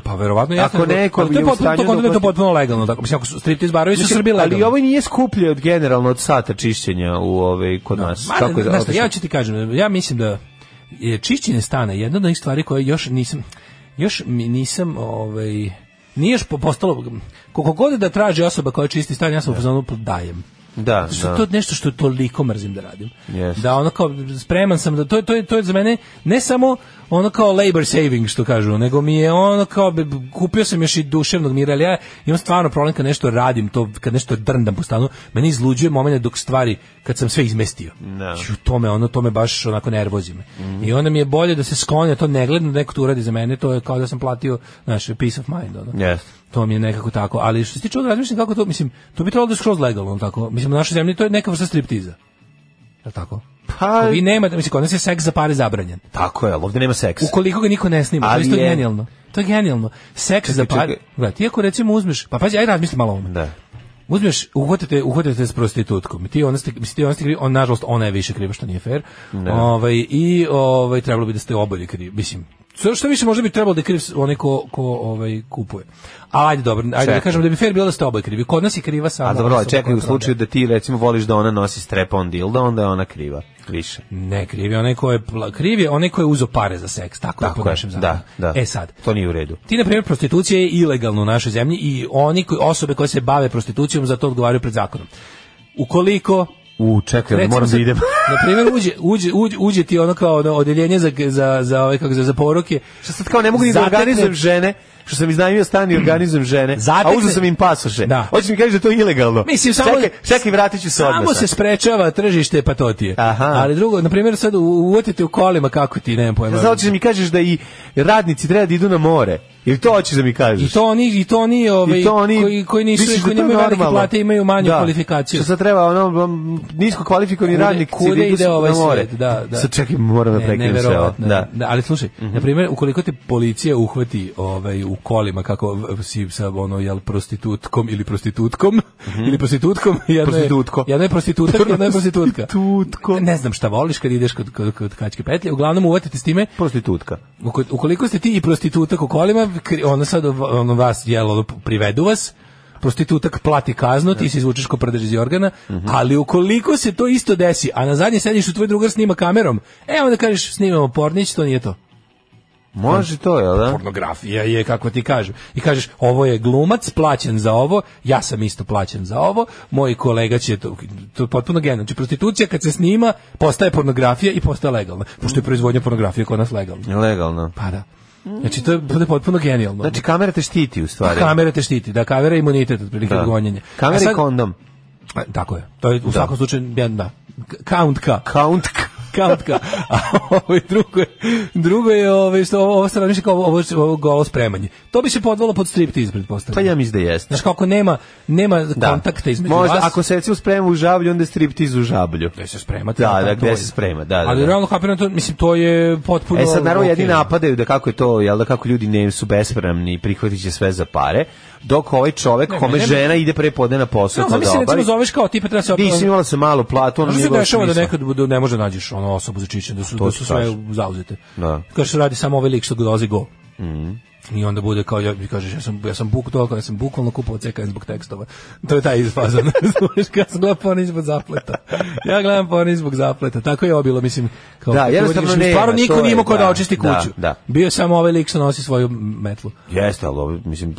S7: pa verovatno ja
S6: Ako neko
S7: to je
S6: je u
S7: potpuno, to,
S6: stanju
S7: kod
S6: da
S7: je to
S6: uplati-
S7: potpuno legalno tako mislim ako su striptiz barovi su u Srbiji legalni
S6: ali ovo nije skuplje od generalno od sata čišćenja u ovaj kod nas.
S7: Ma,
S6: Kako je
S7: znaš šta,
S6: otišlo?
S7: ja ću ti kažem, ja mislim da je čišćenje stana jedna od onih stvari koje još nisam, još mi nisam, ovaj, nije još po- postalo, koliko god da traži osoba koja čisti stan, ja sam u fazonu dajem.
S6: Da,
S7: Zato
S6: da.
S7: Što to je nešto što toliko mrzim da radim.
S6: Jeste.
S7: Da ono kao spreman sam da to je to je to je za mene ne samo ono kao labor saving što kažu, nego mi je ono kao bi- kupio sam još i duševnog mira, ali ja imam stvarno problem kad nešto radim, to kad nešto drndam po stanu, meni izluđuje momenat dok stvari kad sam sve izmestio.
S6: Da.
S7: Ću, to me ono to me baš onako nervozi me. I onda mi je bolje da se sklonja to ne gledam da neko to uradi za mene, to je kao da sam platio, znaš, peace of mind ono.
S6: Jeste.
S7: To mi je nekako tako, ali što se tiče ovog razmišljam kako to, mislim, to bi trebalo da je skroz legalno, tako. Mislim, u našoj zemlji to je neka vrsta striptiza. Jel tako?
S6: Pa,
S7: Vi nemate, mislim, kod nas je seks za pare zabranjen.
S6: tako je, ali ovdje nema seksa.
S7: Ukoliko ga niko ne snima, to je
S6: Ali
S7: isto
S6: je-
S7: genijalno. To je genijalno. Seks za pare.
S6: čekaj.
S7: Gledaj, ti ako recimo uzmeš, pa pazi, aj razmisli malo o ovome.
S6: Da.
S7: Uzmeš, uhvatite, uhvatite s prostitutkom. Ti ona ste, mislim, ti ona ste krivi, on, nažalost, ona je više kriva, što nije fair. Ovaj, I ovaj, trebalo bi da ste oboje krivi. Mislim, sve što više možda bi trebalo da je kriv s- onaj ko, ko ovaj, kupuje. A ajde, dobro, ajde da
S6: Čekaj.
S7: kažem da bi fair bilo da ste oboje krivi. Kod nas je kriva samo...
S6: A dobro,
S7: osoba
S6: ali čekaj
S7: koja
S6: u slučaju
S7: prodaje.
S6: da ti recimo voliš da ona nosi strep-on dildo, onda je ona kriva. Više.
S7: Ne, krivi, onaj ko je, pla- kriv je onaj ko je uzo pare za seks, tako, je po
S6: Tako je,
S7: našem zakonu.
S6: da, da.
S7: E sad,
S6: To nije u redu.
S7: Ti, na primjer, prostitucija je ilegalna u našoj zemlji i oni koji, osobe koje se bave prostitucijom za to odgovaraju pred zakonom. Ukoliko
S6: U, čekaj,
S7: Recimo
S6: moram da
S7: sad,
S6: idem.
S7: na primjer, uđe, uđe, uđe, uđe ti ono kao ono odeljenje za, za, za, ove, kako, za, za poroke.
S6: Što sad kao ne mogu ni da organizujem žene, što sam iznajmio stan i organizujem žene, a
S7: Zatekne-
S6: uzeo sam im pasoše.
S7: Da.
S6: Hoćeš mi kažeš da je to ilegalno?
S7: Mislim, samo-
S6: čekaj, čekaj, vratit ću se odmah.
S7: Samo se
S6: sad.
S7: sprečava tržište pa patotije. Ali drugo, na primjer, sad u- uvotite u kolima kako ti, nemam pojma.
S6: E, Sad hoćeš da mi kažeš da i radnici treba da idu na more. Ili to hoćeš da mi kažeš?
S7: I to oni i to oni ovaj
S6: I to oni-
S7: koji koji nisu
S6: misliš da
S7: koji
S6: to je
S7: nemaju velike
S6: normalno?
S7: plate imaju manju
S6: Da.
S7: kvalifikaciju.
S6: Što sad treba ono um, nisko kvalifikovani
S7: Kude-
S6: radnik
S7: kude
S6: da idu
S7: ide
S6: na
S7: ovaj
S6: more.
S7: svijet, da, da.
S6: Sad čekaj, moram da
S7: Ne,
S6: prekinem sve ovo.
S7: neverovatno je.
S6: Da. Mhm.
S7: Da, ali slušaj, na primjer, ukoliko te policija uhvati ovaj u kolima kako v- si sa ono jel prostitutkom ili prostitutkom ili prostitutkom, jedno je
S6: Mhm. Prostitutko.
S7: jedno je prostitutka, jedno je prostitutka. Ne znam šta voliš kad ideš kod kod, kod kačke petlje, uglavnom uvatite s time
S6: prostitutka.
S7: Ukoliko ste ti i prostitutak u kolima, kri- ono sad ov- ono vas jel ono, privedu vas prostitutak plati kaznu, ti se izvučeš ko prdež iz organa, ali ukoliko se to isto desi, a na zadnje sediš u tvoj drugar snima kamerom, e onda kažeš snimamo pornić, to nije to.
S6: Može to, jel da?
S7: Pornografija je, kako ti kažu. I kažeš, ovo je glumac, plaćen za ovo, ja sam isto plaćen za ovo, moj kolega će to, to je potpuno genijalno. Znači, prostitucija kad se snima, postaje pornografija i postaje legalna. Pošto je proizvodnja pornografije kod nas legalna.
S6: Legalno.
S7: Pa da. Znači, to je, to je potpuno genijalno.
S6: Znači kamera te štiti u stvari.
S7: Kamera te štiti, da, kamera je imunitet otprilike
S6: Da.
S7: od gonjenja.
S6: Kamera
S7: A
S6: i kondom.
S7: A, Tako je. To je u svakom slučaju jedan, da. K- Countka.
S6: Countka.
S7: Countka. A ovo je drugo je, drugo je ovaj, što ovo, ovo se razmišlja kao ovo, ovo, ovo golo spremanje. To bi se podvalo pod striptease,
S6: Pa
S7: pretpostavljam.
S6: ja mislim da jeste.
S7: Znaš, kako nema, nema kontakta između
S6: Možda
S7: vas.
S6: ako se recimo sprema u žablju, onda je striptiz u žablju.
S7: Gde se sprema?
S6: Da,
S7: to
S6: da,
S7: je-
S6: gde se sprema, da, da.
S7: Ali
S6: da.
S7: realno kapiram, to, mislim, to je potpuno...
S6: E sad naravno jedni
S7: okej.
S6: napadaju da kako je to, jel da kako ljudi ne su bespravni i prihvatit će sve za pare, dok ovaj čovek
S7: Ne,
S6: kome
S7: ne, ne.
S6: žena ide pre podne na posao
S7: No,
S6: kod
S7: zamisli,
S6: obari.
S7: recimo, zoveš kao tipa, treba se opet-
S6: Nisi imala se malu platu, ono
S7: Ono se
S6: nije
S7: dešava da
S6: smisla.
S7: nekad bude, ne može da nađeš ono osobu za čišćenje, da su,
S6: To
S7: da
S6: ti
S7: su sve
S6: kažem.
S7: zauzete.
S6: Da.
S7: Kaže se radi samo ovaj lik što dolazi gol.
S6: Mhm.
S7: I onda bude kao ja kažeš ja sam ja sam buk toliko, ja sam bukvalno kupovao CKN zbog tekstova. To je taj izfazan. Znaš kad sam gledao porno zbog zapleta. Ja gledam porno zbog zapleta. Tako je ovo bilo, mislim, kao
S6: Da, jednostavno
S7: Mislim,
S6: nema,
S7: stvarno
S6: to
S7: niko
S6: je,
S7: nije imao ko
S6: da,
S7: da očisti
S6: da,
S7: kuću.
S6: da.
S7: Bio je samo ovaj lik što nosi svoju metlu.
S6: Jeste, ali ovo, mislim,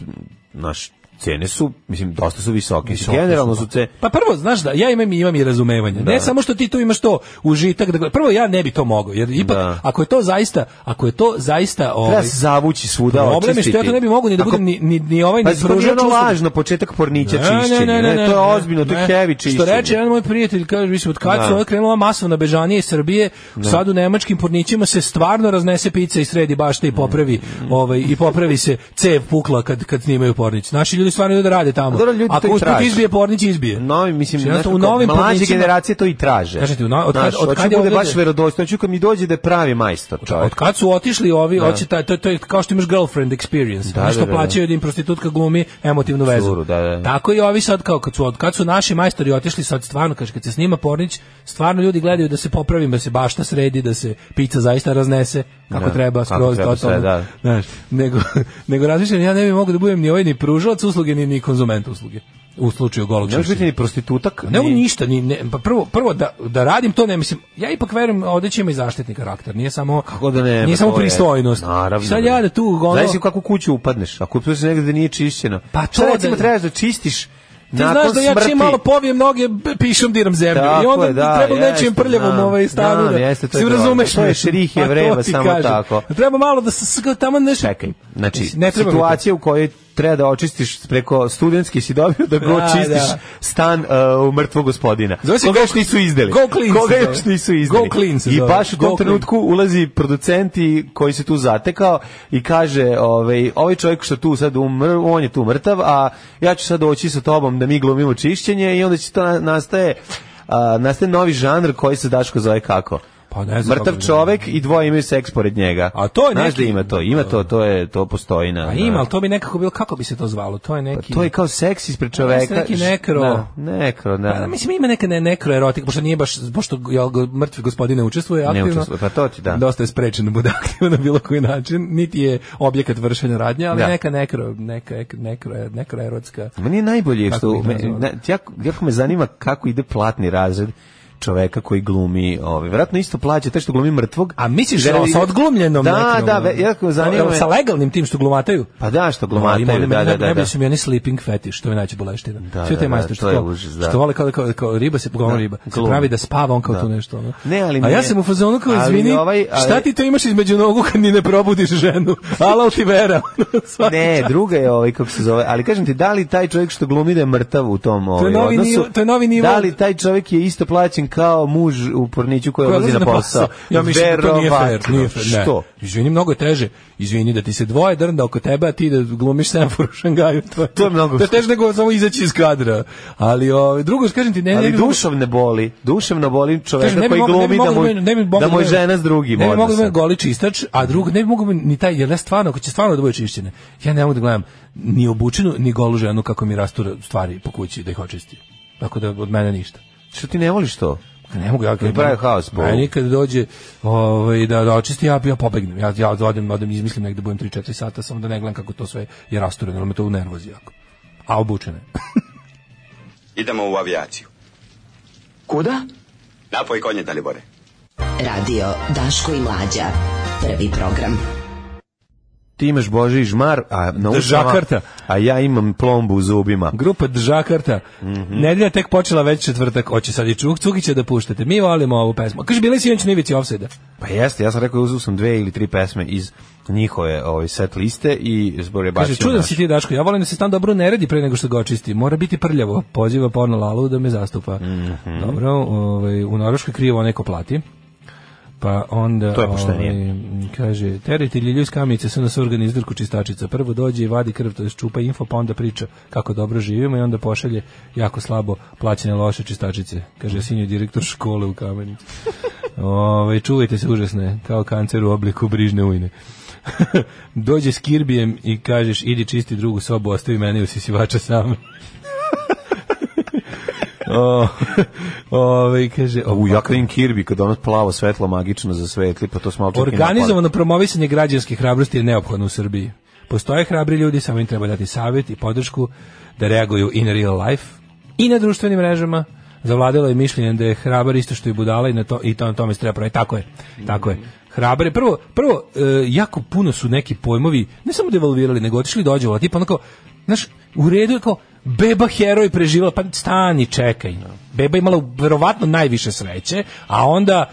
S6: naš cene su, mislim, dosta su visoke.
S7: Visoke
S6: Generalno
S7: su,
S6: su te...
S7: Pa prvo, znaš da, ja imam, i- imam i razumevanje.
S6: Da.
S7: Ne samo što ti tu imaš to užitak. Da, gledaš. prvo, ja ne bi to mogao. Jer ipak,
S6: Da.
S7: ako je to zaista, ako je to zaista...
S6: Treba
S7: Ovaj,
S6: se zavući svuda,
S7: problem je što ja to ne bi mogao ni da
S6: Ako-
S7: budem ni, ni, ni ovaj,
S6: Pa
S7: ni
S6: to nije
S7: pružač
S6: ono
S7: usluga.
S6: lažno, početak pornića
S7: Ne,
S6: čišćenja. Ne,
S7: ne, ne, ne,
S6: to je
S7: ne,
S6: ozbiljno, to je
S7: ne.
S6: heavy čišćenje.
S7: Što reče jedan moj prijatelj, kaže, više od kada
S6: Da.
S7: se ovo krenula masovna bežanija iz Srbije, sad u nemačkim pornićima se stvarno raznese pizza i sredi bašte i popravi, ovaj, i popravi se cev pukla kad, kad snimaju pornić. Naši ljudi stvarno idu da rade tamo.
S6: Dobro, ljudi to
S7: Ako
S6: i
S7: usput
S6: traže.
S7: izbije pornić, izbije.
S6: Novi, mislim,
S7: Znači,
S6: znaš
S7: u
S6: kako,
S7: novim
S6: mlađe
S7: pornićima-
S6: generacije to i traže.
S7: Kažem ti, u no- od kad-
S6: Znaš,
S7: od
S6: hoće
S7: kad je
S6: bude
S7: ovdje-
S6: baš verodostojno, hoću kad mi dođe da je pravi majstor, čovjek.
S7: Od kad su otišli ovi,
S6: Da.
S7: hoće taj, to, to je kao što imaš girlfriend experience,
S6: Da,
S7: da,
S6: da,
S7: što
S6: da, da.
S7: plaćaju da im prostitutka glumi emotivnu vezu.
S6: Curu, da, da.
S7: Tako i ovi sad kao kad su od kad su naši majstori otišli sad stvarno kaže kad se snima Pornić, stvarno ljudi gledaju da se popravi, da se bašta sredi, da se pica zaista raznese kako
S6: Da,
S7: treba
S6: kako
S7: skroz
S6: treba sve,
S7: totalno.
S6: da.
S7: Znaš, nego nego razmišljam ja ne bih mogao da budem ni ovaj ni pružalac usluge ni ni konzument usluge u slučaju golog
S6: Ne možeš
S7: čišćenja.
S6: biti ni prostitutak,
S7: Ne,
S6: ni-
S7: ni ništa, ni, ne, pa prvo, prvo da, da radim to, ne mislim, ja ipak verujem, ovdje će ima i zaštitni karakter, nije samo,
S6: Kako da ne?
S7: nije
S6: pa
S7: samo
S6: to je-
S7: pristojnost.
S6: Naravno.
S7: Sad ja da tu, ono,
S6: Znaš u kakvu kuću upadneš? Ako upadneš negde da nije čišćeno.
S7: Pa
S6: Šta
S7: to da-
S6: recimo trebaš da čistiš
S7: ti znaš
S6: nakon
S7: da ja
S6: smrti?
S7: čim malo povijem noge, b- pišem, diram zemlju.
S6: Tako
S7: I onda
S6: je, da,
S7: treba
S6: jeste,
S7: nečim prljavom
S6: znam,
S7: ovaj stanu.
S6: znam,
S7: da,
S6: jeste, to je
S7: si
S6: dobro.
S7: razumeš
S6: To je
S7: me.
S6: šerih je
S7: Pa to
S6: vreba,
S7: ti
S6: samo tako.
S7: Treba malo da se s- kao tamo nešto...
S6: Čekaj, znači,
S7: Ne treba mi to.
S6: situacija u kojoj treba da očistiš preko studentski si dobio da go
S7: Da,
S6: čistiš
S7: da.
S6: stan uh, u mrtvog gospodina.
S7: Zove se
S6: Koga
S7: Go-
S6: još nisu izdali.
S7: Go Clean se
S6: Koga
S7: zove.
S6: još nisu izdali.
S7: Go Clean se
S6: I
S7: zove.
S6: baš u
S7: Go
S6: tom
S7: Clean.
S6: trenutku ulazi producenti koji se tu zatekao i kaže ovaj, ovaj čovjek što tu sad umr, on je tu mrtav, a ja ću sad doći sa tobom da mi glumimo čišćenje i onda će to na- nastaje a, nastaje novi žanr koji se Daško zove kako?
S7: Pa ne znam
S6: Mrtav
S7: kako-
S6: čovek i dvoje imaju seks pored njega.
S7: A to je
S6: Znaš
S7: neki-
S6: da ima to, ima to, to je to postoji na.
S7: A Pa ima, ali to bi nekako bilo, kako bi se to zvalo? To je neki...
S6: Pa to je kao seks ispred
S7: Jeste
S6: čoveka.
S7: neki nekro.
S6: Da, nekro, da.
S7: Pa, mislim ima neka ne, nekroerotika, pošto nije baš pošto jel, go- mrtvi gospodine učestvuje aktivno.
S6: učestvuje, pa to ti da.
S7: Dosta je sprečen da bude aktivan na bilo koji način, niti je objekat vršenja radnje, ali
S6: Da.
S7: neka nekro neka ek- nekro nekroerotska.
S6: Meni je najbolje
S7: Kako
S6: što
S7: ih
S6: me,
S7: nazvao?
S6: na- jako, jako me zanima kako ide platni razred čoveka koji glumi, ovaj verovatno isto plaća taj što glumi mrtvog.
S7: A misliš da sa odglumljenom
S6: Da,
S7: nekom,
S6: da, ve- jako me zanima
S7: Sa
S6: me-
S7: legalnim tim što glumataju?
S6: Pa da, što
S7: Ali
S6: glumataju,
S7: molim,
S6: da, da, da,
S7: najbolje
S6: da.
S7: su mi oni sleeping fetish, to je najče boleština.
S6: Da,
S7: Sve
S6: da,
S7: te
S6: da,
S7: majstori što,
S6: to je
S7: kao-
S6: užas, da.
S7: što vole kao, kao, kao riba se pogona
S6: Da,
S7: riba. Se
S6: glumi.
S7: pravi da spava on kao
S6: Da.
S7: tu nešto. Ono.
S6: Ne, ali
S7: A ja
S6: nije-
S7: sam u fazonu kao,
S6: ali
S7: izvini,
S6: ovaj- ali-
S7: šta ti to imaš između nogu kad ni ne probudiš ženu? Ala ti vera. ono, Svaki
S6: Ne, druga je ovaj kako se zove, ali kažem ti da li taj čovjek što glumi da je mrtav u tom
S7: To je
S6: ovaj
S7: novi
S6: odnosu?
S7: nivo, to je novi nivo.
S6: Da li taj čovjek je isto plaćen kao muž u porniću koji
S7: Koja
S6: odlazi na posao?
S7: Ja mislim da to nije fair,
S6: Verovatno.
S7: nije fair. Ne.
S6: Što?
S7: Izvini, mnogo je teže. Izvini da ti se dvoje drnda oko tebe, a ti da glumiš semafor u Šangaju. To,
S6: To je mnogo-
S7: To je teže nego samo izaći iz kadra. Ali o, drugo, kažem ti, ne, ne
S6: Ali
S7: bi mogo-
S6: duševne boli, duševno boli
S7: Kažem,
S6: čovjeka
S7: ne bi
S6: koji
S7: mogao- ne bi
S6: glumi da
S7: mogao
S6: mu
S7: meni- ne bi mogao
S6: da mu je
S7: meni-
S6: žena s drugim
S7: Ne bi mogao da
S6: odnosa.
S7: meni goli čistač, a drugo, ne bi mogao ni taj, jer ja stvarno, ako će stvarno da bude čišćene, ja ne mogu da gledam ni obučenu, ni golu ženu kako mi rastura stvari po kući da ih očisti. Tako da od mene ništa. Pa
S6: Što ti ne voliš to?
S7: Ne mogu ja
S6: Ne pravi haos po-
S7: Meni kad dođe ovaj da da očisti ja ja pobegnem. Ja ja odem odem izmislim negde budem 3 4 sata samo da ne gledam kako to sve je rastureno, jer me to unervozi jako. A obučene.
S16: Idemo u avijaciju. Kuda? Napoj konje, Dalibore.
S12: Radio Daško i Mlađa. Prvi program.
S6: Ti imaš Boži i žmar, a na ušama,
S7: Žakarta.
S6: a ja imam plombu u zubima.
S7: Grupa Džakarta. Nedelja tek počela već četvrtak. Hoće sad i Čuk Cukića da puštate. Mi volimo ovu pesmu. Kaže bili sinoć na ivici ofsajda.
S6: Pa jeste, ja sam rekao uzeo sam dve ili tri pesme iz njihove ovaj set liste i zbog je
S7: Kaže
S6: bacio
S7: čudan
S6: naš.
S7: si ti Daško. Ja volim da se stan dobro ne radi pre nego što ga očisti. Mora biti prljavo. Poziva porno Lalu da me zastupa. Dobro, ovaj u Norveškoj krivo neko plati. Pa onda
S6: To je poštenije.
S7: ovaj, m, kaže teritelji ljus kamice su nas organ izdrku čistačica. Prvo dođe i vadi krv, to je čupa info, pa onda priča kako dobro živimo i onda pošalje jako slabo plaćene loše čistačice. Kaže sinjo direktor škole u Kamenici. Ovaj čuvajte se užasne, kao kancer u obliku brižne ujne. Dođe s kirbijem i kažeš idi čisti drugu sobu, ostavi mene u sisivača sam. o, ovaj, kaže,
S6: U Jakrin Kirby, kada ono plavo svetlo magično zasvetli, pa to smo malo čak i napali.
S7: Organizovano promovisanje građanske hrabrosti je neophodno u Srbiji. Postoje hrabri ljudi, samo im treba dati savjet i podršku da reaguju in real life i na društvenim mrežama. Zavladalo je mišljenje da je hrabar isto što i budala i, na to, i to na tome se treba praviti. Tako je, tako je. Hrabar je. Prvo, prvo e, jako puno su neki pojmovi, ne samo devalvirali, nego otišli do ođevola. Tipa ono kao, znaš, u redu je kao, beba heroj preživjela, pa stani, čekaj. Beba je imala verovatno najviše sreće, a onda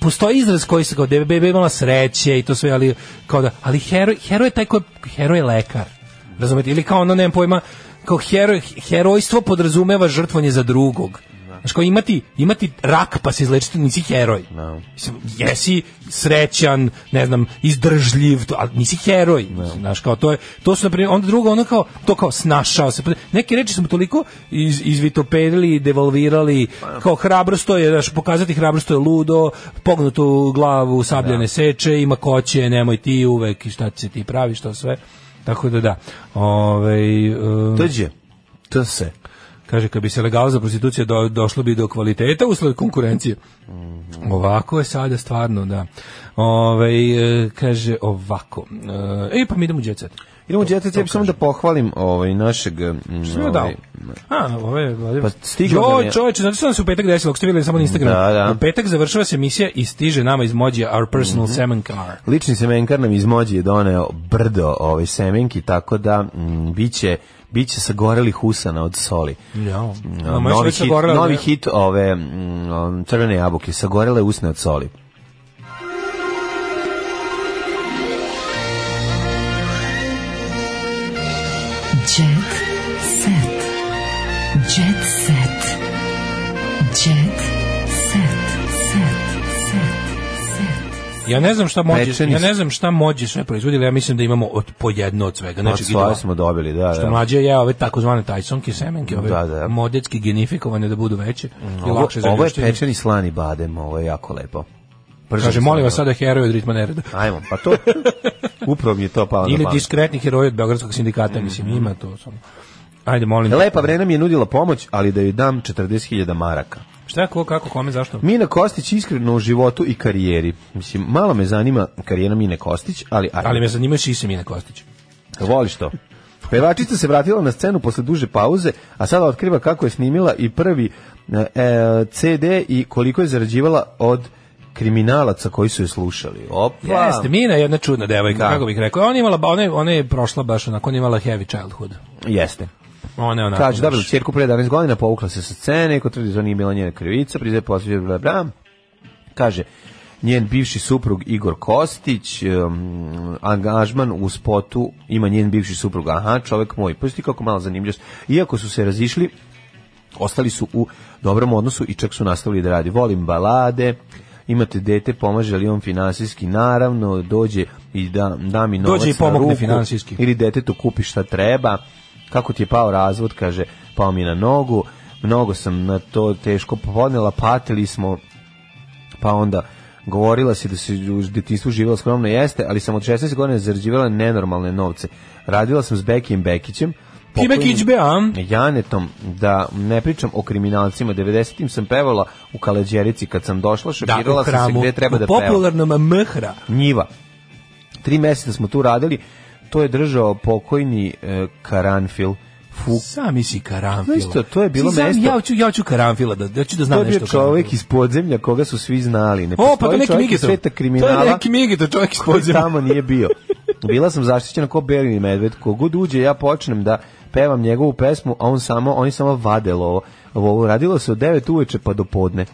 S7: postoji izraz koji se kao da je beba imala sreće i to sve, ali kao da, ali heroj, heroj je taj koji, heroj je lekar. Razumete? Ili kao ono, nemam pojma, kao heroj, herojstvo podrazumeva žrtvanje za drugog. Znaš, kao imati, imati rak pa se izlečiti, nisi heroj. Mislim, jesi srećan, ne znam, izdržljiv, to, ali nisi heroj. Znaš, kao to je, to su, na primjer, onda drugo, ono kao, to kao snašao se. Neke reči smo toliko iz, izvitopedili, devalvirali, kao hrabrost to je, znaš, pokazati hrabrost to je ludo, pognutu glavu, sabljene seče, ima koće, nemoj ti uvek, i šta ti se ti praviš, to sve. Tako da da. Ovaj um,
S6: Dođe. To se.
S7: Kaže, kad bi se legal za prostitucija do, došlo bi do kvaliteta usled konkurencije.
S6: Mhm.
S7: Ovako je sada stvarno, da. Ovaj e, kaže, ovako. E, e, pa mi idemo u djecet.
S6: Idemo u Jet Set, ja bih samo da pohvalim ovaj, našeg... mm,
S7: Što je dao?
S6: ovaj,
S7: A, ove, ove.
S6: Pa stiglo nam
S7: Jo,
S6: je-
S7: čoveče, znate što nam se u petak desilo, ako ste vidjeli samo na Instagramu.
S6: Da, da.
S7: U petak završava se emisija i stiže nama iz mođija Our Personal
S6: Mhm.
S7: Semen Car.
S6: Lični semenkar nam iz Mođe je doneo brdo ovaj semenki, tako da mm, biće biće sagorelih usana od soli.
S7: Ja.
S6: Mm,
S7: A, moja
S6: novi
S7: sreća
S6: hit,
S7: gorela,
S6: novi
S7: ne?
S6: hit ove mm, um, crvene jabuke, sagorele usne od soli.
S3: Jet set. Jet set. Jet set. Set. Set. Set.
S7: Ja ne znam šta mođe,
S6: Pečeni
S7: ja
S6: s-
S7: ne znam šta mođe sve proizvodi, ali ja mislim da imamo od po jedno od svega. Znači,
S6: Od svoje Pa smo dobili, da,
S7: Što
S6: da.
S7: mlađe ja ove takozvane tajsonke semenke, ove
S6: Da, da.
S7: modetski genifikovane da budu veće i
S6: Ovo,
S7: lakše za
S6: ovo je
S7: ljuštenje.
S6: pečeni slani badem, ovo je jako lepo. Pržen
S7: Kaže, molim vas
S6: slani
S7: sada heroj od ritma nereda.
S6: badem. Ajmo, pa to, upravo mi je to palo
S7: Ili
S6: na pamet.
S7: diskretni heroj od Beogradskog sindikata,
S6: Mm-hmm.
S7: mislim, ima to. samo. Ajde, molim.
S6: Lepa vrena mi je nudila pomoć, ali da joj dam 40.000 maraka.
S7: Šta, ko, kako, kome, zašto?
S6: Mina Kostić iskreno u životu i karijeri. Mislim, malo me zanima karijera Mine Kostić, ali... ajde.
S7: Ali me zanimaju šise Mine Kostić.
S6: Voliš to? Pevačica se vratila na scenu posle duže pauze, a sada otkriva kako je snimila i prvi e, e, CD i koliko je zarađivala od kriminalaca koji su je slušali. Opa.
S7: Jeste, Mina je jedna čudna devojka,
S6: Pa. Da.
S7: kako bih rekao. Ona je imala, ba- ona je, ona je prošla baš onako, ona je imala heavy childhood.
S6: Jeste.
S7: Ona je onako.
S6: Kaže, dobro,
S7: baš-
S6: čerku pre 11 godina povukla se sa scene, ko tvrdi da to nije bila njena krivica, priznaje posveđa, bla, bla. Kaže, njen bivši suprug Igor Kostić, um, angažman u spotu ima njen bivši suprug, aha, čovek moj, pusti kako malo zanimljivost. Iako su se razišli, ostali su u dobrom odnosu i čak su nastavili da radi. Volim balade, imate dete, pomaže li on finansijski, naravno, dođe i da, da mi novac
S7: Dođe i
S6: na
S7: pomogne
S6: ruku,
S7: finansijski.
S6: Ili detetu kupi šta treba, kako ti je pao razvod, kaže, pao mi je na nogu, mnogo sam na to teško podnela, patili smo, pa onda govorila si da se u detinjstvu živjela skromno jeste, ali sam od 16 godina zarađivala nenormalne novce. Radila sam s Bekijem Bekićem,
S7: Ti Bekić be, a?
S6: Janetom, da ne pričam o kriminalcima, 90-im sam pevala u Kaleđerici kad sam došla,
S7: Da, u
S6: šokirala sam se
S7: hramu.
S6: gde treba
S7: u
S6: da pevam.
S7: popularnom mhra.
S6: Njiva. Tri meseca smo tu radili, to je držao pokojni e, Karanfil. Fu...
S7: Sami si Karanfil.
S6: Znaš što, to je bilo
S7: Si sam-
S6: mesto...
S7: Ja ću, ja ću karanfila, da, ja ću da znam
S6: To je bio
S7: nešto. o
S6: čovjek iz podzemlja koga su svi znali. Ne
S7: O, pa to
S6: postoji
S7: neki
S6: čovjek iz
S7: Migitov.
S6: sveta
S7: To je
S6: kriminala.
S7: neki Migitov, čovjek iz
S6: koji
S7: podzemlja.
S6: tamo nije bio. Bila sam zaštićena ko Berni medved. Kogod uđe, ja počnem da pevam njegovu pesmu, a on samo, oni samo vade lovo. Ovo radilo se od 9 uveče pa do podne.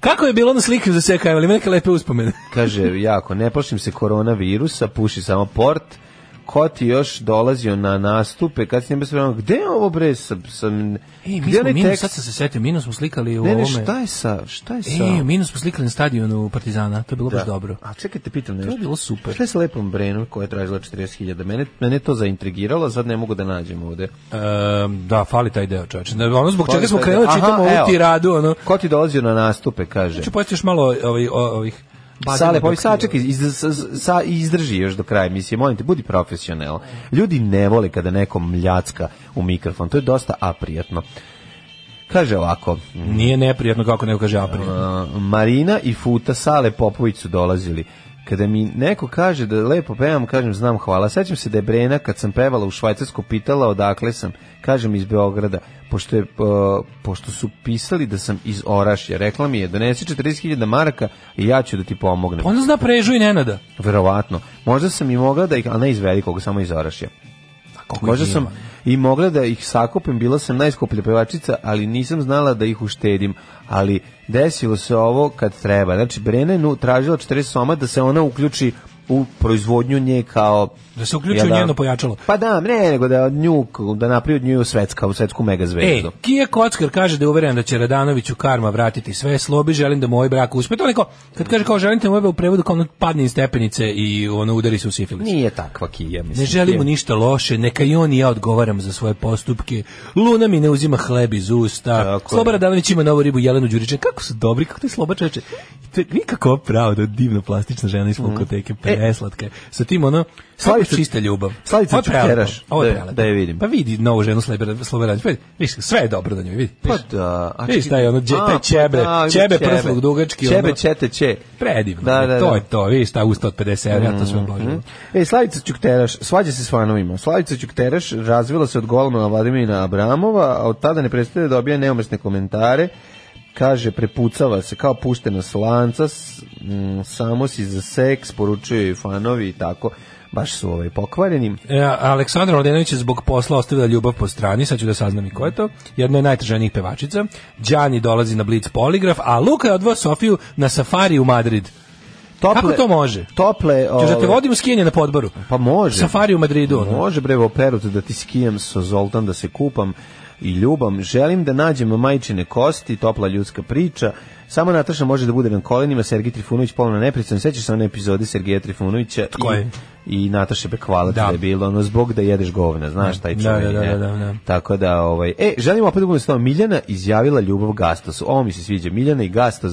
S7: Kako je bilo na slike za sve kajvali? Ima neke lepe uspomene.
S6: Kaže, jako, ne plašim se koronavirusa, puši samo port. Ko ti još dolazio na nastupe, kad s njim bez vremena, ono, gde je ovo bre? Sam, sam,
S7: E, mi
S6: gde je
S7: smo
S6: onaj
S7: minus,
S6: tekst?
S7: sad sam se setio, minus smo slikali u
S6: Ne, ne,
S7: ovome.
S6: šta je sa, šta je sa?
S7: E, minus smo slikali na stadionu Partizana, to je bilo
S6: Da.
S7: baš dobro.
S6: A čekajte, pitam nešto.
S7: To je bilo super.
S6: Šta je sa lepom brenom koja je tražila 40.000? Mene, mene je to zaintrigiralo, sad ne mogu da nađem ovde.
S7: Ehm, da, fali taj deo, čoveče. Da, Ono zbog čega
S6: Fali
S7: smo
S6: taj
S7: krenuli
S6: deo.
S7: čitamo
S6: Aha,
S7: ovu
S6: evo.
S7: tiradu, ono.
S6: Ko ti dolazio na nastupe, kaže?
S7: Znači, postojiš malo ovih... ovih
S6: Sale,
S7: bazenog-
S6: pa sad čekaj, iz, sa, sa, izdrži još do kraja emisije, molim te, budi profesional. Ljudi ne vole kada neko mljacka u mikrofon, to je dosta aprijatno. Kaže ovako,
S7: Nije neprijatno kako neko kaže apri.
S6: Uh, Marina i Futa Sale Popović su dolazili. Kada mi neko kaže da lepo pevam, kažem znam hvala. Sećam se da je Brena kad sam pevala u Švajcarsku pitala odakle sam. Kažem iz Beograda, pošto, je, uh, pošto su pisali da sam iz Orašja. Rekla mi je, donesi 40.000 maraka i ja ću da ti pomognem.
S7: Ona zna prežu i nenada.
S6: Verovatno. Možda sam i mogla da ih, ali ne iz velikog, samo iz Orašja. Možda
S7: ih
S6: sam
S7: ima?
S6: i mogla da ih sakupim, bila sam najskuplja pevačica, ali nisam znala da ih uštedim. Ali desilo se ovo kad treba. Znači, Brena je nu, tražila 40 soma da se ona uključi u proizvodnju nje kao...
S7: Da se uključi
S6: Jel
S7: u
S6: da?
S7: njeno pojačalo.
S6: Pa da, ne, nego da nju, da napravi od nju svetska, u svetsku megazvezdu.
S7: E, Kije Kockar kaže da je uveren da će Radanoviću karma vratiti sve slobi, želim da moj brak uspe. To neko, kad kaže kao želite moj brak u prevodu, kao ono padne iz stepenice i ono udari se u sifilis.
S6: Nije takva kija, mislim.
S7: Ne želimo
S6: Kija.
S7: ništa loše, neka i on i ja odgovaram za svoje postupke. Luna mi ne uzima hleb iz usta.
S6: Tako
S7: Sloba
S6: je.
S7: Radanović ima novu ribu Jelenu Đuričan. Kako su dobri, kako te Sloba čoveče. I to je nikako pravo da divna plastična žena iz Funkoteke, preslatka. je. Sa tim ono,
S6: Mhm. E. Slavica-
S7: Slavica, čista ljubav.
S6: Slavica
S7: Ovo je prelepo,
S6: Čukeraš,
S7: Ovo je
S6: da-
S7: prelepo.
S6: da je vidim.
S7: Pa vidi novu ženu Sloba Sloba Radanović. Vidiš, sve je dobro na njoj, vidi.
S6: Pa
S7: Vidiš.
S6: da, a
S7: Vidiš
S6: čekaj-
S7: taj ono, dje-
S6: A,
S7: taj
S6: pa
S7: ćebe,
S6: da,
S7: ćebe prsluk dugački.
S6: Ćebe,
S7: ono.
S6: ćete, će.
S7: Predivno.
S6: Da, da,
S7: To
S6: da.
S7: je to, vidiš, ta usta od 50 evra, ja to sve obožavam.
S6: E, Slavica Ćukteraš, svađa se s fanovima. Slavica Ćukteraš razvila se od golmana Vladimira Abramova, a od tada ne prestaje da dobija neumesne komentare. Kaže, prepucava se kao puštena slanca, s, mm, samo si za seks, poručuju i fanovi i tako. Baš su ovaj pokvareni.
S7: E, Aleksandra Mladenović je zbog posla ostavila ljubav po strani, sad ću da saznam i ko je to. Jedna je najtraženijih pevačica. Đani dolazi na Blitz poligraf, a Luka je odveo Sofiju na safari u Madrid. Kako to može?
S6: Tople,
S7: Češ da te
S6: ovaj,
S7: vodim u skijenje na podboru?
S6: Pa može.
S7: Safari u Madridu. ono.
S6: Može bre u Perutu da ti skijem sa Zoltan da se kupam i ljubam. Želim da nađem majčine kosti, topla ljudska priča. Samo Nataša može da bude na kolenima, Sergij Trifunović polno nepricom. Sećaš se one epizode Sergeja Trifunovića
S7: Tko je?
S6: i, i Nataše Bekvalac da.
S7: Da.
S6: je bilo, ono zbog da jedeš govna, znaš taj
S7: Da,
S6: čuveni,
S7: da, da,
S6: ne?
S7: da, da, da.
S6: Tako da, ovaj, e, želim opet da budem s tobom. Miljana izjavila ljubav Gastosu. Ovo mi se sviđa, Miljana i Gastos.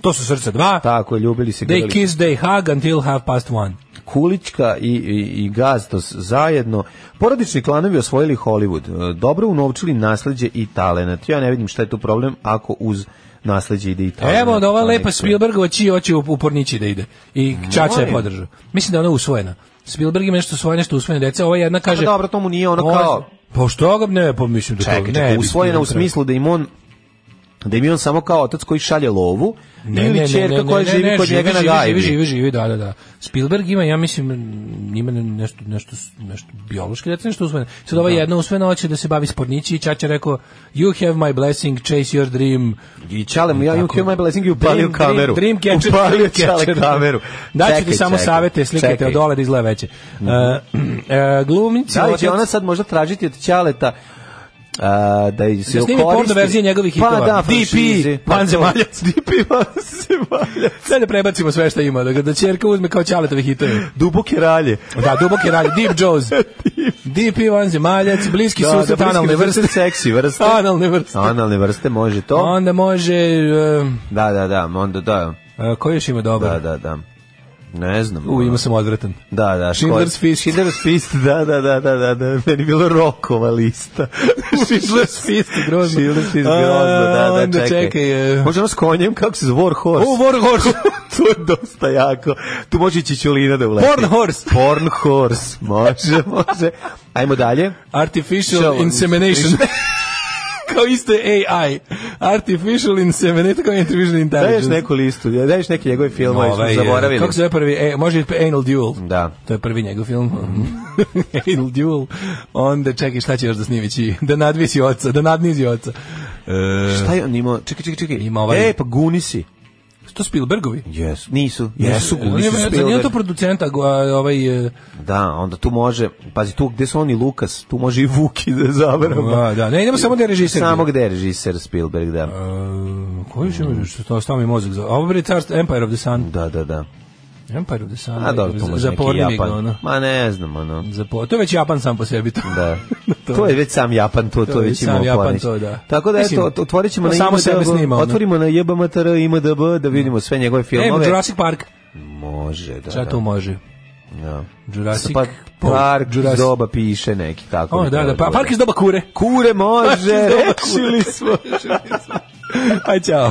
S7: To su srca dva.
S6: Tako je, ljubili se.
S7: They
S6: grlili se.
S7: kiss, they hug until half past one.
S6: Kulićka i, i, i Gazdos zajedno. Porodični klanovi osvojili Hollywood. E, Dobro unovčili nasleđe i talenat. Ja ne vidim šta je tu problem ako uz nasleđe ide i Pa to.
S7: Evo,
S6: znaš,
S7: od ova
S6: to
S7: lepa
S6: neko-
S7: Spielbergova čiji oči u u pornići da ide. I Čača je
S6: Molim.
S7: podržao. Mislim da je ona usvojena. Spielberg ima nešto usvojeno, nešto usvojeno dece. Ova jedna kaže...
S6: Pa dobro, to mu nije ono kao-
S7: Pa što ga ne, pa mislim da to-
S6: Čekaj,
S7: ne
S6: čekaj,
S7: bi
S6: usvojena u
S7: Spielberg.
S6: smislu da im on da im je on samo kao otac koji šalje lovu
S7: Ne, ne,
S6: ili
S7: ne, ne,
S6: čerka
S7: ne,
S6: koja
S7: ne,
S6: živi
S7: ne,
S6: kod
S7: živi,
S6: njega na
S7: živi,
S6: gajbi.
S7: Živi, živi, živi, da, da, da. Spielberg ima, ja mislim, ima nešto, nešto, nešto biološki dete, nešto usvojeno. Sad ova jedna usvojena hoće da se bavi spornići i Čača rekao, you have my blessing, chase your dream.
S6: I čale mu, ja imam pa Kill My Blessing i upalio
S7: Dream, dream,
S6: kameru.
S7: Dream catcher,
S6: Upalio
S7: dream
S6: čale
S7: catcher.
S6: kameru.
S7: Daću ti
S6: Čekaj,
S7: samo
S6: čekaj,
S7: savete, slikajte
S6: čekaj. Mhm.
S7: od dole da izgleda veće. Uh, uh, glumnici...
S6: Da li će
S7: otac-
S6: ona sad možda tražiti od Ćaleta a, da ih se
S7: Da snimi
S6: okoristi?
S7: porno verzije njegovih hitova.
S6: Pa da, franšize.
S7: DP, Vanzemaljac. DP, Vanzemaljac. Sad da prebacimo sve što ima, da, ga- da čerka uzme kao čaletove hitove.
S6: Duboke ralje.
S7: Da, duboke ralje, Deep Jaws. DP, Vanzemaljac, bliski
S6: Da,
S7: da,
S6: da,
S7: susret,
S6: bliski
S7: analne
S6: susret,
S7: vrste.
S6: seksi vrste.
S7: Analne vrste.
S6: Analne vrste, može to.
S7: Onda može... um,
S6: Da, da, da, onda da.
S7: Uh, koji još ima dobar?
S6: Da, da, da. Ne znam. ono.
S7: U, ima sam odvratan.
S6: Da, da.
S7: Schindler's Fist.
S6: Schindler's Fist, da, da, da, da, da, da. Meni je bilo rokova lista.
S7: Schindler's Fist, grozno.
S6: Schindler's Fist, grozno, da, da,
S7: Onda
S6: čekaj.
S7: čekaj, e.
S6: Može ono s konjem, kako se zove, War Horse.
S7: U, War Horse.
S6: to je dosta jako. Tu može i Čičulina da uleti.
S7: Porn Horse.
S6: Porn Horse, može, može. Ajmo dalje.
S7: Artificial
S6: Shall-
S7: insemination. kao isto je AI. Artificial insemination, kao artificial
S6: Daješ
S7: intelligence.
S6: neku listu, daješ neke njegove filmove,
S7: Ovaj,
S6: smo zaboravili.
S7: Kako se zove prvi? E, može i Anal Duel.
S6: Da.
S7: To je prvi njegov film.
S6: Mhm.
S7: Anal Duel. Onda čekaj, šta će još da snimići? Da nadvisi oca, da nadnizi oca.
S6: Šta je on imao? Čekaj, čekaj, čekaj.
S7: E, Ima ovaj-
S6: E, pa Gunisi.
S7: To Spielbergovi?
S6: Jesu. Nisu. Jesu,
S7: On
S6: Gunisi.
S7: je- za njega
S6: Spielberg.
S7: to producenta, go- a, ovaj... e,
S6: Da, onda tu može, pazi, tu gde su oni Lukas, tu može i Vuki da zabrama.
S7: a, Da, ne idemo samo da je režiser.
S6: Samo gde je režiser Spielberg, da.
S7: E, Koji još ima što to stavi mozak za... Ovo je carstvo Empire of the Sun.
S6: Da, da, da.
S7: Empire of the Sun.
S6: A dobro, tu
S7: za-
S6: može
S7: za
S6: neki
S7: pornimi ga,
S6: Japan.
S7: ono.
S6: Ma ne znam, ono.
S7: Za po- To je već Japan sam po sebi to.
S6: Da. To je već sam Japan, to, to
S7: je
S6: već
S7: sam
S6: imamo
S7: Japan,
S6: planić.
S7: to da.
S6: Tako da,
S7: Mislim,
S6: eto, ot- otvorit ćemo
S7: to
S6: na
S7: samo sebe
S6: IMDb,
S7: snima, ono.
S6: otvorimo na jebamtr IMDB, da vidimo sve njegove
S7: E,
S6: filmove.
S7: Jurassic Park.
S6: Može, da.
S7: Šta
S6: da.
S7: tu može?
S6: Da.
S7: Jurassic
S6: Pa,
S7: Park.
S6: park
S7: Jurassic-
S6: iz doba piše neki, tako.
S7: O,
S6: bi
S7: da, da,
S6: trebalo
S7: pa,
S6: bude.
S7: park iz doba kure.
S6: Kure može, rešili smo.
S7: Aj, čao.